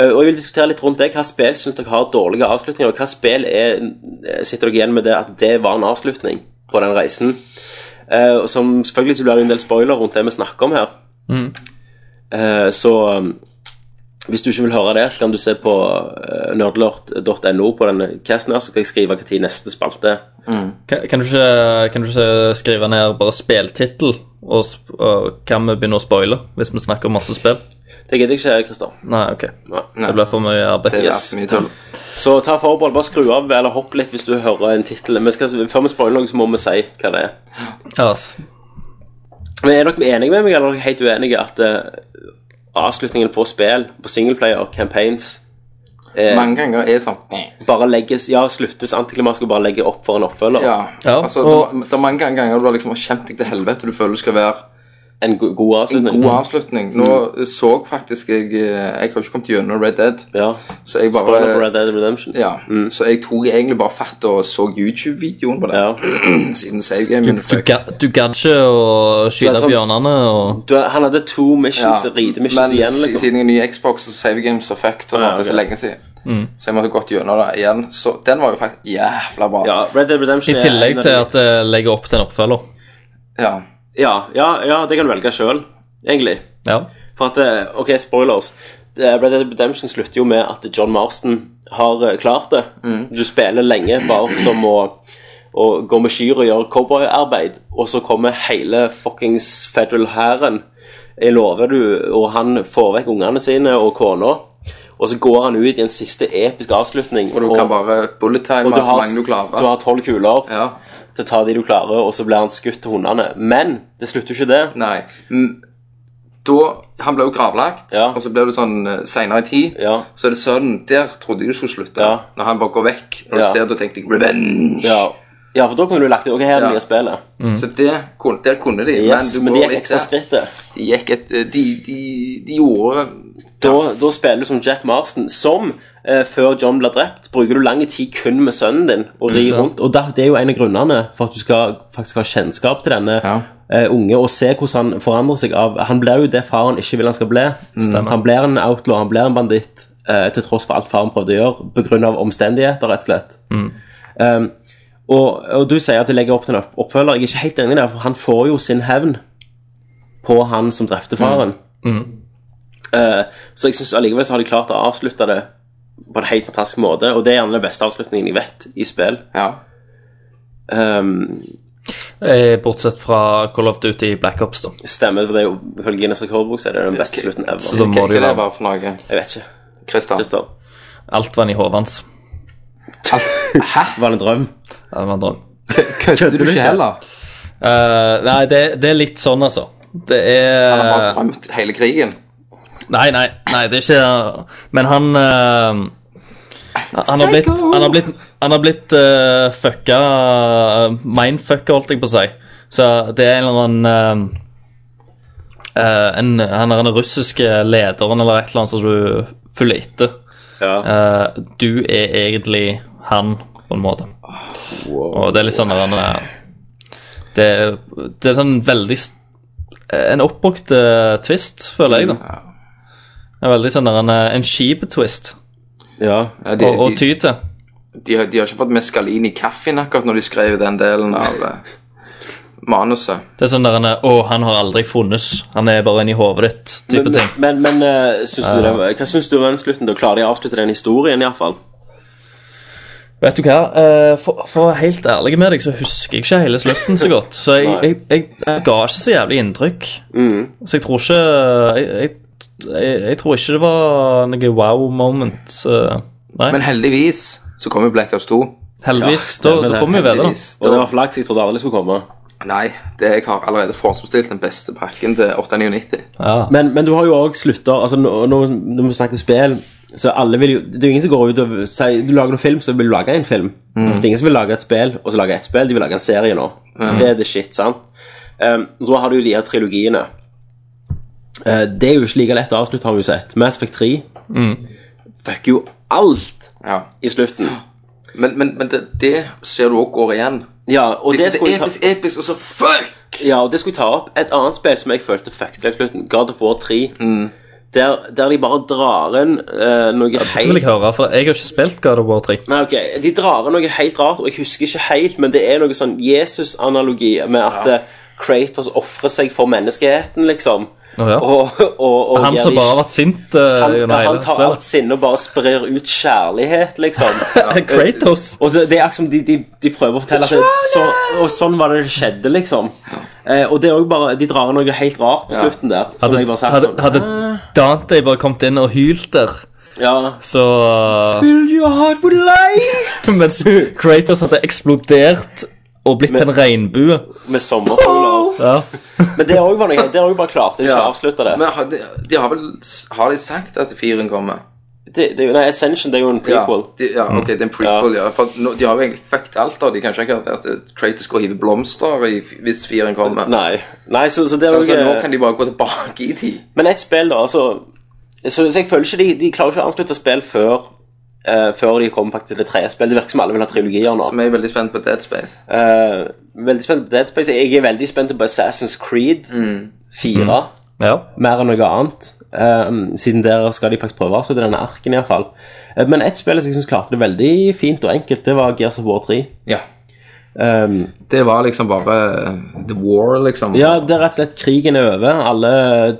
A: Eh, og jeg vil diskutere litt rundt det. Hva spill syns dere har dårlige avslutninger? Og hva spill er, eh, sitter dere igjen med det at det var en avslutning på den reisen? Eh, og som Selvfølgelig så blir det en del spoiler rundt det vi snakker om her. Eh, så um, hvis du ikke vil høre det, så kan du se på eh, nerdlort.no på denne casten her, så skal jeg skrive hva tid neste spalte er.
B: Kan, kan, du ikke, kan du ikke skrive ned bare spiltittel, og, sp- og kan vi begynne å spoile hvis vi snakker om masse spill?
A: Det gidder jeg ikke, Christer.
B: Nei, ok.
A: Nei.
B: Det blir for mye arbeid.
C: Det er
A: Yes.
C: mye tull.
A: Så ta forbehold, bare skru av eller hopp litt hvis du hører en tittel. Men skal- Før vi spoiler noe, så må vi si hva det er.
B: Ja, ass.
A: Men Er dere enige med meg, eller er dere helt uenige at eh, avslutningen på spill, på singleplayer, campaigns, Eh.
C: Mange ganger er sånn
A: bare legges Ja, sluttes antiklimatisk og bare legger opp for en oppfølger?
C: Ja.
B: Ja,
C: Altså,
B: og-
C: det, det er mange ganger du har liksom kjent deg til helvete du føler du skal være
A: En go god
C: en
A: avslutning?
C: god avslutning. Nå
A: Mm.
C: så faktisk jeg eh, Jeg har ikke kommet gjennom Red Dead,
A: Ja.
C: så jeg
A: Spoiler for
C: bare
A: Red Dead Redemption.
C: Ja, så jeg tok egentlig bare fatt og så YouTube-videoen på det.
A: Ja.
C: Siden save game
B: Du ga- du gadd ikke å
A: Det
B: skyte
A: er sånn-
B: bjørnene og
A: Du, han hadde to missions, ridemissions
C: men
A: igjen,
C: si-
A: liksom.
C: siden jeg er ny i Xbox, så save games er fucked, og sånt,
A: Ja,
C: det er så
A: ok.
C: lenge siden. Så jeg måtte gått gjennom det igjen. Så den var jo faktisk jævla bra.
A: Ja, Red Dead Redemption
B: I
A: er en
B: tillegg
A: av
B: til
A: de-
B: at det legger opp til en oppfølger.
C: Ja.
A: ja, ja, ja, det kan du velge sjøl, egentlig.
B: Ja.
A: For at, eh, ok, spoilers Det er- Red Dead Redemption slutter jo med at John Marston har eh, klart det
C: Mm.
A: Du spiller lenge bare som å, å gå med kyr og gjøre cowboyarbeid Og så kommer hele fuckings federal herren Jeg lover du Og han får vekk ungene sine og kona Og så går han ut i en siste episk avslutning
C: Og du kan bare bullet
A: og
C: time
A: du
C: så
A: har,
C: mange du klarer.
A: du har 12 kuler
C: Ja.
A: til å ta de du klarer Og så blir han skutt til hundene Men det slutter jo ikke det
C: Nei. Mm, Da Han ble jo gravlagt,
A: Ja.
C: og så ble det sånn eh, senere i tid.
A: Ja.
C: Så er det sønnen. Der trodde jeg du skulle slutte.
A: Ja.
C: Når han bare går vekk. Når
A: Ja.
C: du ser det, tenkte jeg 'revenge'.
A: Ja. Ja, for da kunne du lagt det. Ok, her er det
C: Ja.
A: nye spillet.
C: Så det, kunne- der kunne de.
A: Yes,
C: men
A: men
C: du
A: de
C: går
A: gikk
C: litt
A: ekstra
C: der.
A: skrittet.
C: De gikk et eh, De, de, de gjorde
A: Da, da spiller du som Jack Marston, som eh, før John blir drept, bruker du lang tid kun med sønnen din og rir rundt. Og da, det er jo en av grunnene for at du skal faktisk ha kjennskap til denne
C: Ja.
A: eh, unge og se hvordan han forandrer seg av Han blir jo det faren ikke vil han skal bli. Han blir en outlaw, han blir en banditt, eh, til tross for alt faren prøvde å gjøre, pga. omstendigheter, rett og slett. Um, og, og du sier at de legger opp til en opp- oppfølger. Jeg er ikke helt enig der, for han får jo sin hevn på han som drepte faren. Eh, så jeg synes allikevel så har de klart å avslutte det på en helt fantastisk måte, og det er gjerne den beste avslutningen jeg vet i spill.
C: Ja.
A: Um,
B: Eh, Bortsett fra Call of Duty Black Ops, da.
A: stemmer, for det er jo ifølge Guinness rekordbok så er det den beste slutten
B: Så
A: ever.
B: da
C: Hva
B: må
C: hva
B: det jo
C: det
B: være
C: var for noe?
A: Jeg vet ikke.
C: Christian.
A: Christer,
B: alt vann i hodet hans.
A: var det en drøm?
B: Ja, det var en drøm.
C: Kødder du ikke heller?
B: Eh, nei, det, det er litt sånn, altså. Det
C: Han har
A: Eh.
C: bare
B: er
C: drømt hele krigen.
B: Nei, nei, nei, det er ikke Men han eh, han har blitt, han har blitt, han har blitt eh, fucka eh, Mindfucka, holdt jeg på å si. Så det er en eller annen eh, eh, en, Han er den russiske lederen eller et eller annet som du følger etter.
A: Ja.
B: Eh, du er egentlig han, på en måte. Og det er litt sånn der, eh, det, er- det er sånn veldig s- En oppbrukt eh, twist, føler jeg, da. En veldig sånn der, en, eh, en kjip twist
A: ja.
C: Ja, de,
B: å, å
C: de,
B: ty til.
C: de, har- de har ikke fått meskalin i kaffen akkurat når de skrev den delen av eh, manuset.
B: Det er sånn der en eh, Å, han har aldri funnes. Han er bare inni hodet ditt, type
A: Men,
B: ting.
A: men, men eh, syns du det, hva syns du om den slutten? Da klarer de å avslutte den historien, iallfall.
B: Vet du hva, eh, for, for å være helt ærlig med deg, så husker jeg ikke hele slutten så godt. Så jeg, jeg, jeg, jeg ga ikke så jævlig inntrykk.
A: Mm.
B: Så jeg tror ikke jeg, jeg, jeg, jeg tror ikke det var noe wow moment. eh, nei,
C: Men heldigvis så kommer Black Ops 2.
B: heldigvis. da,
A: stemmer det.
B: da får vi jo vite det.
C: Heldigvis.
A: Og det
C: Da,
A: var flaks jeg trodde aldri skulle komme.
C: nei, det, jeg har allerede forhåndsbestilt den beste pakken til 899.
B: Ja.
A: Men, men du har jo òg slutter altså, nå- nå- Når vi snakker spill, så alle vil jo Det er jo ingen som går ut og sier Du lager noen film, så vil du lage en film. Det er ingen som vil lage et spill, og så lage ett spill. De vil lage en serie nå. Det er det shit, sant? Um, da har du jo de her trilogiene. Eh, det er jo ikke like lett å avslutte, har vi jo sett. Mass Effect 3 Mm. fucker jo alt
C: Ja.
A: i slutten.
C: Men, men, men det, det ser du òg går igjen.
A: Ja, og det
C: Liksom,
A: skulle
C: det
A: jeg
C: er
A: ta-
C: episk, episk, og så fuck!
A: Ja, og det skulle jeg ta opp. Et annet spill som jeg følte fucket i slutten, God of War 3.
B: Mm.
A: Der, der de bare drar inn eh, noe
B: Det vil
A: helt
B: jeg høre, for jeg har ikke spilt God of War 3.
A: Nei, ok, De drar inn noe helt rart, og jeg husker ikke helt, men det er noe sånn Jesus-analogi med at eh, Kratos ofrer seg for menneskeheten, liksom.
B: Å, ja.
A: Og, og, og
B: Han
A: gir
B: som
A: de-
B: bare har vært sint eh,
A: han,
B: gjennom
A: han
B: hele
A: tar alt
B: spillet.
A: sinne og bare sprer ut kjærlighet, liksom.
B: Kratos.
A: Og så Det er akkurat som de, de, de prøver å fortelle at det, så, Og sånn var det det skjedde, liksom. Eh, og det er også bare, De drar inn noe helt rart på slutten der. Som
B: Hadde,
A: jeg bare sagt
B: hadde,
A: sånn
B: hadde Dante bare kommet inn og hylt der,
A: ja.
B: så
A: Fill your heart with light!
B: Mens Kratos hadde eksplodert og blitt en regnbue.
A: Med sommerfugler.
B: Ja.
A: Men det er også bare noe Det er også bare klart. Det er ikke
C: Ja.
A: avslutta, det.
C: Men har de, de har vel Har de sagt at firen kommer?
A: det, det er jo- nei, Ascension det er jo en prequel.
C: Ja, de, ja ok, det er en prequel, ja. For nå, de har jo egentlig fucked alt, da. De kan ikke akkurat at eh, Kratos går og hiver blomster i, hvis firen kommer.
A: Nei. nei, så, så det er
C: Så
A: jo
C: altså, nå
A: ikke-
C: kan de bare gå tilbake i tid.
A: Men et spill, da, altså Så, så jeg føler ikke de, de klarer ikke å avslutte spill før eh, Før de kommer faktisk til det tredje spillet. Det virker som alle vil ha trilogier nå.
C: Som er veldig spent på Dead Space.
A: Eh, veldig spent på Dead Space. Jeg er veldig spent på Assassin's Creed 4.
B: ja.
A: Mer enn noe annet. Eh, siden der skal de faktisk prøve å avslutte denne arken, iallfall. Uh, men ett spill som jeg synes klarte det veldig fint og enkelt, det var Gears of War 3.
C: Ja.
A: Eh,
C: Det var liksom bare The War, liksom.
A: ja, det er rett og slett krigen er over. Alle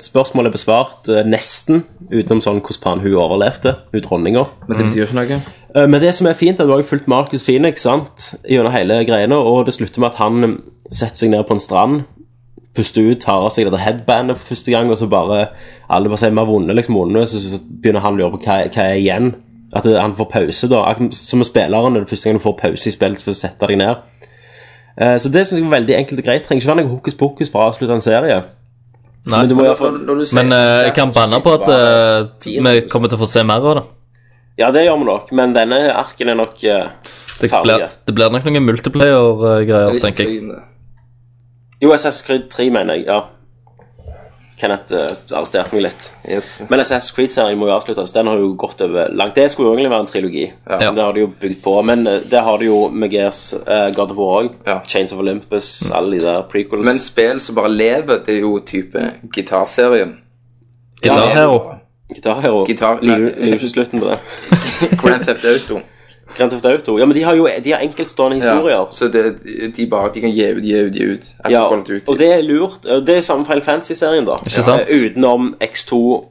A: spørsmål er besvart, eh, nesten. Utenom sånn hvordan faen hun overlevde, hun dronninga.
C: Men det betyr ikke noe.
A: Eh, Men det som er fint, er at du har jo fulgt Marcus Phoenix sant? gjennom hele greiene, og det slutter med at han setter seg ned på en strand, puster ut, tar av seg dette headbandet for første gang, og så bare alle bare sier 'vi har vunnet', liksom vunnet, så, så begynner han å lure på hva, hva er igjen. At det, han får pause, da. Akkurat Som med spilleren, det er første gang du får pause i spillet for å sette deg ned. Eh, Så det syns jeg var veldig enkelt og greit. Trenger ikke være noe hokus pokus for å avslutte en serie.
B: Nei.
A: Men du må i hvert fall
C: Når, når du sier
B: Men eh, jeg kan banne på at eh,
C: Tiden.
B: vi kommer til å få se mer av det.
A: Ja, det gjør vi nok, men denne arken er nok eh,
B: Det
A: ferdig.
B: blir, det blir nok noen multiplayer-greier,
C: Hvis
B: eh, tenker jeg.
C: trynet-
A: Jo, SS Creed 3, mener jeg. Ja. Kenneth eh, arresterte meg litt.
C: Yes.
A: Men SS Creed-serien må jo avsluttes. Den har jo gått over langt. Det skulle jo egentlig være en trilogi.
C: Ja.
A: Men Det har de jo bygd på. Men eh, det har de jo med Gears uh, God of War òg.
C: Ja.
A: Chains of Olympus, alle de der prequels.
C: Men spill som bare lever, det er jo type gitarserien.
B: Guitar Hero.
A: Gitar Hero.
C: Gitar-
A: Liv,
C: nei. eh,
A: liv ikke slutten på det.
C: Grand Theft Auto.
A: Grand Theft Auto. Ja, men de har jo de har enkeltstående
C: Ja.
A: historier.
C: Så det, de bare de kan gi ut, gi ut, gi ut. Jeg får
A: Ja,
C: holdt ut.
A: og det er lurt. Og Det er samme Final Fantasy-serien, da.
B: Ikke sant?
A: Eh, Utenom X2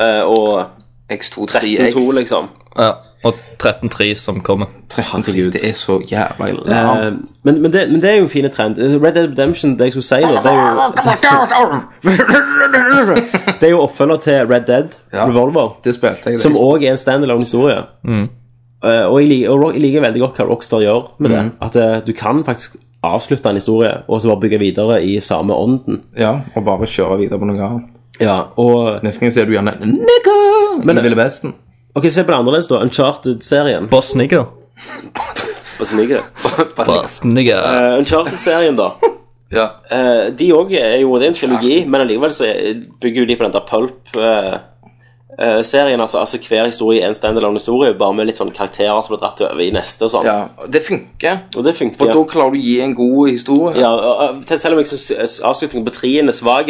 A: eh, og
C: X2, 3X.
A: 13-2, liksom.
B: Ja, og 13.3 som kommer.
A: Herregud.
C: Det er så jævla
A: Eh, men, men, det, men det er jo en fin trend. Red Dead Redemption, det jeg skulle si, da, det er jo, det er jo oppfølger til Red Dead
C: Ja.
A: Revolver,
C: Det spilte jeg. det.
A: som òg er en standalone-historie. Eh, og jeg, lik- og Rock- jeg liker veldig godt hva Rockstar gjør med det. At eh, du kan faktisk avslutte en historie og så bare bygge videre i samme ånden.
C: Ja, og bare kjøre videre på noe annet.
A: Ja, og
C: Neste gang ser du gjerne Nigga! Men Ville Vesten.
A: Ok, se på det annerledes, da. Uncharted-serien.
B: Boss Nigger.
A: Hva som ligger det?
B: Boss Nigger.
A: Eh, Uncharted-serien, da.
C: Ja.
A: Eh, de òg er jo det er en trilogi, men allikevel så er- bygger jo de på den der pulp-serien. altså, altså hver historie er en standalone historie, bare med litt sånn karakterer som blir dratt over i neste og sånn.
C: ja. Og det funker.
A: Og det funker.
C: For da klarer du å gi en god historie.
A: Ja, og, og, til- selv om jeg syns avslutningen på treen er svak,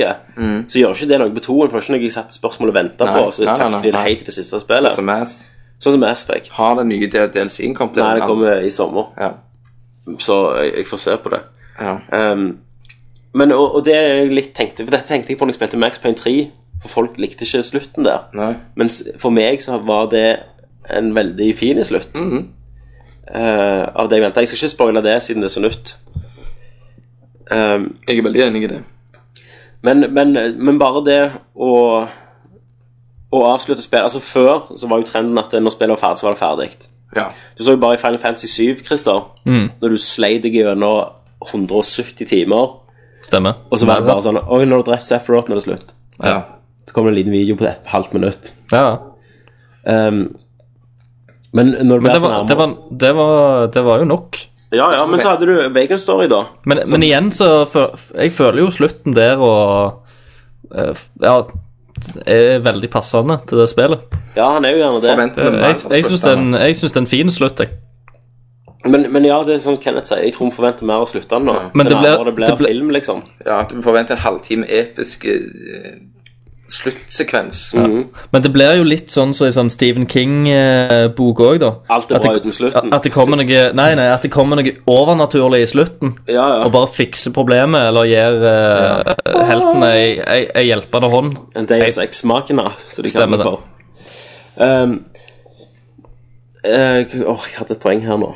A: så gjør ikke det noe på toen. For det er ikke noe jeg satt spørsmål og venta
C: Mm. Nei,
A: på, så
C: nei, nei,
A: fikk de det
C: nei.
A: helt til det siste
C: Sånn
A: spillet.
C: som Sånn, Mass.
A: Sånn som Mass Effect.
C: Har den nye DLC-en kommet?
A: Nei, det kommer i sommer,
C: Ja.
A: så jeg, jeg får se på det.
C: ja.
A: Um, men, og, og det er jeg litt tenkte For dette tenkte jeg på når jeg spilte Max Payne 3 For folk likte ikke slutten der
C: Nei.
A: Mens for meg så var det En veldig fin slutt uh, Av det jeg ventet Jeg skal ikke spoile det siden det er så nytt um,
C: Jeg er veldig enig i det.
A: men, men, men bare det å Å avslutte spill Altså før så var jo trenden at når spillet var ferdig Så var det ferdig
C: Ja.
A: du så jo bare i Final Fantasy 7, Christer Når du slei deg gjennom 170 timer
B: Stemmer.
A: Og så var det bare sånn Oi, nå har du drept Sephiroth, nå er det slutt.
C: ja.
A: Så kommer det en liten video på et halvt minutt.
B: Ja.
A: Um, men når det
B: Men
A: blir
B: det
A: sånn
B: var,
A: her
B: det, var, det, var, det var jo nok.
A: Ja, ja, men så hadde du Bacon Story, da.
B: Men,
A: Sånn.
B: men igjen så fø- Jeg føler jo slutten der og eh, f- Ja, er veldig passende til det spillet.
A: Ja, han er jo gjerne det.
C: Forventer vi mer
B: Eh, Jeg,
C: av
B: jeg syns det er
C: sluttene.
B: en- jeg syns det er en fin slutt, jeg.
A: Men, men ja, det er som Kenneth sier, jeg tror vi forventer mer av sluttene nå.
B: Men
A: Til
B: det ble-
A: nærmere det blir
B: det ble-
A: film, liksom.
C: Ja, at du forventer en halvtime episk eh, sluttsekvens.
B: Men det blir jo litt sånn som i sånn Stephen King-bok òg, da.
A: Alt er
B: At
A: bra
B: det-
A: uten slutten.
B: At det kommer noe Nei, nei, at det kommer noe overnaturlig i slutten.
A: Ja, ja.
B: Og bare fikser problemet, eller gir eh, helten ei, ei, ei hjelpende hånd.
A: En Deus Ex Machina, som de
B: Stemmer
A: kaller det for. Um, eh, k- Åh, jeg hadde et poeng her nå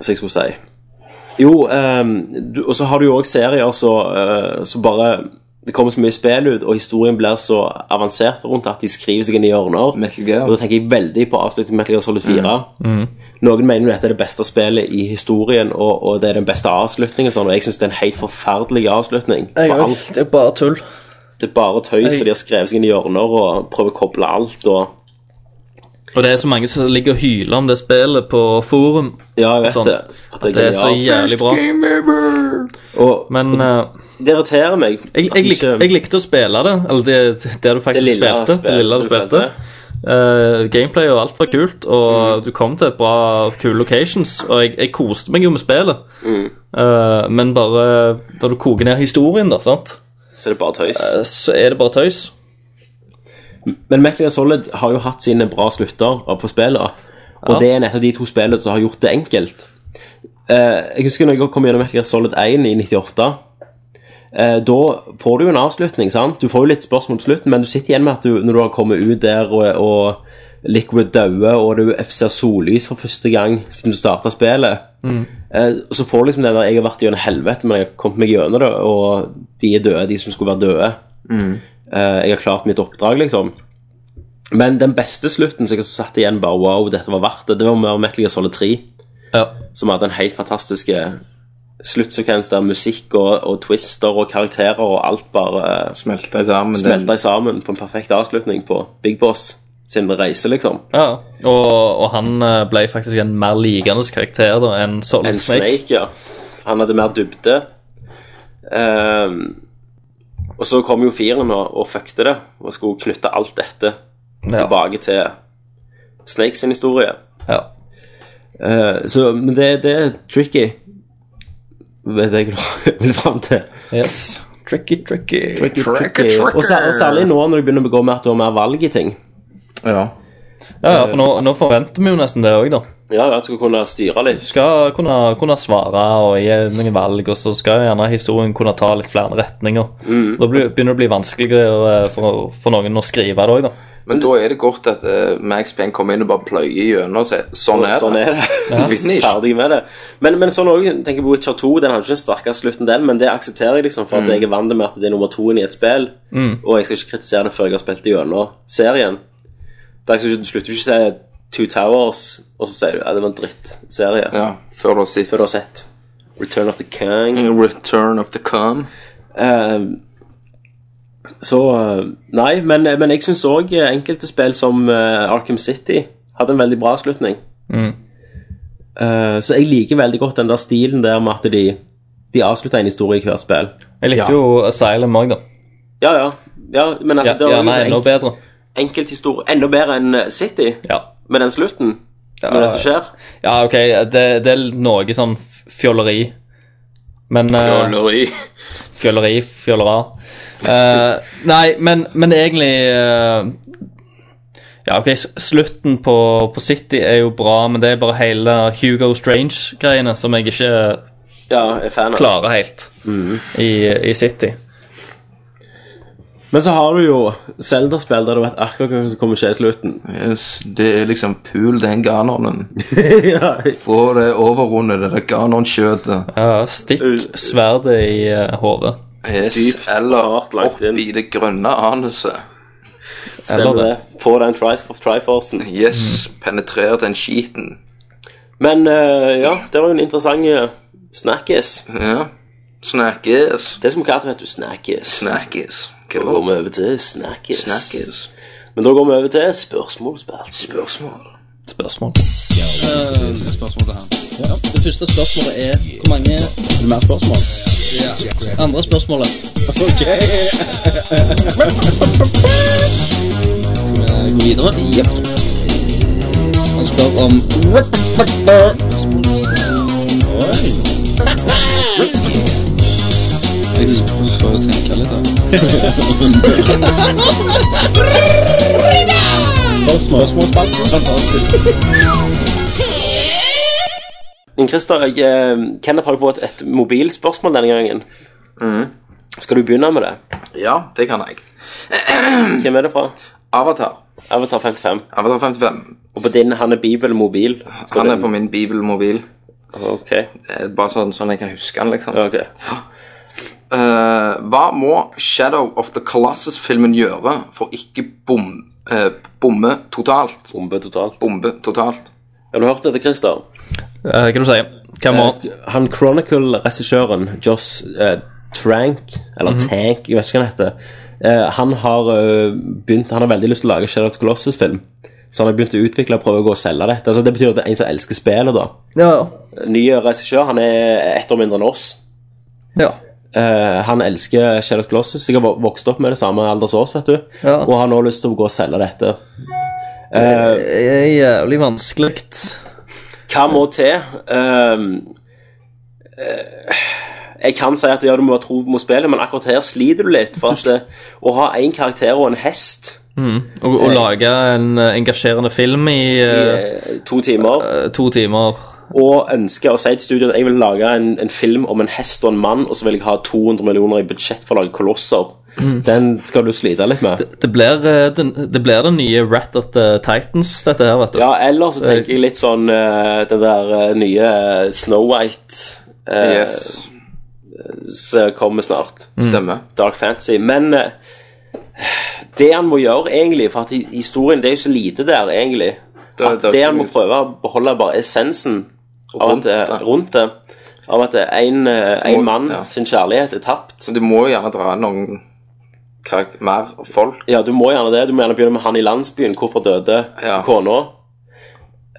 A: Som jeg skulle si Jo, ehm, du, og så har du jo også serier Så, eh, så bare Det kommer så mye spill ut Og historien blir så avansert rundt At de skriver seg inn i hjørner
C: Metal Gear.
A: Og da tenker jeg veldig på avslutning Metal Gear Solid 4 Noen mener jo dette er det beste spillet i historien Og, og det er den beste avslutningen og sånn, Og jeg synes det er en helt forferdelig avslutning på alt.
B: Det er bare tull.
A: Det er bare tøys, og de har skrevet seg inn i hjørner og prøver å koble alt og
B: Og det er så mange som ligger og hyler om det spillet på forum.
A: Ja, jeg vet
B: Sånn.
A: det. At
B: Det er så jævlig bra.
A: Og
B: Men eh,
A: det irriterer meg.
B: jeg,
A: at
B: jeg,
A: de
B: likte,
A: ikke-
B: jeg likte å spille det, eller det, det du faktisk
A: lille
B: spilte.
A: spillet
B: Det lille du
A: du
B: spilte.
A: spilte. Mm.
B: Eh, gameplay og alt var kult, og du kom til bra, kule locations, og jeg, jeg koste meg jo med spillet.
A: Mm.
B: Eh, men bare når du koker ned historien, da, sant,
A: Så er det bare tøys.
B: eh, så er det bare tøys.
A: Men Metal Gear Solid har jo hatt sine bra slutter på spillene. Og
B: Ja.
A: det er nettopp de to spillene som har gjort det enkelt. Eh, jeg husker når jeg kom gjennom Metal Gear Solid 1 i 98. Eh, da får du jo en avslutning, sant? Du får jo litt spørsmål på slutten, men du sitter igjen med at du, når du har kommet ut der og, og Liquid dauer, og du ser sollys for første gang siden du starta spillet, eh, så får du liksom den der 'jeg har vært gjennom helvete, men jeg har kommet meg gjennom det', og de er døde, de som skulle være døde. Eh, jeg har klart mitt oppdrag, liksom. Men den beste slutten som jeg satt igjen bare Wow, dette var verdt det. Det var mer Metal Gear Solid 3,
B: Ja.
A: som hadde en helt fantastisk eh, sluttsekvens der musikk og, og twister og karakterer og alt bare eh,
C: Smelta sammen.
A: smelta sammen på en perfekt avslutning på Big Boss. sin reise, liksom.
B: Ja, og, og han eh, ble faktisk en mer likende karakter da, enn Solid
A: En
B: Snake.
A: Snake, ja. Han hadde mer dybde. Ehm, og så kom jo firen og, og fuckte det, og skulle knytte alt dette
B: Ja.
A: tilbake til Snake sin historie.
B: Ja.
A: Eh, så, men det, det er tricky, det er det jeg vil fram til.
B: Yes. Tricky, tricky.
A: Tricky, tricky. Og særlig, særlig nå når du begynner å begå mer at du har mer valg i ting.
C: Ja.
B: Ja, ja, for nå, nå forventer vi jo nesten det òg, da.
A: Ja, ja, at du skal kunne styre litt.
B: Skal kunne, kunne svare og gi noen valg, og så skal gjerne historien kunne ta litt flere retninger.
A: Mm.
B: Da blir, begynner det å bli vanskeligere eh, for, for noen å skrive det òg, da.
C: Men da er det godt at eh, Max Payne kommer inn og bare pløyer gjennom og sier sånn er det.
A: Sånn er det.
C: Finish.
A: Ferdig med det. Men, men sånn også, tenker på Witcher 2, den hadde ikke den sterkeste slutten, den, men det aksepterer jeg, liksom, for at jeg er vant med at det er nummer toen i et spill, og jeg skal ikke kritisere det før jeg har spilt det gjennom serien. Det er ikke- Du slutter jo ikke å si Two Towers, og så sier du at det var en drittserie,
C: Ja, før du har sett
A: før du har sett Return of the King.
C: Return of the Con.
A: Eh, så eh, Nei, men, men jeg syns òg enkelte spill som eh, Arkham City hadde en veldig bra slutning.
B: Mm.
A: Eh, så jeg liker veldig godt den der stilen der med at de, de avslutter en historie i hvert spill.
B: Jeg likte jo Asylum òg, da.
A: Ja, ja. ja men at
B: Ja,
A: det var jo
B: gjerne
A: en,
B: enda bedre.
A: enkelthistorie enda bedre enn eh, City,
B: Ja.
A: med den slutten. Med det som skjer.
B: ja, OK, det, det er noe sånn f- fjolleri. Men eh,
C: Jolleri.
B: Fjolleri, fjollera. Eh, nei, men, men egentlig eh, Ja, ok, s- slutten på, på City er jo bra, men det er bare hele Hugo Strange-greiene som jeg ikke
A: Ja, jeg er fan av.
B: klarer helt i, i City.
A: Men så har du jo Zelda-spill der du vet akkurat hva som kommer til å skje i slutten.
C: Yes, det er liksom pul den ganonen.
A: ja,
C: Få det overrundet, det der ganon-kjøtet.
B: Ja, stikk sverdet i uh, hodet.
C: Yes,
A: Dypt og
C: eller
A: hardt langt
C: opp i det grønne anuset.
A: stemmer det. Få den tri- Triforcen.
C: Yes,
A: Mm.
C: penetrer den skiten.
A: Men eh, ja, det var jo en interessant eh, snakkis.
C: Ja. Snakkes.
A: Det som vi kalte, vet du, snakkis.
C: Snakkes. Hva
A: Da
C: var
A: går
C: det?
A: vi over til snakkis.
C: Snakkes.
A: Men da går vi over til spørsmålsspill. Spørsmål.
B: Spørsmål.
H: Det første spørsmålet er hvor mange Er det mer spørsmål? Andre spørsmålet. Ok. Skal vi gå videre? Jepp. Han spør om Jeg får tenke litt, da.
A: Men Christer, jeg, eh, Kenneth har jo fått et mobilspørsmål denne gangen. Skal du begynne med det?
C: Ja, det kan jeg.
A: Hvem er det fra?
C: Avatar.
A: Avatar 55.
C: Avatar 55.
A: Og på din han er bibelmobil.
C: Han er på min bibelmobil.
A: Ok.
C: Eh, Bare sånn, sånn jeg kan huske han, liksom.
A: ok.
C: Eh, hva må Shadow of the Colossus-filmen gjøre for ikke bom, eh, bomme totalt?
A: Bombe totalt.
C: Bombe totalt.
A: Har du hørt dette, Christer?
B: Eh, hva du sier Hvem må
A: Eh, Han Chronicle-regissøren Joss eh, Trank, eller
B: Mhm.
A: Tank, jeg vet ikke hva han heter, eh, han har eh, begynt, han har veldig lyst til å lage Shadow of the Colossus-film. Så han har begynt å utvikle og prøve å gå og selge det. Altså, det betyr at det er en som elsker spillet, da.
B: Ja,
A: Ny eh, regissør, han er ett år mindre enn oss.
B: ja.
A: Eh, han elsker Shadow of the Colossus. Jeg har vok- vokst opp med det samme alder som oss, vet du.
B: Ja.
A: Og har nå lyst til å gå og selge dette.
B: Det er jævlig vanskelig.
A: Hva må til? Ehm, eh, jeg kan si at ja, du må være tro mot spillet, men akkurat her sliter du litt. For at det, å ha én karakter og en hest
B: Å å lage en eh, engasjerende film i eh,
A: eh, to timer,
B: eh, to timer
A: og ønske å si til studioet at jeg vil lage en, en film om en hest og en mann, og så vil jeg ha 200 millioner i budsjett for å lage kolosser, den skal du slite litt med.
B: Det blir eh, den, det blir den nye Rat of the Titans, dette her, vet du.
A: Ja, eller så tenker jeg litt sånn eh, den der eh, nye eh, Snow White eh,
C: Yes,
A: som kommer snart.
C: stemmer.
A: Dark Fantasy. Men eh, det han må gjøre, egentlig For at i- historien Det er jo så lite der, egentlig.
C: Det-
A: at
C: det er
A: det
C: ikke
A: han må
C: mye.
A: prøve å beholde, bare essensen av
C: rundt
A: rundt, at,
C: det.
A: det. rundt det. Av at en, eh,
C: må-
A: en mann
C: ja.
A: sin kjærlighet er tapt.
C: Så du må jo gjerne dra noen karak- mer folk.
A: Ja, du må gjerne det. Du må gjerne begynne med han i landsbyen. Hvorfor døde
C: Ja.
A: kona?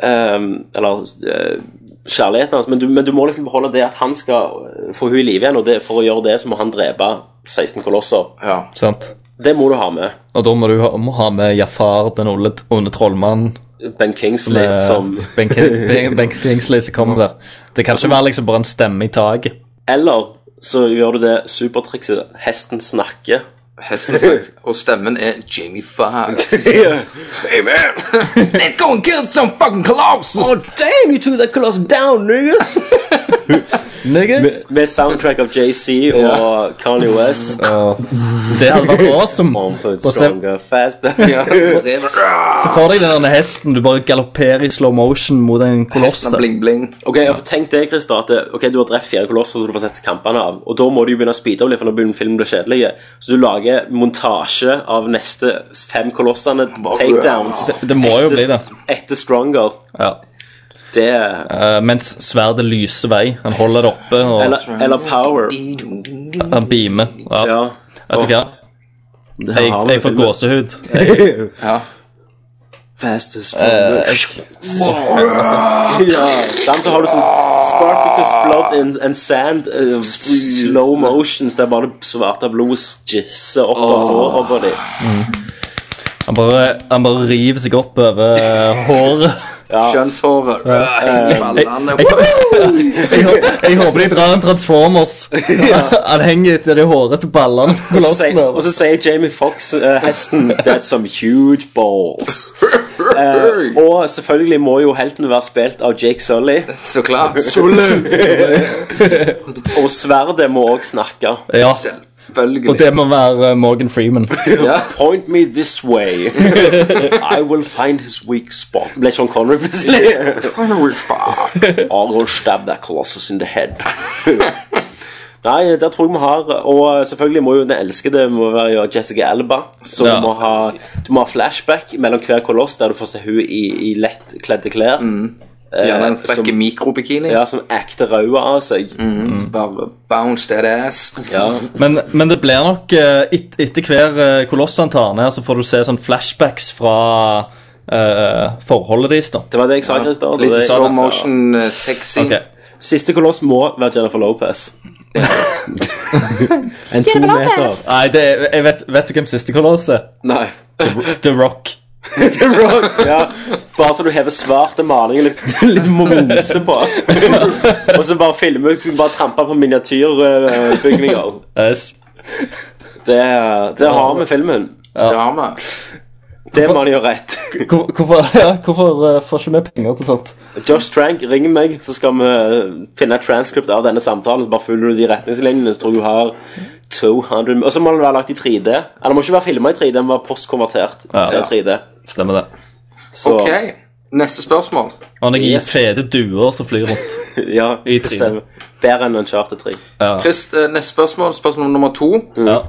A: Ehm, eller eh, kjærligheten hans. Men du, men du må liksom beholde det at han skal eh, få henne i live igjen, og det, for å gjøre det så må han drepe 16 kolosser.
C: Ja.
B: Sant?
A: Det må du ha med.
B: Og da må du ha, må ha med Jafar, den onde, onde trollmannen.
A: Ben Kingsley
B: med
A: som
B: Ben Ki- Ben- Ben Kingsley som kommer der. Det kan ikke være liksom bare en stemme i taket.
A: Eller så gjør du det supertrikset 'Hesten snakker'.
C: Hesten snakker. Og stemmen er Jamie Foxx. hey man, let's go and kill some fucking colossus!
A: Oh, damn, you took that colossal down, niggas!
B: Niggas!
A: Med soundtrack av JC og
C: Ja.
A: Kanye West.
B: Det hadde vært awesome.
A: Mom put
B: Og se-
A: stronger, faster.
C: Ja, så drev han-
B: Se for deg den der hesten du bare galopperer i slow motion mot en koloss.
C: Hesten er Sånn bling bling.
A: Ok, ja, for Tenk det, Christer, at det- ok, du har drept fire kolosser som du får sett kampene av. Og da må du jo begynne å speede opp litt, for nå begynner filmen å bli kjedelig. Så du lager montasje av neste fem kolossene, takedowns,
B: Det må jo bli det.
A: etter Stronger.
B: Ja.
A: Det
B: Eh, mens sverdet lyser vei. Han holder det oppe, og
A: Eller, eller Power.
B: han beamer. Ja.
A: Ja.
B: Vet du hva?
A: Det
B: Jeg,
A: har vi
B: jeg får
A: filmen.
B: gåsehud.
C: Ja.
A: Faster, stronger. ja. Sant, så har du sånn Spartacus blood and, and sand, eh, slow motions, der bare det svarte blod jizzer opp og så over dem.
B: Han bare, han bare river seg opp over eh, håret.
C: Kjønnshåret. Ja, henger i ballene.
B: Jeg, jeg, hå- jeg håper de drar en Transformers. Han henger etter de hårete ballene på
A: Og så sier-
B: kolossen.
A: Og så sier Jamie Fox eh, hesten That's some huge balls. Eh, og selvfølgelig må jo helten være spilt av Jake Sully.
C: Så klart.
A: Og sverdet må òg snakke.
B: Ja,
C: Selvfølgelig.
B: og det må være eh, Morgan Freeman.
C: ja.
A: Point me this way. I will find his weak spot. Ble Sean Connery plutselig? I'll go stab that colossus in the head. Nei, der tror jeg vi har Og selvfølgelig må jo den elskede må være jo Jessica Alba. Så
B: Ja.
A: du, må ha, du må ha flashback mellom hver koloss, der du får se hun i, i lett kledde klær.
C: Mm.
A: Eh,
C: Gjerne en Mm.
A: som-
C: frekk mikrobikini.
A: Ja, Som ekte røde av seg.
C: Bare bounce that ass.
A: Ja.
B: Men, men det blir nok eh, et, Etter hver eh, koloss han tar ned, så får du se sånn flashbacks fra eh, forholdet deres. da
A: Det var det jeg sa, Christer. og
C: Litt
A: det-
C: slow motion eh, sexy.
B: Ok.
A: Siste koloss må være Jennifer Lopez. en to meter.
B: Nei, det, er- jeg vet, vet du hvem siste koloss er?
A: Nei.
B: The Rock.
A: ja. Bare så du hever svarte malinger litt, litt mose på. Og så bare filmer så bare tramper på miniatyrbygninger.
B: Yes.
A: Det, det har vi filmen.
C: Det har vi.
A: Det må han gjøre rett.
B: Hvor, hvorfor ja, hvorfor eh, får ikke vi penger til sånt?
A: Josh Trank, ring meg, så skal vi eh, finne et transcript av denne samtalen. Så bare følger du de retningslinjene, så tror jeg du har 200 Og så må den være lagt i 3D. Eller den må ikke være filma i 3D, den må være postkonvertert til 3D.
B: Stemmer det.
A: Så
C: Ok, neste spørsmål.
B: Han er i
A: Yes.
B: fete duer som flyr rundt.
A: ja,
B: I
A: det stemmer. Bedre enn Uncharted 3.
C: Chris, eh, neste spørsmål, spørsmål nummer to.
B: Ja.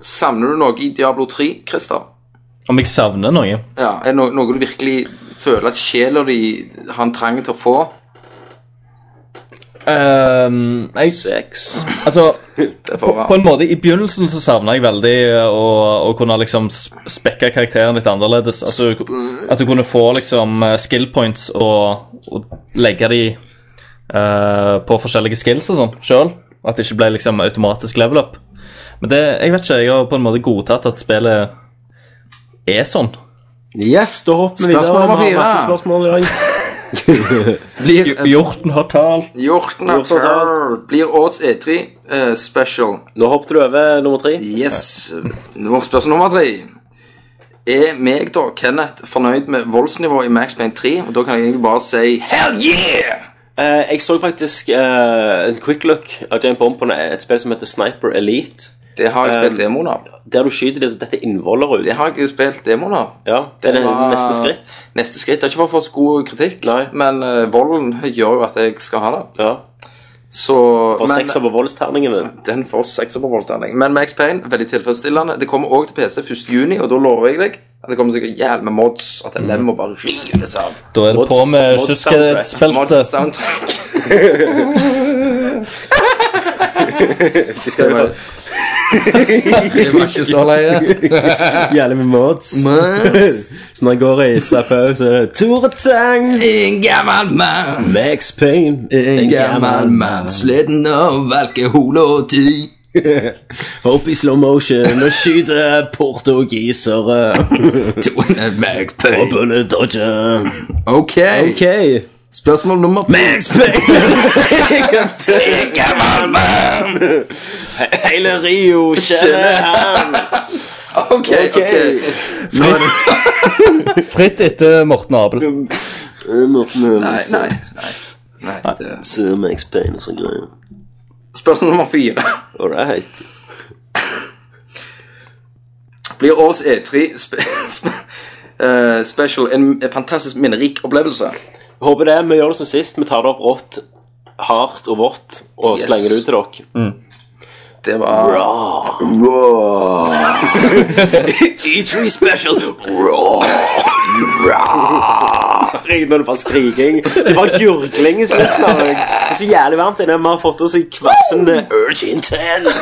C: Savner du noe i Diablo 3, Christer?
B: Om jeg savner noe?
C: Ja, er det no noe du virkelig føler at sjela di har en trang til å få?
B: Ehm, jeg,
A: Sex.
B: altså,
C: Det
B: på,
C: får
B: på
C: være.
B: en måte, I begynnelsen så savna jeg veldig eh, å, å kunne liksom sp- spekke karakteren litt annerledes. At du, at du kunne få liksom eh, skill points og, og legge de eh, på forskjellige skills og sånn sjøl. At det ikke ble liksom automatisk level up. Men det, jeg vet ikke, jeg har på en måte godtatt at spillet er sånn.
A: Yes, da hopper vi videre.
C: Spørsmål nummer
A: Vi har
C: fire.
A: masse spørsmål i dag.
C: Blir eh,
B: Hjorten har talt.
C: Hjorten av
A: Hjorten av
C: Tørr blir årets E3 eh, special.
A: Nå hoppet du over nummer tre.
C: Yes. Nå spørsmål nummer tre. Er meg, da, Kenneth, fornøyd med voldsnivået i Max Payne 3? Og da kan jeg egentlig bare si hell yeah!
A: Eh, jeg så faktisk eh, en quick look av Jane Bomb på et spill som heter Sniper Elite.
C: Det har jeg spilt
A: Um,
C: demoen av.
A: Der du skyter det, så dette innvoller ut.
C: Det har jeg spilt demoen av.
A: Ja, det er det
C: var-
A: neste skritt.
C: Neste skritt Det har ikke fått for så god kritikk,
A: Nei.
C: men eh, volden gjør jo at jeg skal ha det.
A: Ja.
C: Så
A: Og
C: men-
A: seks av voldsterningen din.
C: Den får sekser på voldsterning. Men Max Payne, veldig tilfredsstillende. Det kommer òg til PC 1. juni, og da lover jeg deg at det kommer sikkert jævlig med mods. At det må bare rives av.
B: Da er det
A: Mods-
B: på med
A: mods soundtrack.
B: kyskhetsbeltet.
C: Mods soundtrack. Det var, det var ikke så leie.
A: Jævlig med mods. så når jeg går og reiser på, så er det Tore Tang,
C: En gammel mann,
A: Max Payne,
C: en gammel mann, sliten av alkohol og tid.
A: Hope i slow motion og skyter portugisere
C: Doing a Max
A: og
C: Payne.
A: bullet dodger.
C: Ok,
A: Ok,
C: spørsmål nummer
A: Max Payne!
C: En gammel mann!
A: Hele Rio kjenner han.
C: Ok, ok. Fra det-
B: Fritt etter Morten Abel.
C: Nei, nei, nei. nei det.
A: Ser Max Payne og sånn greier.
C: Spørsmål nummer fire.
A: All right.
C: Blir årets E3 spe spe eh, special en fantastisk minnerik opplevelse?
A: Håper det. Vi gjør det som sist. Vi tar det opp rått, hardt og vått og
C: Yes.
A: slenger det ut til dere.
C: Det var
A: E3 special Ingen når det bare skriking Det var gurgling i slutten av det Det er så jævlig varmt inne Vi har fått oss i kvassen Urgent Inferno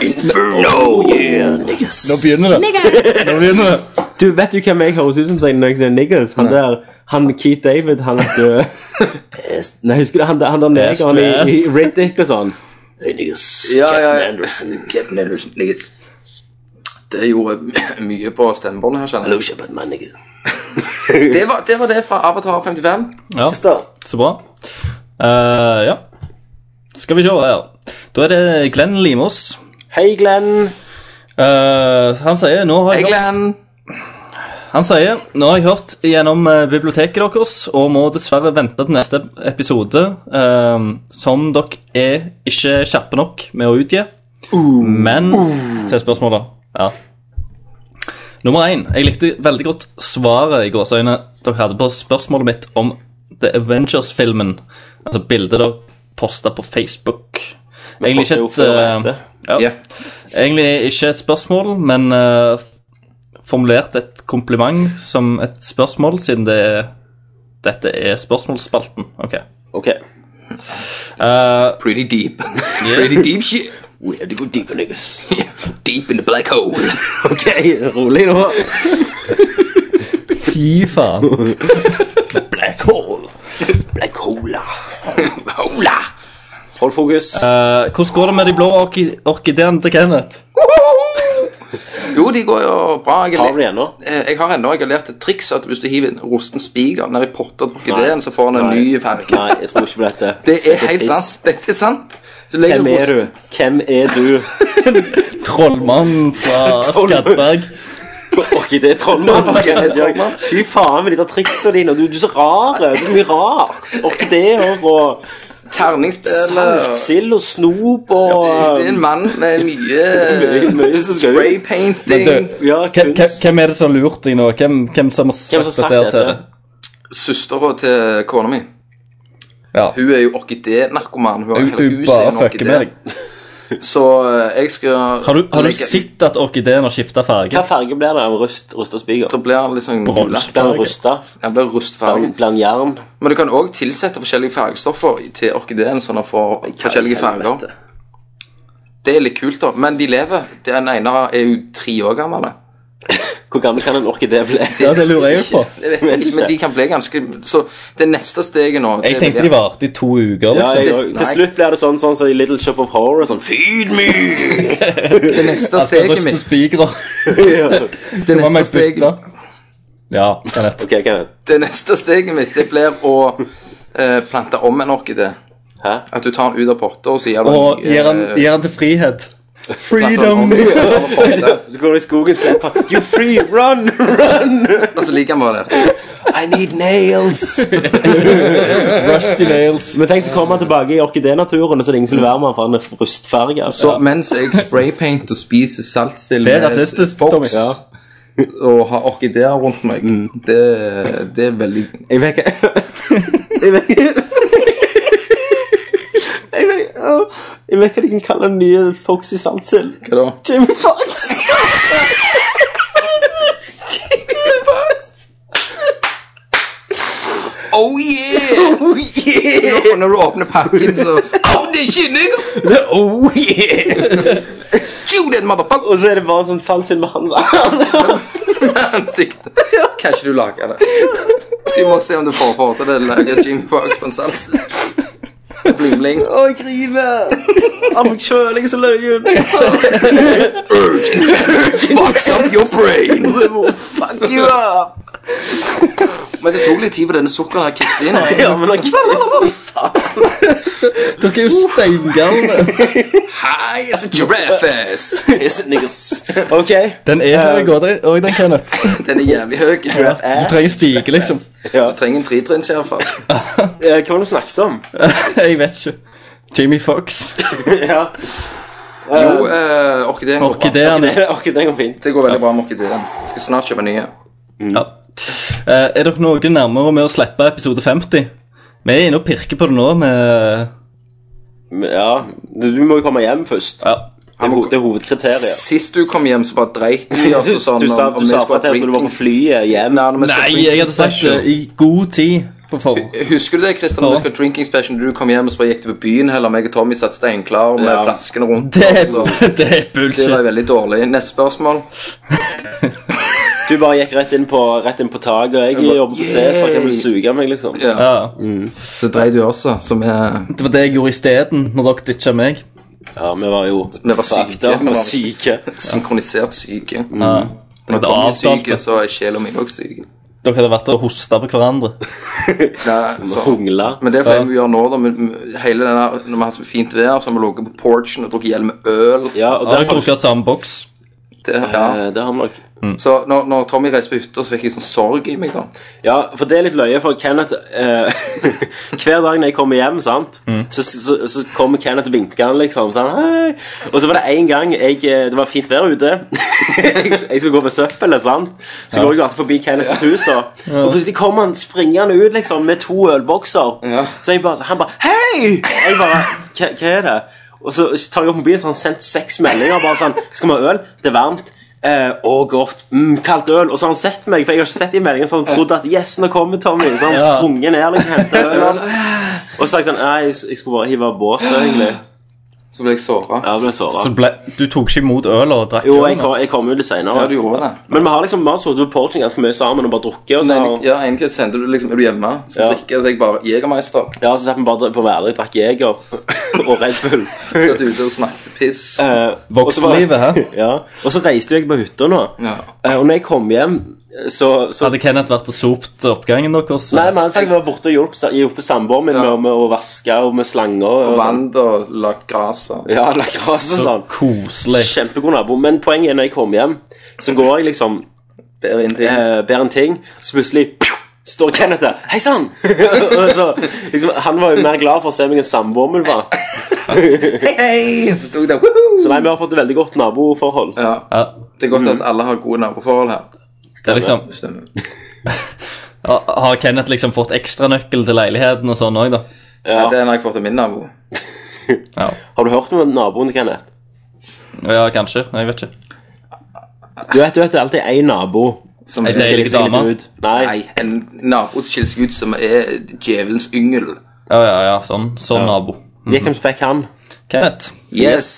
A: yeah, niggas.
B: Nå begynner det. Nå begynner det.
A: Du vet jo hvem jeg høres ut som sier når jeg sier niggas Han der, han Keith David Han er død Nei, husker du han, der- han der negeren i, i Riddick og sånn Hey niggas
C: Ja, ja, ja.
A: Anderson
C: Captain Anderson, niggas. Det gjorde mye på stemmebåndet her, kjenner jeg.
A: Shepard my nigga
C: Det var, det var det fra Avatar 55.
B: Ja, så bra. Eh, ja. Skal vi se her. Da er det Glenn Limås.
A: Hei Glenn
B: Eh, han sier nå har
C: Hei,
B: jeg hørt,
C: Glenn.
B: Han sier nå har jeg hørt gjennom eh, biblioteket deres og må dessverre vente til neste episode, eh, som dere er ikke kjappe nok med å utgi. Men til spørsmålet. Ja. Nummer én. Jeg likte veldig godt svaret i gåseøynene dere hadde på spørsmålet mitt om The Avengers-filmen. Altså bildet dere posta på Facebook. Egentlig
A: poster jo
B: ikke
A: før og
B: et eh,
A: etter.
B: ja.
C: Ja.
B: Egentlig ikke et spørsmål, men eh, formulert et kompliment som et spørsmål, siden det er, dette er spørsmålsspalten. Ok.
A: Ok
B: Eh,
C: Pretty deep. Pretty deep shit.
A: We have to go deeper niggas
C: Deep in the black hole.
A: Ok, rolig nå.
B: Fy faen.
A: Black hole. Black hole.
C: Hola!
A: Hold fokus.
B: Eh, hvordan går det med de blå orki- orkideene til Kenneth?
C: Jo, de går jo bra. Jeg,
A: Har vi
C: le-
A: det nå?
C: eh, jeg har ennå jeg har lært et triks at hvis du hiver en rosten spiker ned i potter og orkideen, så får han en ny farge.
A: Nei, jeg tror ikke på dette.
C: Det er
A: Dette
C: helt
A: piss.
C: sant. Dette er sant. Så legger
A: Hvem er
C: rosten-
A: du? Hvem er du?
B: Trollmannen fra Skadberg.
A: Orkidé-trollmann.
C: Orkidé-trollmann.
A: Fy faen med de der triksene dine. og Du, du er så rar. Du er så mye rart. Orkideer og
C: Terningsspill og-
A: sild og snop
B: Um,
C: Det er
A: og eh,
C: en mann med mye
A: Mye- mye som skal
C: spray
A: ut.
C: painting.
A: Ja,
B: Hvem, hvem-
A: kunst.
B: hvem er det som har lurt deg nå? Hvem, hvem som har
A: Hvem som
B: sagt
A: har sagt
B: dette her
A: dette?
B: til deg?
C: Søstera til kona mi.
B: Ja.
C: Hun er jo orkidé-narkoman. Hun har
B: Hun-
C: hele
B: Hun
C: huset i
B: bare
C: en
B: fucker med
C: orkidé.
B: deg.
C: Så eh, jeg skal
B: Har du, har du
C: legge-
B: sett at orkideen har skifta farge?
A: Hva farge blir det av rust, rusta spiker?
C: Så blir han liksom gula.
B: Bronse.
A: Blir den rusta?
C: Den blir rustfarget.
A: Blir den jern?
C: Men du kan òg tilsette forskjellige fargestoffer i- til orkideen, sånn at den får forskjellige farger.
A: Helvete.
C: Det er litt kult, da. Men de lever. Den ene er jo tre år gammel. da.
A: Hvor gammel kan en orkidé bli?
B: Ja, det lurer jeg jo på.
C: Jeg vet ikke, men de kan bli ganske Så det neste steget nå det
B: Jeg tenkte de
C: vil
B: varte i to uker.
A: Ja,
B: liksom.
A: jeg,
C: det-
A: og- til
C: nei.
A: slutt blir det sånn sånn som i Little Shop of Horror. Sånn, Feed me!
C: Det
B: Alt
C: neste
B: er
C: steget
B: rustne
C: mitt
B: spikere.
C: Det
B: Hva
C: neste
B: med
C: steget
B: bytta? Ja, Kenneth.
A: ok, Kenneth.
C: det neste steget mitt det blir å eh, plante om en orkidé.
A: Hæ?
C: At du tar den ut av potta, og så gir du
B: Og
C: den,
B: gir han,
C: eh,
B: gir han til frihet.
C: planter den
B: Freedom!
C: om i en potte,
A: Så går du i skogen og slipper han, You free, run, run!
C: Og så ligger han bare der.
A: I need nails!
B: Rusty nails.
A: Men tenk så kommer han tilbake i orkidénaturen, og så er det ingen som vil være med han, for han er altså. rustfarga.
C: Så mens jeg spraypainter og spiser saltsild
B: Det er
C: med
B: rasistisk,
C: Fox,
B: Tommy. Ja.
C: og har orkideer rundt meg, det, det er veldig
A: Jeg vet ikke Jeg vet ikke Jeg vet åh, Jeg vet ikke hva de kan kalle den nye Foxy Saltsild.
C: Hva da?
A: Jamie Fox!
C: Oh yeah!
A: Oh, yeah!
C: Og når du åpner pakken, så Au, det er kylling!
A: Oh yeah!
C: Shoot it, motherfucker!
A: Og så er det bare sånn salsin med hans arm.
C: Med ansiktet. Kan ikke du lage det? Du må se om du får for til det. Lage Jimmy Fox på en salse. Bling, bling.
A: Å, jeg griner! Av meg sjøl, jeg er så løyen.
C: Fucks up your brain!
A: Fuck you up!
C: Men det tok litt tid for denne sukkeren her kicket inn.
A: Ja, men da
B: Dere er jo steingamle.
C: Hi, it's a giraffe ass!
A: Is it niggas? Ok.
B: Den er høy òg, den, Kenneth.
C: Den er jævlig høy. Du
B: Du trenger stige, liksom.
A: Ja.
C: trenger en tretrinns i hvert fall.
A: Eh, Hva var det du snakket om?
B: Jeg vet ikke. Jamie Fox.
A: Ja,
C: Jo, eh, orkideen går bra.
B: Orkideene.
A: Orkideen går fint.
C: Det går veldig bra med orkideen. Jeg skal snart kjøpe nye.
B: Ja. Eh, er dere noe nærmere med å slippe episode 50? Vi er inne og pirker på det nå med
A: Men Ja, du du må jo komme hjem først.
B: Ja.
A: Det er ho- det er hovedkriteriet.
C: Sist du kom hjem, så bare dreit du i altså,
A: Du,
C: sånn,
A: du sa,
C: om- om
A: du
C: vi
A: sa
C: skulle
A: fra
C: ha
A: til oss når du var på
C: drinking-
A: flyet hjem.
C: Nei, når vi skal
B: Nei,
C: drinking
B: jeg hadde sagt det
C: special.
B: i god tid på forhånd.
C: Husker du det, Kristian, når
B: Ja.
C: du skal drinking special Når du kom hjem, så bare gikk du på byen Heller meg og Tommy satt steinklar med
A: Ja.
C: flaskene rundt
B: Det
C: oss, og
B: er, det er
C: det var
B: bullshit.
C: veldig dårlig Neste spørsmål
A: Du bare gikk rett inn på, rett inn på taket, og jeg,
C: bare,
A: jobber på Cæsar, kan du
C: yay!
A: suge av meg, liksom?
C: Ja,
B: Ja.
C: det dreit du også Som er
B: Det var det jeg gjorde isteden, når dere ditcha meg.
A: Ja, vi var jo
C: Vi var syke.
A: fucked up, Vi var syke.
C: synkronisert syke
B: Ja.
C: Når
B: Det
C: Tommy er
B: avtalte.
C: syke, så er sjelen min også syk
B: Dere hadde vært og hosta på hverandre.
C: Nei, så
A: Hungla.
C: men det er det vi gjør nå da men- men Hele den her, når vi har så fint vær Så har vi ligget på porchen og drukket hjelm med øl
A: Ja, og
B: Har
A: der
B: dere drukket samme boks?
C: det, ja.
A: Eh, Det har vi nok.
C: Så når, når Tommy reiser på hytta Så fikk jeg sånn sorg i meg da
A: Ja, for det er litt løye, for Kenneth eh, Hver dag når jeg kommer hjem, sant, så, så, så kommer Kenneth og vinker han, liksom. Sånn, hei. Og så var det en gang jeg, eh, Det var fint vær ute. jeg, jeg skulle gå med søppelet, sant. Så går jeg jo alltid forbi Kenneths hus, da. Og plutselig kommer han springende ut liksom med to ølbokser. Så jeg bare, så han bare Hei! Og jeg bare Hva hva er det? Og så tar jeg opp mobilen, så har han sendt seks meldinger. Bare sånn Skal vi ha øl? Det er varmt. Eh, å, godt. Mm, kaldt øl. Og så har han sett meg, for jeg har ikke sett de meldingene, så han trodde at yes, nå kommer Tommy. Så har han
B: Ja.
A: sprunget ned liksom, hentet øl. Og så sa jeg sånn Nei, jeg, jeg skulle bare hive av båset, egentlig.
C: Så ble jeg såret
A: Ja, jeg ble såret.
B: Så ble, du tok ikke imot øl og drakk
A: Jo,
B: øl,
A: jeg,
B: da?
A: kom- jeg kom jo litt
C: Ja,
A: seinere.
C: du gjorde det
A: Men vi har liksom vi har sittet på porchen ganske mye sammen og bare drukket. Og så,
C: Nei,
A: har-
C: ja, egentlig sendte du liksom Er du hjemme? Så
A: Ja.
C: drikker jeg, så jeg bare Jegermeister.
A: ja, så satt vi bare på hverdag, drakk Jeger og Red Bull.
C: Så satt ute og snakket piss.
A: Eh, og så bare-
B: Voksenlivet, hæ?
A: Ja. Og så reiste jo jeg på hytta nå.
C: Ja.
A: Eh, og når jeg kom hjem, så, så
B: Hadde Kenneth vært og sopt oppgangen deres?
A: Nei, men han fikk være borte og hjelpe, hjelpe samboeren min med, med å vaske og med slanger. Og, sånn.
C: Og vant og lagt gras og
A: Ja, lagt gras og
B: Så
A: sånn.
B: koselig.
A: Kjempegod nabo. Men poenget er når jeg kom hjem, så går jeg liksom
C: bedre inn til.
A: eh, ber en ting, så plutselig pju, står Kenneth der. Hei sann! Og så, liksom, han var jo mer glad for å se meg enn samboeren min var.
C: Hei, hei! Så sto jeg der. Woohoo!
A: Så Mm. nei, vi har fått et veldig godt naboforhold.
C: Ja.
B: Ja,
C: Det er godt at alle har gode naboforhold her.
B: det er liksom,
C: Stemmer.
B: har Kenneth liksom fått ekstranøkkel til leiligheten og sånn òg, da?
C: Ja. Det er når jeg får til min nabo.
A: Har du hørt om naboen til Kenneth?
B: Ja, kanskje. Jeg vet ikke.
A: Du vet, du vet det er alltid én nabo.
C: Som
B: Er det
A: som
B: deilig?
C: er,
A: skiller seg litt
B: dame?
A: ut. Nei.
C: nei, en nabo som skiller seg ut som er djevelens yngel.
B: Ja, ja, ja, sånn, sånn nabo.
A: Gikk hvem som fikk han.
B: Kenneth.
C: Yes.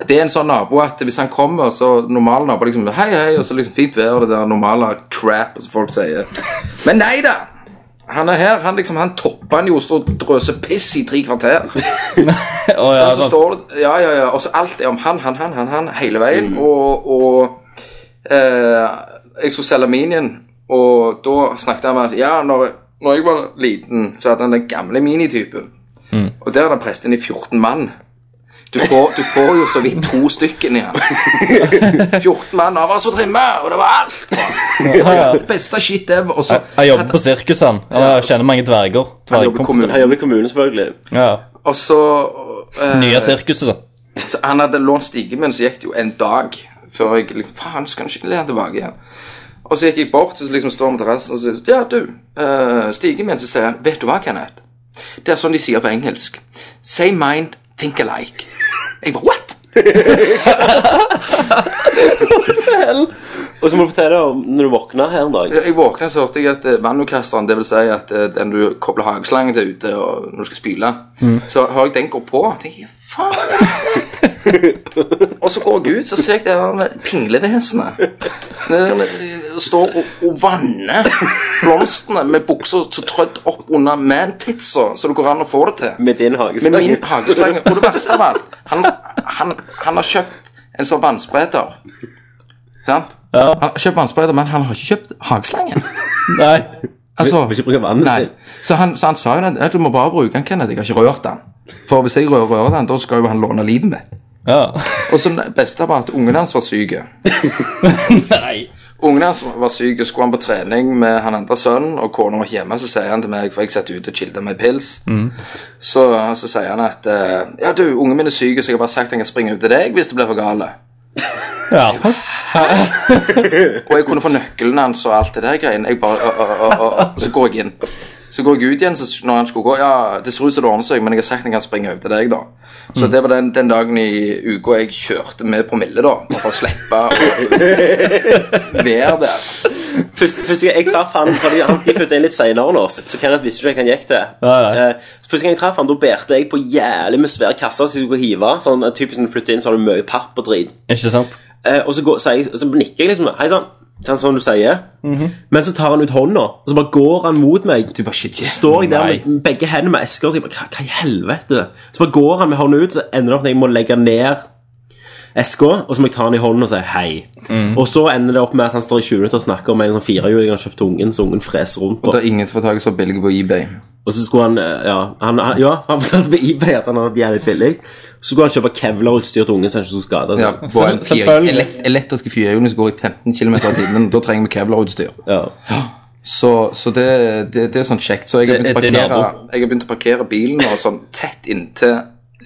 C: Det er en sånn nabo at hvis han kommer, så normal nabo liksom Hei, hei, og så liksom fint vær og det der normale crap som folk sier. Men nei da! Han er her, han liksom, han topper han jo og står og drøser piss i tre kvarter. Sånn,
B: Å, ja,
C: Så
B: sant.
C: står det, ja, ja, ja, og så alt er om han, han, han, han, han hele veien. Og, og eh, jeg skulle selge minien, og da snakket han med at ja, når, når jeg var liten, så hadde han den gamle minitypen. Og der hadde han presset inn i 14 mann. Du får, du får jo så vidt to stykken i han. 14 mann, og han var så trimme, og det var alt. Det var det beste shit ever. Og så,
B: Jeg jobber på sirkus, han. Ja, Jeg kjenner mange dverger.
C: Han jobber i
B: Dvergkompiser.
A: Han jobber i kommunen, selvfølgelig.
B: Ja.
C: og så eh,
B: Nye sirkuset, da.
C: Så han hadde lånt stigen min, så gikk det jo en dag før jeg liksom Faen, skal han ikke lære tilbake igjen? Og så gikk jeg bort, og så liksom står han på terrassen og så sier Ja, du, eh, stigen min, så sier han Vet du hva, Kenneth? Det er sånn de sier på engelsk. Say mind, think alike. Jeg bare What?!
A: Og så må du fortelle om når du våkner her en dag.
C: Jeg våkna så hørte jeg at eh, vannokasteren, det vil si at eh, den du kobler hageslangen til ute og når du skal spyle, så hører jeg den gå på. Jeg tenker, faen! og så går jeg ut, så ser jeg det der med pinglevesenet. Det- det Står og, og vanner blomstene med buksa så trødd opp under mantitsa, så det går an å få det til.
A: Med din
C: Med
A: hageslange.
C: min hageslange. Og det verste av alt, han, han, han har kjøpt en sånn vannspreder. Sant? Han har kjøpt vannspreder, men han har ikke kjøpt hageslangen.
B: Nei.
C: Altså,
A: Vil ikke bruke vannet
C: nei.
A: sitt.
C: Så han, så han sa jo at du må bare bruke den, Kenneth. Jeg har ikke rørt den. For hvis jeg rører, rører den, da skal jo han låne livet mitt.
B: Ja.
C: Og så det beste var at ungen hans var syke.
B: Nei.
C: Ungen hans var syk, og skulle han på trening med han andre sønnen, og kona var ikke hjemme, så sier han til meg, for jeg satt ute og chillet med pils, så, så sier han at eh, ja, du, ungen min er syk, så jeg har bare sagt at han kan springe ut til deg hvis det blir for gale.
B: Ja.
C: Og jeg kunne få nøkkelen hans og alt det der greiene. Jeg bare, å, å, å, å, og så går jeg inn. Så går jeg ut igjen så s- når han skulle gå. Ja, det ser ut som det ordner seg, men jeg har sagt at jeg kan springe over til deg, da. Så det var den, den dagen i uka jeg kjørte med promille, da. Bare for å slippe å være der.
A: Først, første gang jeg traff han fordi han de flyttet inn litt senere enn oss, så Kenneth visste ikke hvem han gikk til.
B: Nei, nei.
A: Eh, Så Første gang jeg traff han, da bærte jeg på jævlig med svære kasser som jeg skulle hive. Sånn, eh, typisk når du flytter inn, så har du mye papp og drit.
B: Ikke sant?
A: Eh, Og så, går, sier, jeg- så nikker jeg liksom Hei sann, sånn som du sier. Men så tar han ut hånda, og så bare går han mot meg.
C: Mhm. Du bare shit,
A: Så
C: shit.
A: står jeg der med begge hendene med esker, og så jeg bare, hva, hva i helvete? Så bare går han med hånden ut, så ender det opp med at jeg må legge ned eska, og så må jeg ta han i hånden og si hei.
C: Mhm.
A: Og så ender det opp med at han står i 20 minutter og snakker om en sånn firehjuling han har kjøpt til ungen, så ungen freser rundt på.
C: Det er ingen som får tak i så billig på eBay.
A: Og så skulle han, eh, ja, han, han, ja, han fortalte på eBay at han hadde vært jævlig billig. Så skulle han kjøpe kevlarutstyr til ungen, så han ikke skulle skade
C: Ja,
A: seg.
C: på en fire-
B: selvfølgelig.
C: elekt- elektriske firehjuling som går i 15 km i timen. Da trenger vi kevlarutstyr.
A: Ja.
C: Så, så det, det, det er sånn kjekt. Så jeg har
B: Det-
C: begynt å
B: det er
C: parkere,
B: nabo.
C: jeg har begynt å parkere bilen nå sånn tett inntil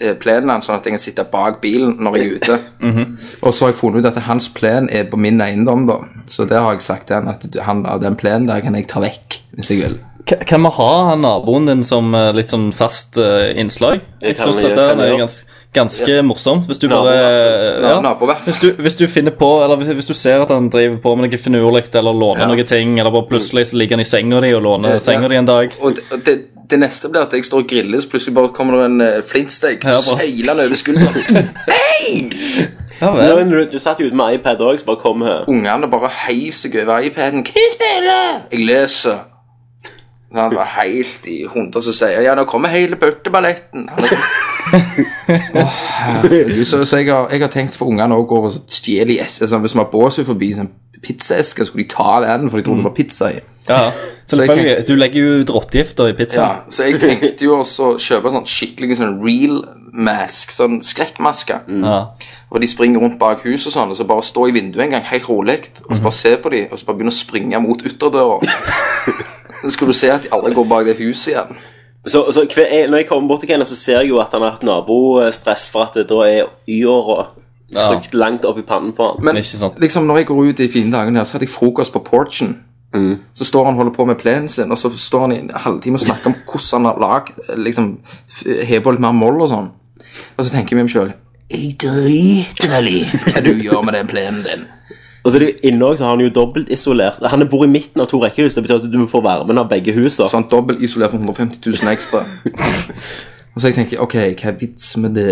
C: eh, plenen hans, sånn at jeg kan sitte bak bilen når jeg er ute.
B: Mhm.
C: Og så har jeg funnet ut at hans plen er på min eiendom, da. Så der har jeg sagt til han at du- han, av den plenen der kan jeg ta vekk hvis jeg vil.
B: K kan vi ha han naboen din som eh, litt sånn fast eh, innslag? Jeg
A: kan
B: syns
A: vi-
B: dette
A: kan vi
B: er
A: gjøre.
B: ganske, ganske morsomt. Hvis du
A: Nabo,
B: bare
A: altså.
B: ja,
C: Nabovers.
B: hvis, du, hvis du finner på, eller hvis, hvis du ser at han driver på med noe finurlig eller låner
C: Ja.
B: noen ting, eller bare plutselig så ligger han i senga di og låner
C: Ja.
B: senga di en dag
C: Og det, og det, det neste blir at jeg står og griller, så plutselig bare kommer det en eh, flintsteik
B: Ja, bare-
C: seilende over skulderen.
B: Ja vel.
A: Men Du, du satt jo ute med iPad òg, så bare kom her.
C: Ungene bare heiv seg over iPaden. 'Hva spiller?' Jeg leser. Så han var helt i hundre som sier jeg, 'ja, nå kommer hele bøtteballetten'. Han er- Åh, herregud. så så jeg, har, jeg har tenkt for ungene òg over å stjele i esker. Sånn, hvis vi har bås forbi en pizzaeske, skulle de ta den, for de trodde det var pizza i.
B: Ja, selvfølgelig.
C: tenker-
B: Du legger jo ut rottegifter i
C: Ja,
B: pizzaen.
C: så jeg tenkte jo også å kjøpe sånn skikkelig sånn real mask, sånn skrekkmaske.
B: Ja.
C: Og de springer rundt bak huset og sånn, og så bare stå i vinduet en gang helt rolig, og så bare se på de, og så bare begynne å springe mot ytterdøra. så skal du se at de alle går bak det huset igjen.
A: Så, så hver, jeg, når jeg kommer bort til Kenneth, så ser jeg jo at han har hatt nabostress for at det da er y-åra trykt langt opp i pannen på han.
C: Men
B: Ikke sant.
C: liksom når jeg går ut de fine dagene her, så hadde jeg frokost på porchen. Så står han og holder på med plenen sin, og så står han i en halvtime og snakker om hvordan han har lagd liksom, f- Hever litt mer moll og sånn. Og så tenker jeg med meg sjøl Jeg driter vel i hva du gjør med den plenen din.
A: Og så er det jo inne også, så har han jo dobbelt isolert. Han bor i midten av to rekkehus. Det betyr at du må få varmen av begge husene.
C: Sånn dobbelt isolert for 150 000 ekstra. Og så jeg tenker ok, hva er vits med det?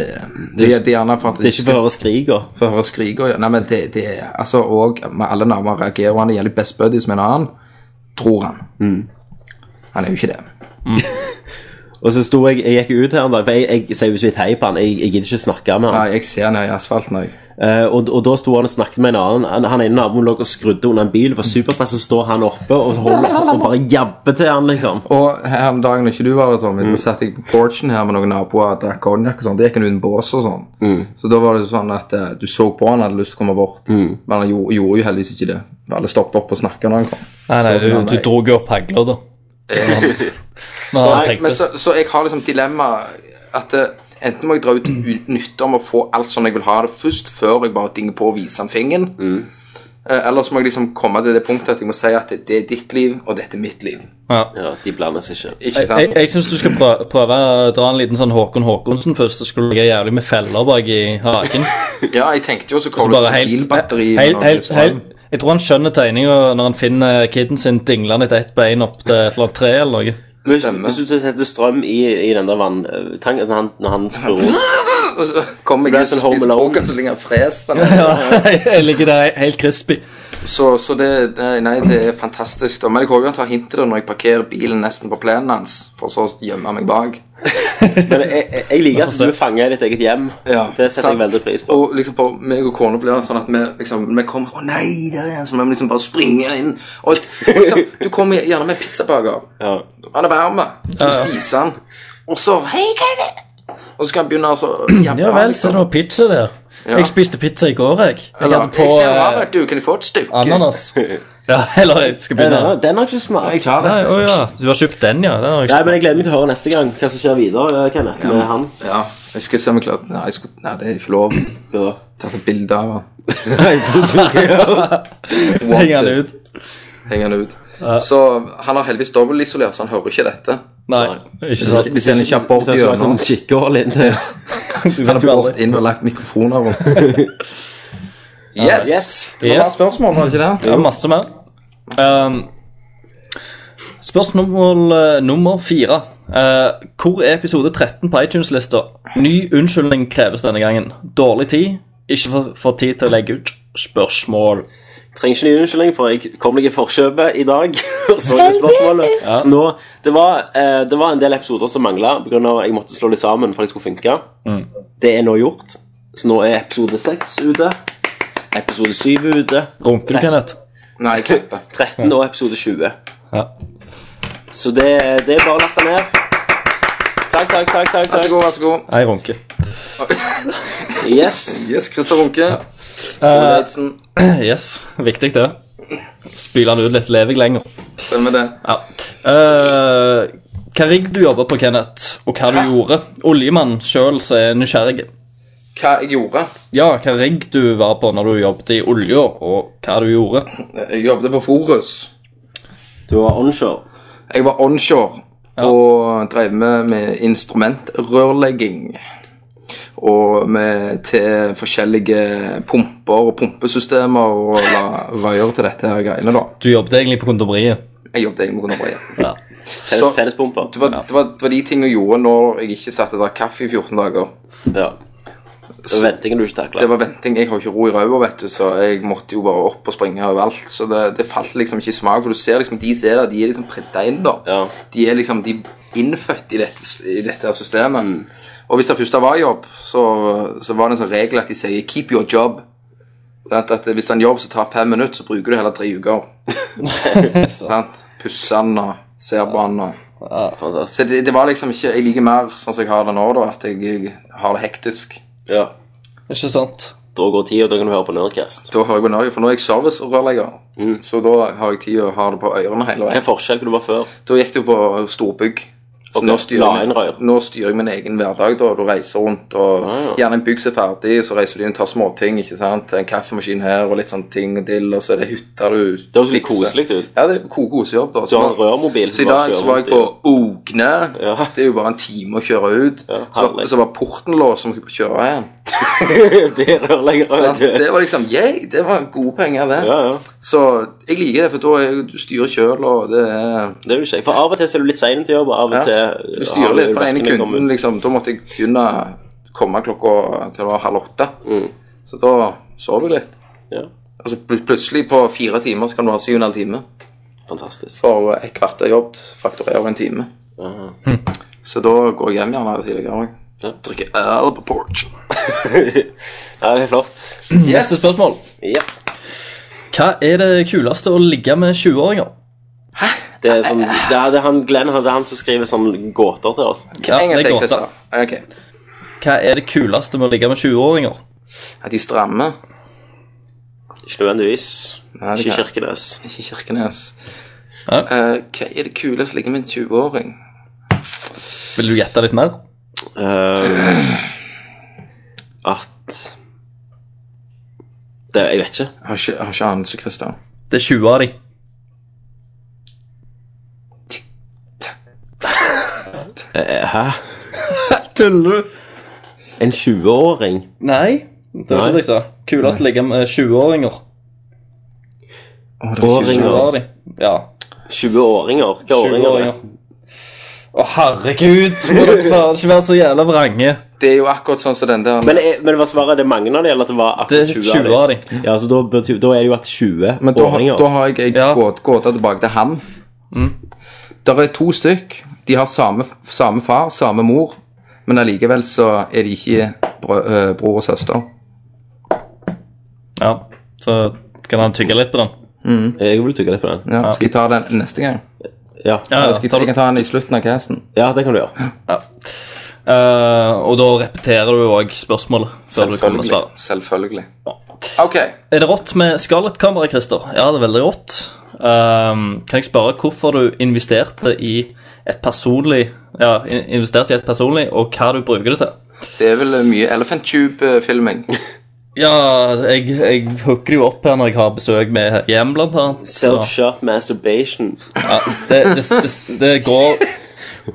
C: Det er, det er gjerne for at
A: Det er ikke for å høre skrika.
C: for å høre skrik og Nei, men det, det er altså Og med alle navnene reagerer han. Det gjelder Best Buddy som en annen, tror han.
A: Mm.
C: Han er jo ikke det.
A: Og så sto jeg, jeg gikk ut her en dag, for jeg, jeg sier jo så vidt hei på han. Jeg, jeg gidder ikke snakke med han.
C: Nei, jeg ser han her i asfalten òg.
A: Eh, og, og da sto han og snakket med en annen. Han, han ene naboen lå og skrudde under en bil, for superstress, så står han oppe og holder opp og bare jabber til han, liksom.
C: Og her om dagen når ikke du var der,
A: Mm.
C: Tommy, da satt jeg på porchen her med noen naboer og drakk konjakk og sånn. Da gikk han uten bås og sånn.
A: Mm.
C: Så da var det sånn at eh, du så på han hadde lyst til å komme bort.
A: Mm.
C: Men han gjorde, gjorde jo heldigvis ikke det. Alle stoppet opp og snakket når han kom.
B: Nei, nei,
C: Så- eh,
B: du, du dro jo opp hagla, da. Nå,
C: Nei, men så, så jeg har liksom dilemma at eh, enten må jeg dra ut u- nytte om å få alt som jeg vil ha det først, før jeg bare dinger på og viser han fingeren.
A: Mm.
C: Eh, Eller så må jeg liksom komme til det punktet at jeg må si at det, det er ditt liv, og dette er mitt liv.
B: ja.
A: Ja, de blander seg ikke.
C: Ikke
B: Jeg,
C: sant?
B: jeg syns du skal prøve, prøve å dra en liten sånn Håkon Håkonsen først. Så skal du ligge jævlig med feller bak i hagen.
C: Ja, jeg tenkte jo så
B: Så
C: kommer
B: bare
C: det et
B: helt,
C: bilbatteri
B: helt, helt, helt, Jeg tror han skjønner tegninga når han finner kiden sin dinglende etter ett bein opp til et eller annet tre eller noe.
A: Hvis,
C: Stemmer.
A: hvis du setter strøm i, i den der vanntanken når han, når han skrur rundt
C: Og så kommer
A: det er
C: jeg
A: sånn
C: ut og
A: Home
C: spiser
A: Alone.
C: frokost så lenge han freser den.
B: jeg ligger der helt crispy.
C: Så, så det, det- nei, det er fantastisk. Da. Men jeg håper jo han tar hintet da når jeg parkerer bilen nesten på plenen hans, for så å gjemme meg bak.
A: Men jeg, jeg, jeg liker at du er fanget i ditt eget hjem.
C: Ja,
A: det setter
C: sant.
A: jeg veldig pris på.
C: Og liksom på meg og kona blir sånn at vi liksom Vi kommer Å nei, der er han! Så må vi liksom bare springe inn. Og, og liksom, du kommer gjerne med pizzabaker.
A: Ja.
C: Han er varm. Du spiser han. Og så Hei, hva er det? Og så skal han begynne å så jabbe.
B: Ja vel, så er det noe pizza der.
C: Ja.
B: Jeg spiste pizza i går, jeg. Jeg
C: Eller,
B: hadde på
C: jeg kjenner av,
B: eh,
C: vet du, kan jeg få et stykke?
B: ananas. Ja, eller jeg skal
A: Den,
B: begynne.
A: har- den har ikke smakt.
C: Jeg tar
B: Nei,
C: det.
B: Å ja, du har kjøpt den, ja. Den har jeg
A: Nei,
B: ikke.
A: men Jeg gleder meg til å høre neste gang hva som skjer videre. eh, Kenneth, med han.
C: Ja, jeg skal se om jeg klarer Nei, jeg skulle, nei det er ikke lov.
A: Ja.
C: Tatt et bilde av han.
B: Henger den ut?
C: Henger han ut. Så han har heldigvis dobbeltisolert, så han hører ikke dette.
B: Nei, ikke sant.
C: Hvis han ikke har bort
A: Så
C: i
A: det er sånn
C: øynene.
A: kikkehull inn til
B: Du vet
C: Du
B: jo
C: har
B: aldri.
C: gått inn og lagt mikrofoner rundt. Yes. Det
B: Yes.
C: var bare spørsmål, var det ikke det?
B: Det er masse mer. Ehm, spørsmål eh, nummer fire. Eh, hvor er episode 13 på iTunes-lista? Ny unnskyldning kreves denne gangen. Dårlig tid. Ikke for, for tid til å legge ut spørsmål.
A: Trenger ikke ny unnskyldning, for jeg kom meg i forkjøpet i dag. og så det spørsmålet. Så nå, det var, eh, det var en del episoder som mangla pga. at jeg måtte slå dem sammen for at de skulle funke. Det er nå gjort. Så nå er episode seks ute. Episode syv er ute.
B: Runker du, Kenneth?
C: Nei, jeg klipper.
A: 13 og episode 20.
B: Ja.
A: Så det, det er bare å laste ned. Takk, takk, takk. takk,
C: Vær så
A: takk.
C: god, vær så god.
B: Jeg runker.
A: Yes.
C: Yes, Christer Runke. Frode
B: Eh,
C: Eidsen.
B: Yes, viktig det. Spyle den ut litt, lever jeg lenger.
C: Stemmer det.
B: Ja. Eh, hva rigg du jobber på, Kenneth, og hva du gjorde? Oljemann sjøl som er nysgjerrig.
C: Hva jeg gjorde?
B: Ja, hva rigg du var på når du jobbet i olja, og hva du gjorde?
C: Jeg jobbet på Forus.
A: Du var onshore.
C: Jeg var onshore og drev med, med instrumentrørlegging. Og med til forskjellige pumper og pumpesystemer og la rør til dette her greiene, da.
B: Du jobbet egentlig på kondomeriet.
C: Jeg jobbet egentlig med kondomeriet.
B: Ja.
A: Felles-
C: Så det
A: Fellespumper.
C: var, det, var, det var de tingene jeg gjorde når jeg ikke satt og drakk kaffe i 14 dager.
A: Ja. Det var ventingen du ikke takla.
C: Det var venting. Jeg har ikke ro i ræva, vet du, så jeg måtte jo bare opp og springe overalt. Så det, det falt liksom ikke i smak, for du ser liksom de som er der, de er liksom printa inn, da.
A: Ja.
C: De er liksom de er innfødt i dette, i dette her systemet. Og hvis det først var jobb, så, så var det en sånn regel at de sier 'keep your job'. Sant? At hvis det er en jobb som tar fem minutter, så bruker du heller tre uker. Sant? Pusser den og ser på den og
A: Fantastisk.
C: Så det, det var liksom ikke Jeg liker mer sånn som jeg har det nå, da, at jeg, jeg har det hektisk.
A: Ja.
B: Ikke sant?
A: Da går tida, da kan du høre på Nerdcast.
C: Da har jeg på Norge, for nå er jeg servicerørlegger. Så da har jeg tid å ha det på ørene hele
A: Hva
C: veien.
A: er forskjellen du var før?
C: Da gikk det jo på storbygg. Så
A: Ok,
C: nå, styrer
A: la inn rør.
C: jeg, nå styrer jeg min egen hverdag, da. Du reiser rundt, og
A: Ah, ja.
C: gjerne en bygg som er ferdig, så reiser du inn og tar småting. ikke sant? En kaffemaskin her og litt sånne ting og dill, og så er det hytta du fikser.
A: Det høres litt koselig ut.
C: Ja, det er ko- kosejobb, da.
A: Du har en rørmobil.
C: Så i
A: som bare
C: dag så
A: kjører
C: var jeg
A: rundt
C: på
A: i-
C: Ogne.
A: Ja.
C: Det er jo bare en time å kjøre ut.
A: Ja,
C: så,
A: herlig.
C: så var porten låst, så måtte jeg på kjøre igjen.
A: Det er rørleggere.
C: Sant?
A: vet du.
C: Det var liksom Yeah, det var gode penger, det.
A: Ah, Ja, ja.
C: Så jeg liker det, for da er, du styrer kjøl, og det er
A: Det er jo kjekt. For av og til så er du litt sein til jobb, og av og til
C: ja, Du styrer litt, for den ene
A: Vaktene kommer
C: kunden
A: ut.
C: liksom, Da måtte jeg begynne komme klokka hva det var, halv åtte.
A: Mm.
C: Så da sov jeg litt.
A: Ja.
C: Altså pl plutselig, på fire timer, så kan du ha syv og en halv time.
A: Fantastisk.
C: For et kvarter jobb fakturerer en time.
B: Mm.
C: Så da går jeg hjem gjerne tidligere òg.
A: Ja.
C: Drikker øl på porch.
A: Ja, det er flott.
C: Yes.
B: Neste spørsmål.
A: Ja.
B: Hva er det kuleste å ligge med 20-åringer?
A: Det er, sånn, det er, det er han Glenn han- det er han som skriver sånne gåter til oss.
B: Ja,
C: en
B: det
C: gang
B: er
C: til,
B: godt,
C: Christer.
B: da.
C: Ok.
B: Hva er det kuleste med å ligge med 20-åringer?
C: At de strammer.
A: Ikke nødvendigvis.
C: Nei, det
A: Ikke i
C: kan-
A: Kirkenes.
C: Ikke Kirkenes.
B: Ja.
C: Eh, hva er det kuleste å ligge med en 20-åring?
B: Vil du gjette litt mer?
A: Eh, at det, Jeg vet ikke.
C: Har ikke, har ikke anelse, Christian.
B: Det er 20 av de.
A: Eh, Hæ?
B: Tuller du?
A: En 20-åring?
B: eh, Nei. Det var ikke det jeg sa. Kulest å ligge med 20-åringer.
A: Åringer.
B: Var de? Ja.
A: 20-åringer. Hva åringer er det?
B: 20-åringer. Å, herregud! Må dere faen ikke være så jævla vrange.
C: Det er jo akkurat sånn som den der
A: Men, er- men var svaret det mange av de, eller at det var
B: Det
A: akkurat 20,
B: er 20
A: av
B: av
A: de?
B: de.
A: Ja, så da, betyr, da er det jo at 20
C: Men da,
A: åringer
C: da har jeg ei
B: Ja. Mm.
C: gåte gåte tilbake til han. Der er to stykk. De har samme, samme far, samme mor, men allikevel så er de ikke brø, eh, bror og søster.
B: Ja, så kan han tygge litt på den.
A: Jeg vil tygge litt på den.
C: Ja. Skal jeg ta den neste gang?
A: Ja.
B: Ja,
C: Eller
B: ja,
C: skal jeg,
B: tar
C: jeg
B: du,
C: kan ta den i slutten av casten.
A: ja, det kan du gjøre.
B: ja. Eh, og da repeterer du òg spørsmålet. før du kommer med
C: Selvfølgelig.
B: svaret.
C: Selvfølgelig. OK.
B: Er det rått med Scarlett-kamera, Christer? Ja, det er veldig rått. Ehm, kan jeg spørre hvorfor du investerte i et personlig Ja, in- investerte i et personlig, og hva du bruker det til?
C: Det er vel mye Elephant Tube-filming.
B: Ja, jeg, jeg hooker det jo opp her når jeg har besøk med hjem, blant annet. så-
A: Self-shot masturbation.
B: Ja, det, det, det, det, går,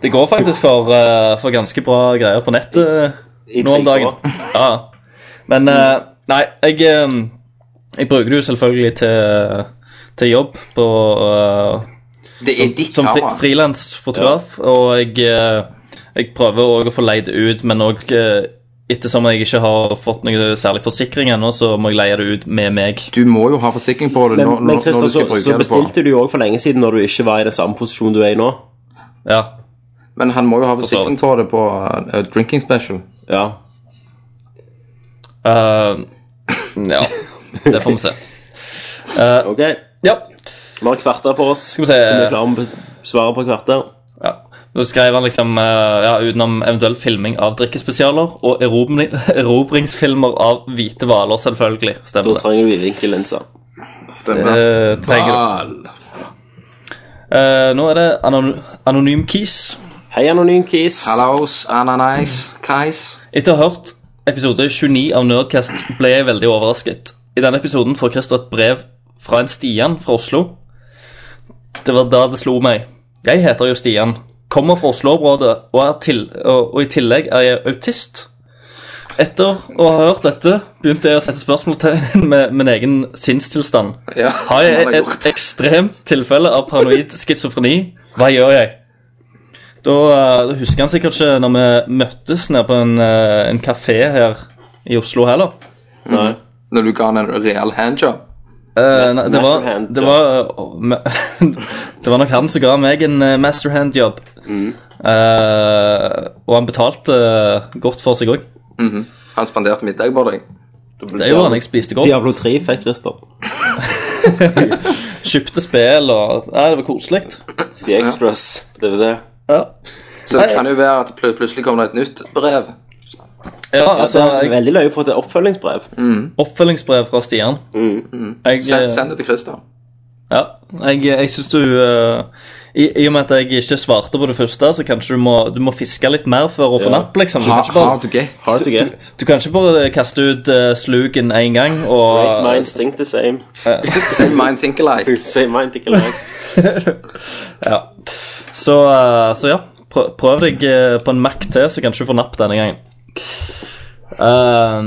B: det går faktisk for, eh, for ganske bra greier på nettet
A: I
B: nå om
A: tre
B: dagen.
A: år.
B: Ja. Men eh, nei, jeg, eh, jeg bruker det jo selvfølgelig til, til jobb på eh,
C: Det er ditt
B: som fri,
C: kamera.
B: frilansfotograf, og jeg, eh, jeg prøver også å få leid det ut, men òg ettersom jeg ikke har fått noe særlig forsikring ennå, så må jeg leie det ut med meg.
C: Du må jo ha forsikring på det
A: Men,
C: når,
A: men
C: når, når
A: Christer,
C: du skal
A: så,
C: bruke
A: så
C: det på.
A: bestilte du jo òg for lenge siden når du ikke var i den samme posisjonen du er i nå.
B: Ja,
C: Men han må jo ha
B: så
C: forsikring på det på eh, Drinking Special.
A: Ja.
B: Eh, ja det får vi se.
A: Ok. Vi
B: Ja,
A: har kvarter på oss.
B: Skal vi se.
A: Er vi klare om svaret på kvarter?
B: Ja. Da skrev han liksom eh, ja, utenom eventuell filming av drikkespesialer og erobring, erobringsfilmer av hvite hvaler, selvfølgelig.
A: Da
B: Stemmer det.
A: trenger du innvinkellinser.
C: Stemmer.
B: Eh, trenger du. Eh, nå er det anon Anonym Kis.
A: Hei, Anonym Kis.
C: Hallos, ananas, kais.
B: Etter å ha hørt episode 29 av Nerdcast ble jeg veldig overrasket. I denne episoden får Christer et brev fra en Stian fra Oslo. Det var da det slo meg. Jeg heter jo Stian, kommer fra Oslo-området og, er til- og, og i tillegg er jeg autist. Etter å ha hørt dette begynte jeg å sette spørsmålstegn med min egen sinnstilstand.
C: Ja,
B: Har
C: som
B: jeg
C: han
B: et ekstremt tilfelle av paranoid schizofreni? Hva gjør jeg? Da, eh, da husker han sikkert ikke når vi møttes nede på en, eh, en kafé her i Oslo heller.
A: Nei.
C: Når du ga han en real handjob.
B: Eh, nei, det, var,
A: master hand
B: det,
A: job.
B: var, eh, me- det var nok han som ga meg en eh, masterhand-job. Eh, og han betalte eh, godt for seg òg.
C: Han spanderte middag på deg.
B: Det gjorde han. Jeg spiste godt.
A: Diablo 3 fikk Christer.
B: Kjøpte spill og Nei, det var koselig.
A: The Express. Det var det.
C: Så det kan jo være at pl plutselig kommer det et nytt brev.
B: Ja,
A: Ja, det
B: altså,
A: er
B: jeg,
A: veldig løye å få et oppfølgingsbrev.
B: oppfølgingsbrev fra Stian. Jeg,
C: Send,
B: eh,
C: send det til Christer.
B: Ja, jeg, jeg synes du eh, i, I og med at jeg ikke svarte på det første, så kanskje du må, du må fiske litt mer for å få
A: Ja.
B: napp, liksom. Du
C: Ha,
B: kan ikke bare,
C: hard to get.
A: Hard to get.
B: du kan ikke bare kaste ut eh, sluken én gang og
A: Make mine stink the same.
C: Same mind, think alike.
A: Same mind, think alike.
B: ja. Så, eh, så ja, prøv, prøv deg eh, på en Mac til, så kanskje du får napp denne gangen. Eh,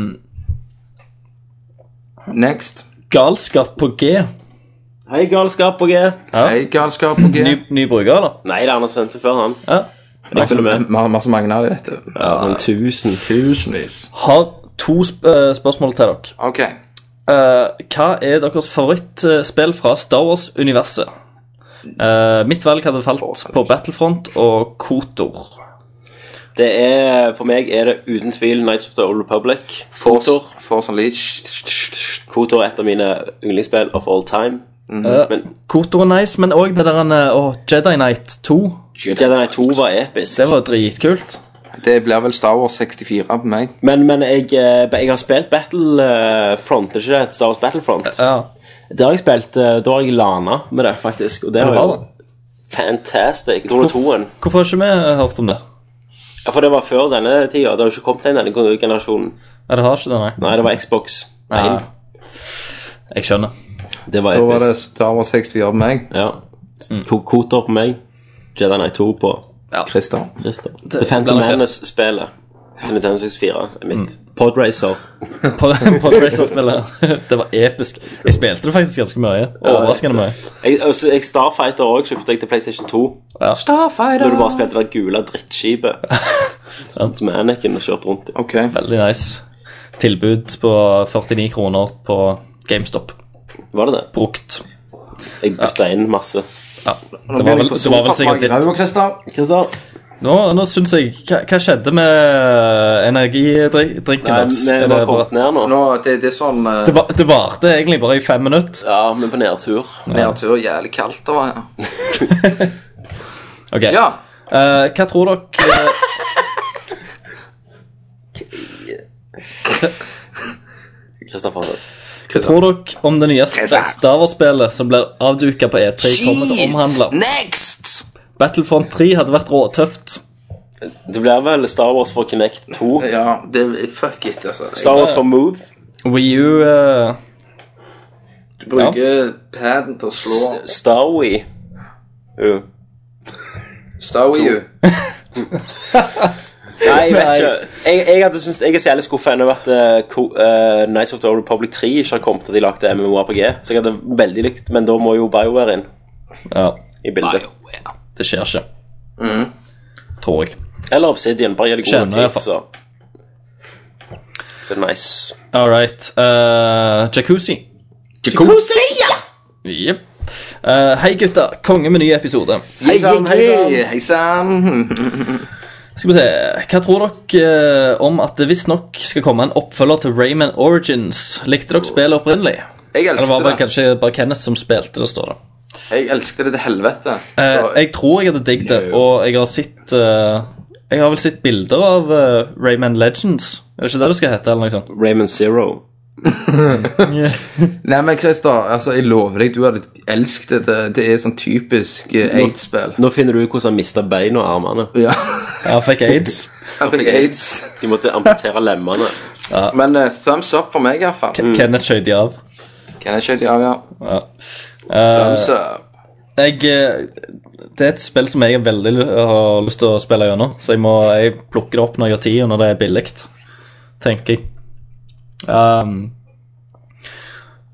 C: Next.
B: galskap på G.
A: Hei, galskap på G.
C: Hei, galskap og
B: Ny,
C: G.
B: ny bruker, eller?
A: Nei, det er Anders Vente før han.
B: Ja.
A: Jeg følger med.
C: Vi har vi har så mange av dem, vet du.
A: Ja, men tusen.
C: Tusenvis.
B: Har to sp eh, spørsmål til dere.
C: OK.
B: Eh, hva er deres favorittspill fra Star Wars-universet? Eh, mitt valg hadde falt på Battlefront og Kotor.
A: Det er, for meg er det uten tvil Nights of the Old Republic.
C: Force,
A: Kotor.
C: Force Unleashed.
A: Kotor er et av mine yndlingsspill of all time.
B: Mhm.
A: Men
B: Kotor er nice, men òg det der han, eh, åh, Jedi Knight 2.
A: Jedi Knight 2 var episk.
B: Eh, Det var dritkult.
C: Det blir vel Star Wars 64 på meg.
A: Men, men jeg, eh, jeg har spilt Battlefront, ikke det? Star Wars Battlefront.
B: Ja.
A: Det har jeg spilt, eh, da har jeg lana med det, faktisk. Og det var
B: det
A: jo
B: var det.
A: fantastic. Jeg tror det er toen.
B: Hvorfor har ikke vi eh, hørt om det?
A: Ja, for det var før denne tida. Det har jo ikke kommet en denne generasjonen.
B: Ja, det har ikke det, nei.
A: Nei, det var Xbox. Nei,
B: Ja. Jeg skjønner.
A: det var
C: Da var det
A: episk.
C: Star Wars 64 på meg.
A: Ja. Ko- Kotor på meg. Jedi Knight 2 på
C: Christer.
A: Christer.
B: det
A: The Phantom
B: blir nok det.
A: Menace-spelet. til Nintendo 64 er mitt. Podracer.
B: På, på Racer-spillet. Det var episk. Jeg spilte det faktisk ganske mye. Overraskende mye.
A: Jeg, altså, jeg Starfighter òg kjøpte jeg til PlayStation 2.
B: Ja.
A: Når du bare spilte det gule drittskipet som, som Anakin har kjørt rundt i.
C: Ok.
B: Veldig nice. Tilbud på 49 kroner på GameStop.
A: Var det det?
B: Brukt.
A: Jeg bytta inn masse.
B: Ja. Det var vel, det var vel sikkert ditt.
C: ditt.
A: Christer?
B: Nå, nå syns jeg Hva, hva skjedde med energidrinken
A: Nei,
B: deres?
A: vi vi
B: Er det
A: har
B: bare-
A: kommet ned nå.
C: Nå, det, det er sånn eh,
B: Det, var, det varte egentlig bare i fem minutter.
A: Ja, vi er på nedtur.
C: nedtur. Jævlig kaldt det var her.
B: Ok.
C: Ja.
B: Eh, hva tror dere
A: Christer fant det.
B: Hva tror dere om det nye Star Wars-spillet som blir avduka på E3, kommer til å omhandle?
C: Next!
B: Battlefront 3 hadde vært råtøft.
A: Det blir vel Star Wars for Kinect 2.
C: Ja, det fuck it, altså.
A: Star Wars for Move.
B: Wii U eh,
C: Jeg bruker paden til å slå
A: Starwee. Jo.
C: Stow you.
A: Nei, jeg vet ikke. Jeg, jeg, hadde syntes, jeg er så jævlig skuffa ennå over at eh, Ko- eh, Knights of the Old Republic 3 ikke har kommet til at de lagde MMORPG. Så jeg hadde veldig likt, men da må jo BioWare inn
B: Ja,
A: i bildet.
B: det skjer ikke.
C: Mm.
B: Tror jeg.
A: Eller Obsidian. Bare gi det
B: Skjønner, i
A: gode
B: hvert
A: tid,
B: fall.
A: så Så nice.
B: All right. eh, jacuzzi.
C: Jacuzzi!
B: Jepp. Eh, hei, gutta. Konge med ny episode.
C: Hei sann, hei sann. Hei sann.
B: Skal vi se, Hva tror dere eh, om at det visstnok skal komme en oppfølger til Rayman Origins? Likte dere spillet opprinnelig?
C: Jeg
B: Eller var det
C: elsket
B: bare,
C: det.
B: kanskje bare Kenneth som spilte det, står det.
C: Jeg elsket det til helvete.
B: Eh,
C: Så
B: jeg tror jeg hadde digget det, og jeg har sett eh, Jeg har vel sett bilder av eh, Rayman Legends. Er det ikke det det skal hete? eller noe sånt?
A: Raymond Zero.
C: Nei, men Christer, altså, jeg lover deg, du hadde elsket det. Det- Det er sånn typisk eh, aids-spill.
A: Nå finner du ut hvordan han mista beina og armene.
C: Ja,
B: Ja, fikk aids.
C: han fikk aids.
A: De måtte amputere lemmene.
C: Men eh, thumbs up for meg, i hvert fall. Kan
B: Kenneth skjøt de av.
C: jeg ikke ja, ja.
B: Ja.
C: Thumbs up.
B: Jeg, eh, det er et spill som jeg er veldig lu- har lyst til å spille gjennom, så jeg må jeg plukker det opp når jeg har tid, og når det er billig, tenker jeg. Um,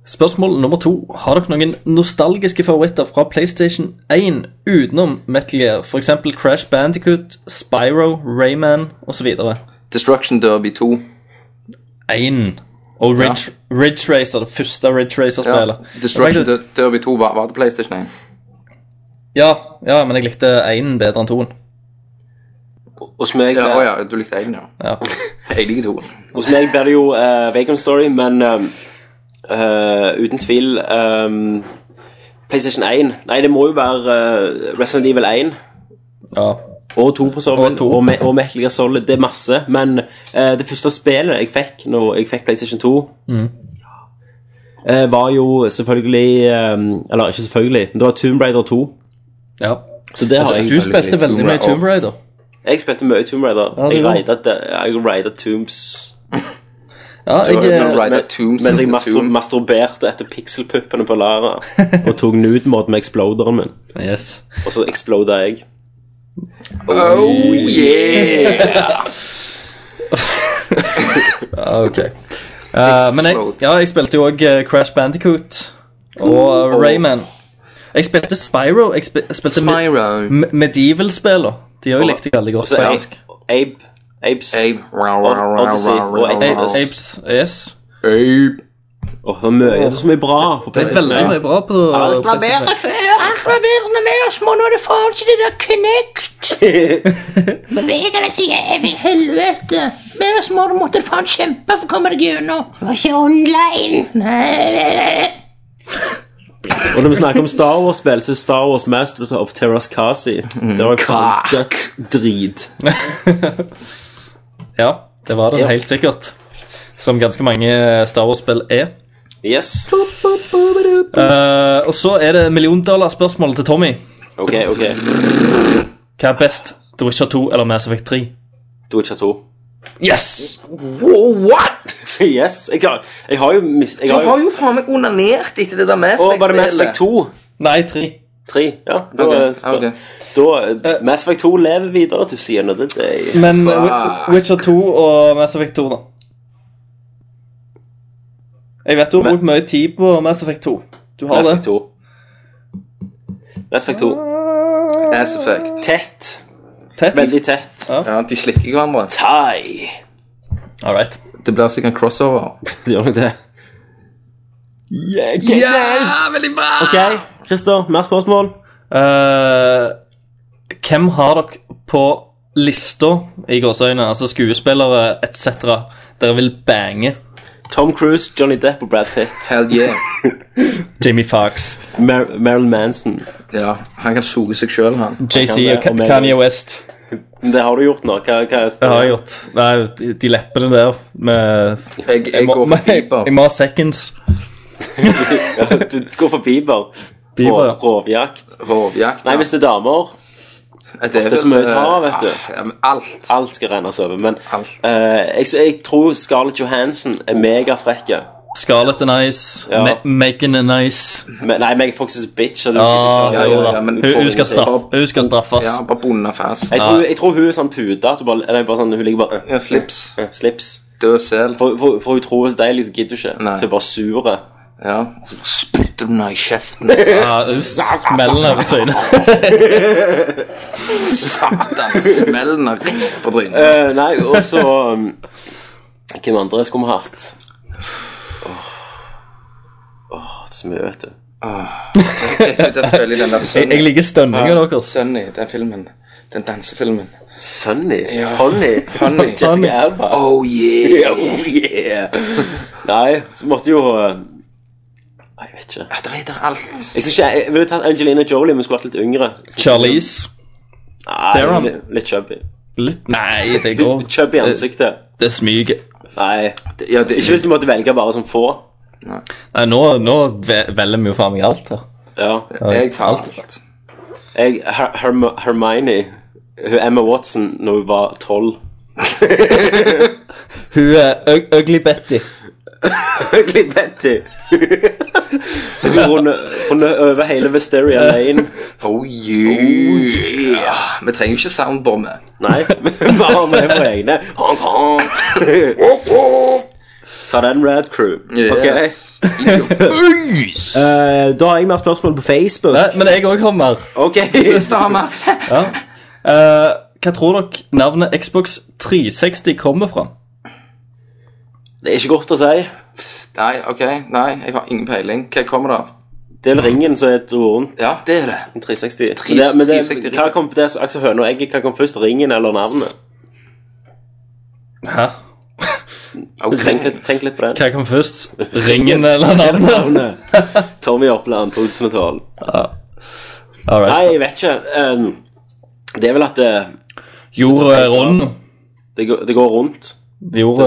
B: spørsmål nummer to. Har dere noen nostalgiske favoritter fra PlayStation 1 utenom Metal Gear, f.eks. Crash Bandicoot, Spyro, Rayman osv.?
C: Destruction Derby 2.
B: 1. Og Ridge, Ridge Racer, det første Ridge
C: Ja.
B: Racer-spillet.
C: Destruction
B: Faktisk-
C: Der- Derby 2 var, var det PlayStation 1.
B: ja, ja, men jeg likte 1 bedre enn 2.
A: Hos meg,
C: Ja,
A: ja,
C: å ja, du likte 1, ja.
B: Ja.
C: Jeg liker 2.
A: hos meg blir det jo uh, Vagrant Story, men eh, eh, uten tvil eh, PlayStation 1 Nei, det må jo være eh, Resident Evil 1
B: ja.
A: og 2 for så
B: Og
A: vidt.
B: to.
A: Og, Me- og Metal Gear Solid. Det er masse. Men eh, det første spillet jeg fikk når jeg fikk PlayStation 2
B: Mm.
A: eh, var jo selvfølgelig eh, Eller ikke selvfølgelig, men det var Tomb Raider 2.
B: ja.
A: Så det har jeg
B: Altså, Du spilte veldig mye Tomb Raider.
A: Jeg spilte mye Tomb Raider.
B: det
A: jeg
B: gjorde
A: raida de- jeg raida Tombs
B: Ja, jeg,
C: Du
B: eh,
C: raida
A: men-
C: Tombs
A: mens jeg
C: into
A: mastro-
C: Tomb.
A: masturberte etter pikselpuppene på Lara og tok nude-mode med exploderen min.
B: yes.
A: Og så exploda jeg.
C: Oh yeah!
B: Ok. Eh, men jeg, ja, jeg spilte jo òg Crash Bandicoot og eh, Rayman. Jeg spilte Spyro. Jeg spil, spilte me-
C: Spyro.
B: me- Medieval-spillene. De òg likte jeg veldig
A: Og
B: godt.
A: så
B: faktisk.
A: Abe, Abe Abes.
C: Abe.
A: Odyssey og
B: A-
A: Ape.
B: Apes, yes.
C: Abe.
A: Åh, det, er mye, det er så mye bra på
B: Det er
A: PlayStation.
B: veldig mye bra på
A: Alt var
B: PlayStation.
I: før. Alt var bedre med oss, må nå er det faen ikke det der Connect. Beveger deg seg evig helvete. Med oss må du måtte faen kjempe for å komme deg gjennom. Det var ikke online. Nei.
A: Og når vi snakker om Star Wars-spill, så er Star Wars Master of Terras Kasi. Det var
C: Kak.
A: dødsdrit.
B: Ja, det var det helt sikkert. Som ganske mange eh, Star Wars-spill er.
A: Yes.
B: Eh, og så er det milliondollarspørsmålet til Tommy.
A: Ok, ok.
B: Hva er best? The Witcher 2 eller Mass Effect 3?
A: Do it, Chateau.
B: Yes!
C: What?!
A: Yes. Jeg, klarer- jeg har jo mist... Jeg
C: Du
A: har
C: har
A: jo...
C: jo faen meg onanert etter det der Mass
A: Å, var det Mass
C: Effect-spillet.
A: Effect 2?
B: Nei, 3.
A: Tre, ja. Da,
C: Ok,
A: okay,
C: ok.
A: da Mass Effect 2 lever videre, du sier noe. Eh. Det er
B: Men eh,
C: Fuck.
B: Wi- Witcher 2 og Mass Effect 2, da. Jeg vet du har
A: Men-
B: brukt mye tid på Mass Effect 2. Du har
A: Mass
B: det.
A: Effect 2. Mass Effect 2.
C: Ass effect.
A: Tett.
B: Tett.
A: Veldig tett.
C: Ja, de slikker hverandre.
A: Tai.
B: All right.
C: Det blir sikkert en crossover.
A: Det gjør nok det. Yeah, get out!
C: veldig bra!
A: Ok, Christer, mer spørsmål?
B: Eh, hvem har dere på lista i gåseøyne, altså skuespillere etc., dere vil bange?
A: Tom Cruise, Johnny Depp og Brad Pitt.
C: Hell yeah.
B: Jamie Foxx,
A: Mar Marilyn Manson.
C: Ja, han kan suge seg sjøl, han.
B: JC
A: det,
B: og Ka-
A: og meg.
B: Kanye West.
A: Det har du gjort nå. Hva, hva er
B: Det har jeg gjort. Nei, de, de leppene der med
C: Jeg, jeg
B: må-
C: går for Bieber.
B: Jeg må ha seconds.
A: gjort. Du går for Bieber.
B: Bieber,
A: Rov-
B: ja.
A: Rovjakt.
C: Rovjakt.
A: Nei, hvis det er damer
C: det
A: er så mye svar, vet du.
C: ah, Alt.
A: Alt skal rennes over. Men
C: Alt.
A: eh, jeg, jeg tror Scarlett Johansen er megafrekke.
B: Scarlett er nice.
A: Ja.
B: Ma- Megan er nice.
A: Men- Nei, meg Fox is a bitch. og du-
B: Ah, Ja,
C: ja,
A: sånn.
B: jo da.
C: ja, men
B: Hun,
C: får
B: hun, skal
C: hun-
B: straff, hun skal straffes.
C: Ja, bare bonde fast.
A: Jeg, tror, jeg tror hun er sånn puta. At hun, bare, eller bare sånn, hun ligger bare
C: Ja, slips.
A: eh, Slips.
C: Død sel.
A: For, for, for hun tror hun er så deilig, så gidder hun ikke.
C: Nei.
A: Så hun er bare sur.
C: Ja. Og så spytter hun deg i kjeften.
B: Ja, hun smeller ned på trynet.
C: Satan, smellen er rett på trynet.
A: Eh, nei, og så um, Hvem andre skulle vi hatt? Åh, Åh, det er så mye, vet du.
C: Vet du, Der spiller den der
B: Jeg, jeg
C: Sunny.
B: liker stønninga deres.
C: Sunny, den filmen. Den dansefilmen.
A: Sunny?
C: Ja.
A: Honey?
C: Honey.
A: Jessica Alba?
C: Oh yeah!
A: Oh, yeah. Nei, så måtte jo eh, Nei, jeg vet ikke.
C: Ja, Der er der alt.
A: Jeg, synes ikke, jeg ville tatt Angelina Jolie, men skulle vært litt yngre.
B: Charlize.
A: Nei,
B: Theron.
A: litt, litt chubby.
B: Litt Nei, det går
A: Chubby i ansiktet.
B: Det smyger.
A: Nei.
C: Ja, det,
A: Ikke hvis du måtte velge bare som få.
B: Nei, nå, nå ve- velger vi jo faen meg alt her.
A: Ja.
C: jeg tar alt.
A: Jeg, Her Herm Hermione hun Emma Watson når hun var tolv.
B: Hun er Ug- Ugly Betty.
A: Ugly Betty. Jeg skulle runde, runde over hele Wisteria Lane.
C: Oh yeah! Vi trenger jo ikke soundboard med.
A: Nei, bare med våre egne. Hong Kong. Ta den, Rad Crew. Ok.
C: Yes. Idiot.
A: Eh, da har jeg mer spørsmål på Facebook.
B: Nei, Eh, men jeg òg har mer.
A: Ok.
C: Dame.
B: Eh, hva tror dere navnet Xbox 360 kommer fra?
A: Det er ikke godt å si.
C: Nei, ok, nei, jeg har ingen peiling. Hva kommer det av?
A: Det er vel ringen som er et ord rundt.
C: Ja, det er det.
A: 360. Men det, men det,
C: 360.
A: hva kom det, altså, høna og egget, hva kom først? Ringen eller navnet?
B: Hæ?
C: Ok.
A: Tenk litt, tenk litt på den.
B: Hva kom først? Ringen eller navnet?
A: Navnet. Tommy Oppland 2012.
B: All
A: Nei,
B: right.
A: jeg vet ikke. Um, det er vel at eh, det,
B: Jorda er rund.
A: det, går, det går rundt.
B: Jorda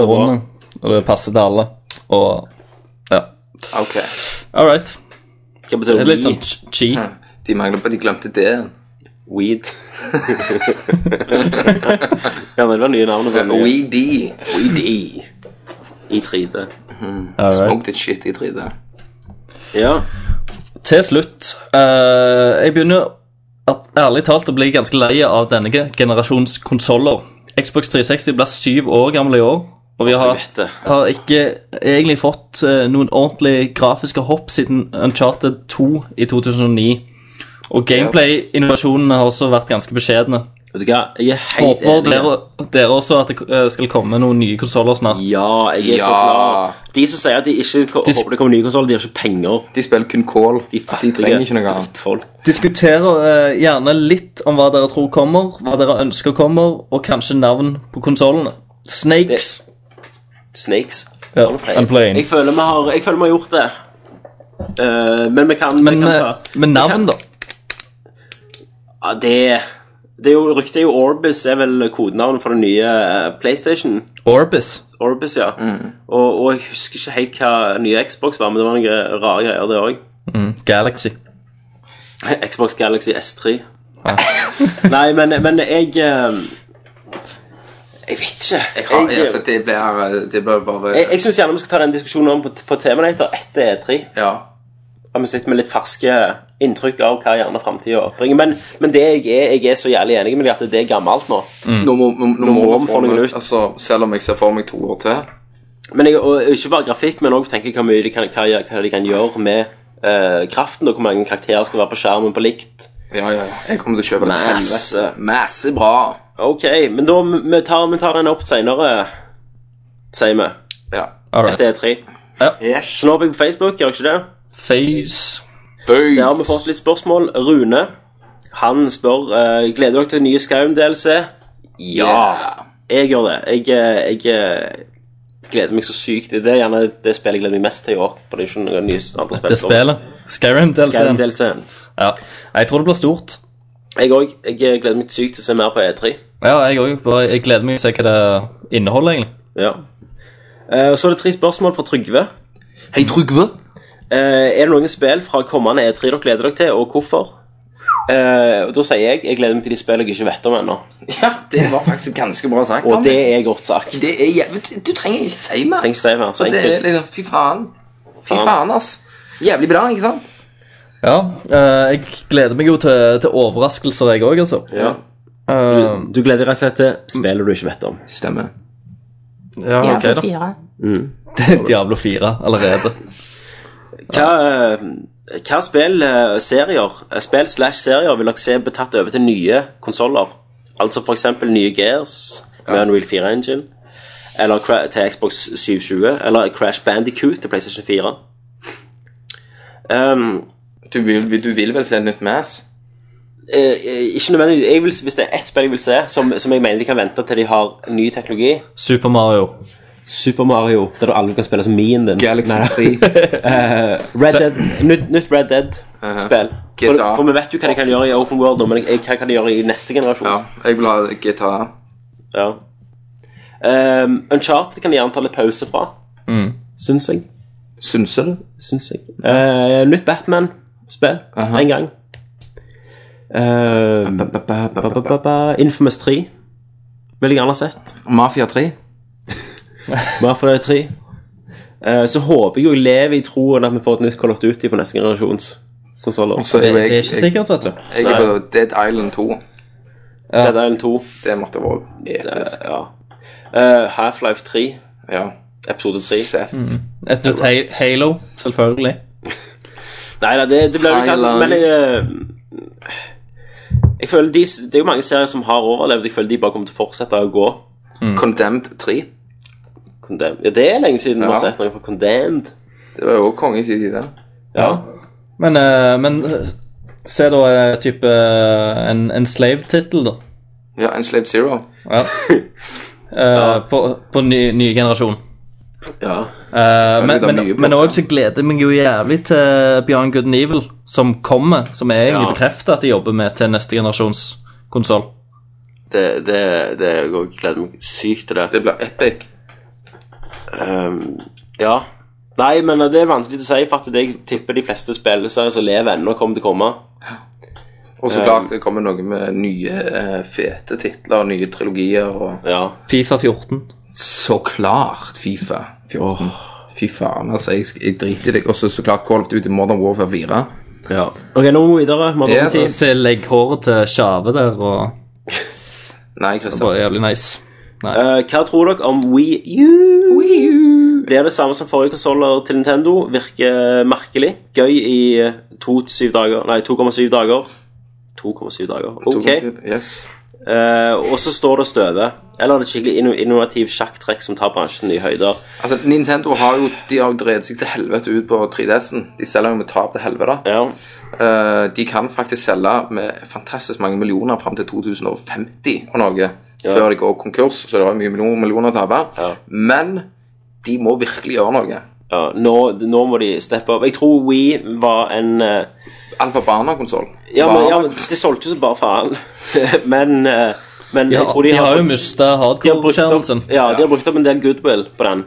A: så
B: er
A: bra.
B: rund, og det passer til alle. Og ja.
C: Ok.
B: All right.
A: Hva
B: Det
A: betyr
B: er
A: weed?
B: litt sånn ch- chi.
C: De mangler på, de glemte D-en.
A: Weed. ja, men det var nye navnet på den nye.
C: OED.
A: Weed i. I 3D.
B: All right.
C: Smoked it shit i 3D.
A: Ja.
B: Til slutt eh, Jeg begynner at, ærlig talt å bli ganske lei av denne ge- generasjons konsoller. Xbox 360 blir syv år gammel i år, og vi har,
A: Jeg vet det.
B: har ikke egentlig fått eh, noen ordentlige grafiske hopp siden Uncharted 2 i 2009. Og gameplay-innovasjonene har også vært ganske beskjedne.
A: Vet du hva, jeg er helt
B: Håper dere, dere også at det eh, skal komme noen nye konsoller snart.
A: Ja, jeg er så
C: Ja.
A: klar. De som sier at de ikke ko-
B: De-
A: håper det kommer ny konsoll, de har ikke penger.
C: De spiller kun kål.
A: De
C: De,
A: fattige
C: trenger ikke noe annet.
A: drittfolk.
B: Diskuterer eh, gjerne litt om hva dere tror kommer, hva dere ønsker kommer, og kanskje navn på konsollene. Snakes.
A: Snakes.
B: Ja,
A: Unplayed.
B: and playing.
A: Jeg føler vi har, jeg føler vi har gjort det. Eh, men vi kan, vi
B: Men
A: kan
B: eh,
A: ta
B: med navn, da?
A: ja, det, det er jo, Ryktet er jo Orbis er vel kodenavnet for den nye eh, PlayStation.
B: Orbis.
A: Orbis, ja.
C: Mm.
A: Og, og jeg husker ikke helt hva den nye Xbox var, men det var noen rare greier, det òg.
B: Galaxy.
A: Xbox Galaxy S3. Nei, men, men jeg eh, Jeg vet ikke.
C: Jeg har, jeg, altså, det blir, eh, det blir bare
A: jeg, jeg syns gjerne vi skal ta den diskusjonen om på, på Terminator etter E3.
C: Ja.
A: At vi sitter med litt ferske inntrykk av hva gjerne framtida oppbringer. Men, men det jeg er, jeg er så jævlig enig med deg at det er gammelt nå.
C: Nå må, nå, nå må
A: må
C: vi
A: vi
C: få
A: få noe
C: meg-
A: nytt.
C: Altså, selv om jeg ser for meg to år til.
A: Men jeg, og ikke bare grafikk, men òg tenker hva mye de kan, hva, hva de kan gjøre med eh, kraften, og hvor mange karakterer skal være på skjermen på likt.
C: Ja, ja, ja. Jeg kommer til å kjøpe det.
A: Masse.
C: Helvete. Masse bra.
A: Ok, men da vi tar vi tar den opp seinere, sier vi.
C: Ja.
A: Dette er tre.
C: Yes.
A: Så nå er jeg på Facebook, gjør jeg ikke det?
B: Face.
A: Der har vi fått litt spørsmål. Rune han spør uh, gleder dere til den nye Skaum-DLC.
C: Ja.
A: Jeg gjør det. Jeg, eh, jeg eh, gleder meg så sykt. Det er gjerne det spillet jeg gleder meg mest til i år. For det er ikke noen nye andre spill.
B: Det spillet. Skyrim DLC.
A: Skaum-DLC-en.
B: Ja. Jeg tror det blir stort.
A: Jeg òg. Jeg eh, gleder meg sykt til å se mer på E3.
B: Ja, jeg òg. Jeg gleder meg til å se hva det inneholder, egentlig.
A: Ja. Eh, så er det tre spørsmål fra Trygve.
C: Hei, Trygve.
A: Eh, er det noen spill fra kommende E3 dere gleder dere til, og hvorfor? Eh, og Da sier jeg jeg gleder meg til de spillene jeg ikke vet om ennå.
C: Ja, det var faktisk ganske bra sagt.
A: Og
C: Tommy.
A: det er godt sagt.
C: det er jævlig, du, du trenger ikke si mer.
A: Trenger ikke si mer. Så
C: det er
A: enkelt.
C: liksom, fy faen. Fy
A: Faen.
C: faen, ass. Jævlig bra, ikke sant?
B: Ja, eh, jeg gleder meg jo til, til overraskelser, jeg òg, altså.
C: Ja.
B: Eh,
A: Du gleder deg rett og slett til spillet du ikke vet om.
C: Stemmer.
B: ja, ok, da. Diablo 4 allerede.
A: Hva, eh, hva spill, eh, serier, eh, spill slash serier vil dere se bli tatt over til nye konsoller? Altså for eksempel nye Gears med Unreal 4 Engine, eller Cra- til Xbox 720, eller Crash Bandicoot til PlayStation 4. Um,
C: Du vil, du vil vel se et nytt Mass?
A: eh, eh, ikke nødvendigvis jeg vil, Hvis det er ett spill jeg vil se som, som jeg mener de kan vente til de har ny teknologi
B: Super Mario.
A: Super Mario, der du aldri kan spille som min din.
C: Galaxy
A: Nei.
C: 3.
A: Red Dead, nytt, nytt Red Dead-spill. For,
C: GTA.
A: for vi vet jo hva de kan gjøre i Open World nå, men jeg, hva kan de gjøre i neste generasjon?
C: Ja, jeg vil ha GTA.
A: Ja. Ehm, Uncharted kan de gjerne ta litt pause fra, syns jeg.
C: Syns du det?
A: Syns jeg. Eh, nytt Batman-spill
C: Aha.
A: en gang. Ehm,
C: Ba, ba, ba,
A: ba,
C: ba, ba,
A: ba,
C: ba.
A: ba, ba. Infamous 3 vil jeg gjerne ha sett.
C: Mafia 3.
A: Bare for det er tre. Eh, så håper jeg jo jeg lever i troen at vi får et nytt Call of Duty på neste generasjons konsoller.
C: Og så er
B: Det,
C: jeg,
B: det er
C: jeg,
B: ikke sikkert, vet du.
C: jeg, er på Dead Island 2.
A: Red Dead Island 2.
C: Det måtte være
A: Eh,
C: episk.
A: ja. Eh, Half-Life 3,
C: Ja.
A: episode 3.
C: Seth.
B: Et nytt Ha- Halo, selvfølgelig.
A: Nei da, det, det blir jo klassisk, men jeg, eh, jeg føler de, Det er jo mange serier som har overlevd. Jeg føler de bare kommer til å fortsette å gå.
C: Condemned 3.
A: Condemned. Ja, det er lenge siden vi har
C: Ja.
A: sett noe på Condemned.
C: Det var jo også konge i sin tid. det.
A: Ja.
B: Men, eh, men eh, se da eh, type eh, en, en slave-tittel, da.
C: Ja, Enslaved Zero.
B: Ja. Eh, På, på ny, ny generasjon.
A: ja.
B: Eh, men
C: det er
B: men,
C: mye bra.
B: men også så gleder jeg meg jo jævlig til eh, Beyond Good and Evil, som kommer. Som er egentlig
A: Ja.
B: bekreftet at de jobber med til neste generasjons konsoll.
A: Det, det, det jeg også gleder meg sykt til det.
C: Det blir epic.
A: Ehm, ja. Nei, men eh, det er vanskelig å si, for at jeg tipper de fleste spilleserier som lever ennå, kommer til å komme.
C: Og så klart det kommer noe med nye eh, fete titler og nye trilogier og
A: Ja.
B: Fifa 14.
C: Så klart Fifa. Fy faen, altså. Jeg, jeg driter i det. Og så så klart Call of Duty Modern Warfare 4.
A: ja. Ok, nå må vi videre. Modern
C: Yes.
A: Warfare.
B: Se legg håret til Sjave der, og
C: Nei, Christian.
B: bare jævlig nice.
A: Eh, hva tror dere om Wii U? Blir det samme som forrige konsoller til Nintendo? Virker merkelig. Gøy i eh, to til syv dager Nei, 2,7 dager. 2,7 dager. Ok.
C: Yes.
A: Eh, og så står det støve. Eller er det et skikkelig inno innovativ sjakktrekk som tar bransjen nye høyder?
C: Altså, Nintendo har jo de har jo drevet seg til helvete ut på 3DS-en. De selger jo med tap til helvete.
A: Ja.
C: Eh, de kan faktisk selge med fantastisk mange millioner fram til 2050 og noe. Før de går konkurs, så det var mye millioner, millioner å tape.
A: Ja.
C: Men de må virkelig gjøre noe.
A: ja nå, nå må de steppe opp. Jeg tror Wii var en eh,
C: Alfa Barna-konsoll.
A: Ja, men, ja, men det solgte jo så bare faen. men eh, men
B: Ja,
A: jeg tror de, har,
B: jo mista
A: de har brukt opp,
B: hardcore-skjermen sin.
A: ja, de har brukt opp en del goodwill på den.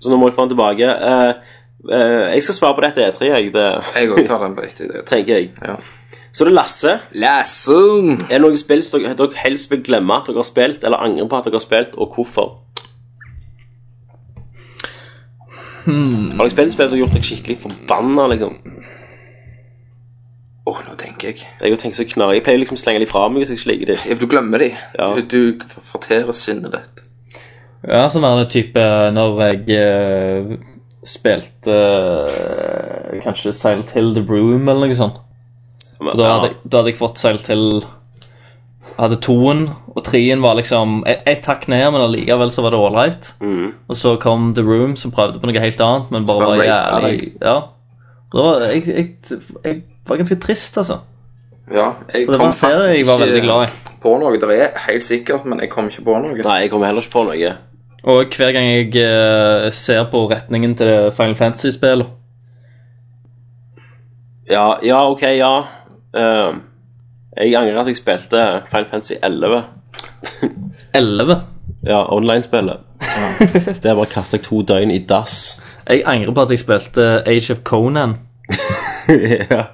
A: Så nå må jeg få den tilbake. Eh, eh, jeg skal svare på dette E3, jeg. Det
C: Jeg òg tar den på riktig. det.
A: tenker jeg.
C: Ja.
A: Så det er Lasse.
C: Lasse!
A: Er det noen spill som dere, dere helst vil glemme at dere har spilt, eller angrer på at dere har spilt, og hvorfor? Har dere spilt spill som har gjort dere skikkelig forbanna, liksom?
C: Åh, nå tenker jeg.
A: Jeg har tenkt så knar. Jeg pleier liksom å slenge de fra meg hvis jeg ikke liker de.
C: Ja, for Du glemmer de.
A: Ja.
C: Du, du forterer sinnet ditt.
B: Ja, sånn er det type når jeg eh, spilte eh, kanskje Silent Hill The Broom eller noe sånt. For da
A: Ja.
B: hadde, jeg- da hadde jeg fått seil til Hadde toen, og treen var liksom Jeg, jeg takk ned, men allikevel så var det ålreit. Og så kom The Room, som prøvde på noe helt annet, men bare
C: Så
B: var
C: var det rape av
B: jævlig Ja. Da var jeg, jeg, jeg var ganske trist, altså.
C: Ja, jeg
B: For det var
C: kom
B: en serie jeg var veldig glad i.
C: på noe. Det er helt sikkert, men jeg kom ikke på noe.
A: Nei, jeg kommer heller ikke på noe.
B: Og hver gang jeg eh, ser på retningen til Final Fantasy-spillet
A: Ja, ja ok, ja. Eh, jeg angrer at jeg spilte Final Fantasy 11.
B: 11
A: Ja, online-spillet. Der bare kastet jeg to døgn i dass.
B: Jeg angrer på at jeg spilte eh, Age of Conan.
A: ja.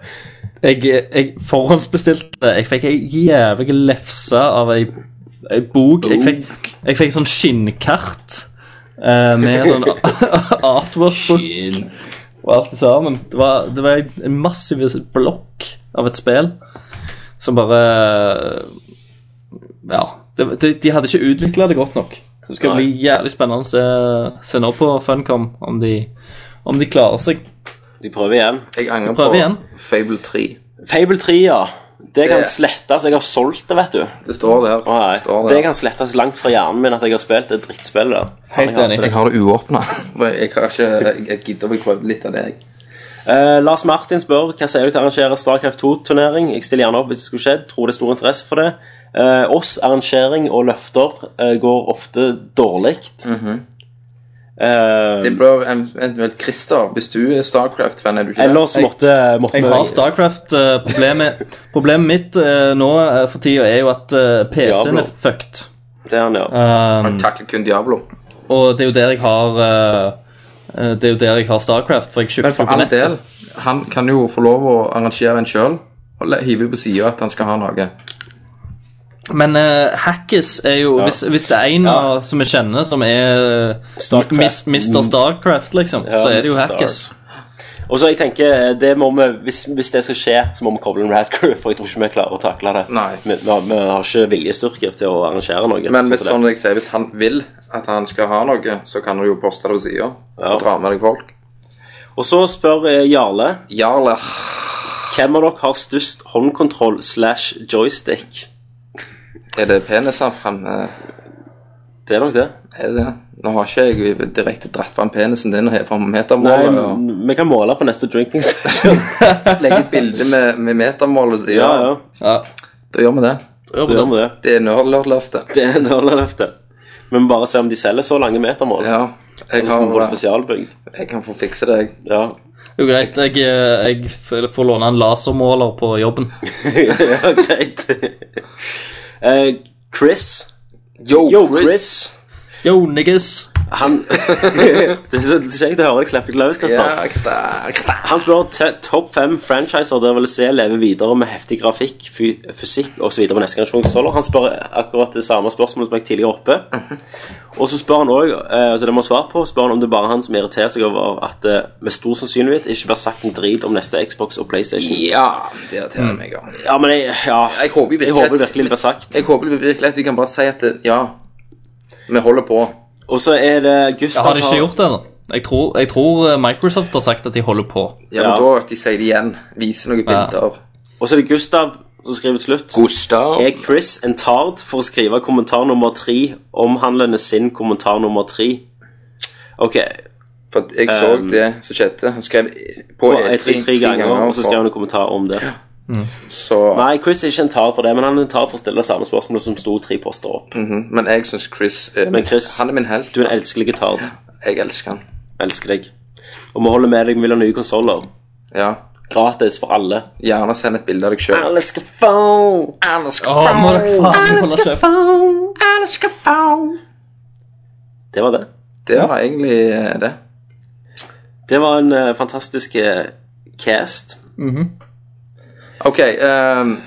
B: Jeg, eh, jeg forhåndsbestilte det. Jeg fikk ei jævlig lefse av ei, ei bok. Jeg fikk, jeg fikk sånn skinnkart eh, med sånn artwork-bok og alt sammen. Det var, det var ei- en massiv blokk av et spill som bare Ja. Det, de, de hadde ikke utvikla det godt nok. Så det skal bli jævlig spennende å se, se nå på Funcom om de, om de klarer seg.
A: De prøver igjen.
C: Jeg angrer
B: Prøv
C: på
B: igjen.
C: Fable 3.
A: Fable 3, ja. Det kan
C: Det-
A: slettes. Jeg har solgt det, vet du.
C: Det står
A: Å,
C: der.
A: nei.
C: Det står
A: Det
C: der.
A: kan slettes langt fra hjernen min at jeg har spilt et drittspill der.
B: Helt enig.
C: Jeg har det uåpna. Jeg, har ikke- jeg, jeg gidder å prøve litt av det. jeg.
A: Eh, Lars Martin spør hva sier du til å arrangere Starcraft 2-turnering. Jeg stiller gjerne opp hvis det skulle skjedd. Tror det er stor interesse for det. Eh, oss, arrangering og løfter eh, går ofte dårlig. Eh,
C: Mhm. Det blir eventuelt Christer. Hvis du er Starcraft-fan, er du ikke
A: Ellers måtte, måtte
B: Jeg
A: vi-
B: har Starcraft. eh, problemet, problemet mitt eh, nå eh, for tida er jo at eh, PC-en
A: Diablo.
B: er fucked. Um,
A: Det er han, ja.
C: det? Man takler kun Diablo.
B: Og det er jo der jeg har eh, eh, Det er jo der jeg har Starcraft, for jeg
C: Men
B: kjøpte
C: for
B: jo på
C: all
B: nettet.
C: del, han kan jo få lov å arrangere en sjøl. Og le- hive på sida at han skal ha noe.
B: Men eh, Hackis er jo hvis, hvis det er en av- som vi kjenner som er eh,
A: Starcraft.
B: Mis, Mr. Starcraft, liksom,
A: Ja,
B: så er det jo
A: Mr.
B: Hackis.
A: Og så jeg tenker, det må vi, hvis, hvis det skal skje, så må vi koble en Radcrew, for jeg tror ikke vi klarer å takle det.
C: Nei.
A: Vi, vi, har- vi har ikke viljestyrke til å arrangere noe.
C: Men
A: sånn
C: hvis,
A: som
C: sånn
A: det.
C: jeg sier, hvis han vil at han skal ha noe, så kan du jo poste det på sida.
A: Ja.
C: Og dra med deg folk.
A: Og så spør eh, Jarle
C: Jarler.
A: hvem av dere har størst håndkontroll slash joystick.
C: Er det peniser fremme?
A: Det er nok det.
C: Er det det? Nå har ikke jeg direkte dratt fram penisen din og hevet fram
A: Nei,
C: metermålet og
A: men vi kan måle på neste drinking special.
C: legge et bilde med, med metermålet og sida.
A: ja, ja.
C: Da gjør vi det.
A: Da gjør vi det.
C: Det er nerdlørtløftet.
A: Det er en Nørlandløftet. Vi må bare se om de selger så lange metermål.
C: Ja.
A: Så må vi
C: Jeg,
A: få det
C: har,
A: spesialbygd.
C: jeg kan få fikse det, jeg.
A: Ja.
B: Det er jo greit. Jeg, eh, jeg f- får låne en lasermåler på jobben.
A: ja, greit. Eh, Chris
C: Yo,
A: Yo, Chris.
B: Yo, niggas!
A: Han Det er så det er så kjekt å høre deg slippe litt løs, Christer.
C: Ja, Kristian. Kristian.
A: Han spør te- topp fem franchiser dere vil se leve videre med heftig grafikk, fy fysikk osv. på neste generasjon konsoller. Han spør akkurat det samme spørsmålet som jeg tidligere oppe.
C: Mhm.
A: Og så spør han også, eh, så det må han svare på, spør han om det bare er han som irriterer seg over at det med stor sannsynlighet ikke blir sagt en drit om neste Xbox og PlayStation.
C: Ja, det irriterer meg òg.
A: Mm. Ja, men jeg, ja,
C: Jeg håper virkelig
A: jeg håper
C: at-
A: virkelig det blir sagt.
C: Jeg håper virkelig at de kan bare si at det, ja, vi holder på.
A: Og så er det Gustav
C: Altså-
B: Har de ikke
A: som-
B: gjort det ennå? Jeg, tror- jeg tror eh, Microsoft har sagt at de holder på.
C: Ja,
A: Ja.
C: men da at de sier det igjen. Viser noen bilder.
A: Og så er det Gustav som skriver til slutt.
C: Gustav.
A: Er Chris en tard for å skrive kommentar nummer tre omhandlende sin kommentar nummer tre? Ok,
C: For at jeg så
A: Um,
C: det som skjedde. Han skrev på
A: på
C: E3
A: E3 tre ganger, og så skrev han
C: for-
A: en kommentar om det.
C: så,
A: Nei, Chris er ikke en tard for det, men han er en tard for å stille det samme spørsmålet som sto tre poster opp.
C: Men jeg syns Chris, er min-
A: Chris,
C: Mm. Han er min helt.
A: Du er en elskelig tard.
C: Jeg elsker han.
A: Elsker deg. Og vi holder med deg, vi vil ha nye konsoller.
C: Ja.
A: Gratis for alle.
C: Gjerne send et bilde av deg sjøl.
A: Alle skal få!
B: Å, må dere faen holde kjeft!
A: Det var det.
C: Det var egentlig eh, det.
A: Det var en eh, fantastisk eh, cast.
C: OK. ehm,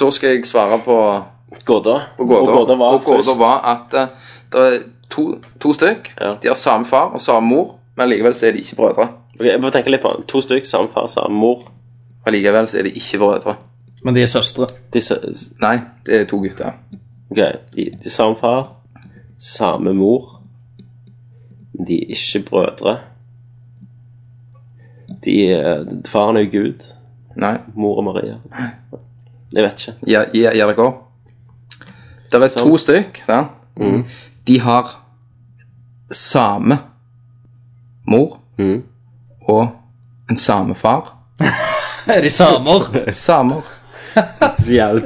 C: da skal jeg svare på,
A: Gåda.
C: på gåter.
A: Og Gåda var
C: og gåter
A: først.
C: var at eh, det er to, to stykk.
A: Ja.
C: De har samme far og samme mor, men likevel så er de ikke brødre.
A: Ok, jeg må tenke litt på den. To stykk, samme far, samme mor.
C: Allikevel så er de ikke brødre.
B: Men de er søstre.
A: De, sa-
C: Nei, det er to gutter.
A: ok, de, de er samme far, samme mor, men de er ikke brødre. De er, faren er jo Gud,
C: Nei.
A: mor og Maria. Jeg vet ikke.
C: Ja, ja, ja, det går. Det er
A: Så-
C: to stykk, sant? De har same mor
A: Mhm.
C: og en same far.
B: Er de samer?
C: Samer.
A: Så jævlig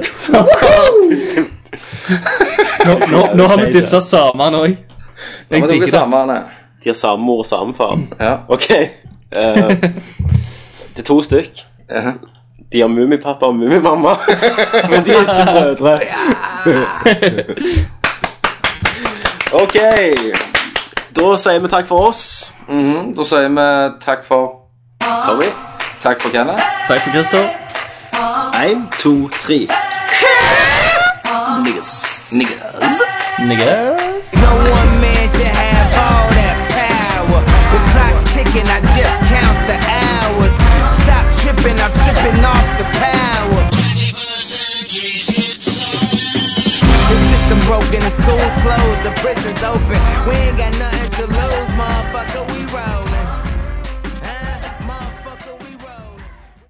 B: Nå, nå, nå har vi disse samene òg.
C: Ja,
B: Jeg
C: men dere er
B: digger det.
C: samerne.
A: De har samme mor og samme far.
B: Mm,
C: Ja.
A: Ok. eh, det er to stykk.
C: Ja.
A: De har Mummipappa og Mummimamma, men de er ikke brødre. Ok. Da sier vi takk for oss,
C: Da sier vi takk for
A: Tommy.
C: Takk for Kenneth.
B: Takk for Christer.
A: Én, to, tre. Niggas.
B: Niggas.
D: No one man should have all that power. The clock's ticking, I just count the hours. Stop tripping, I'm tripping off the power. The system broken, the school's closed, the prison.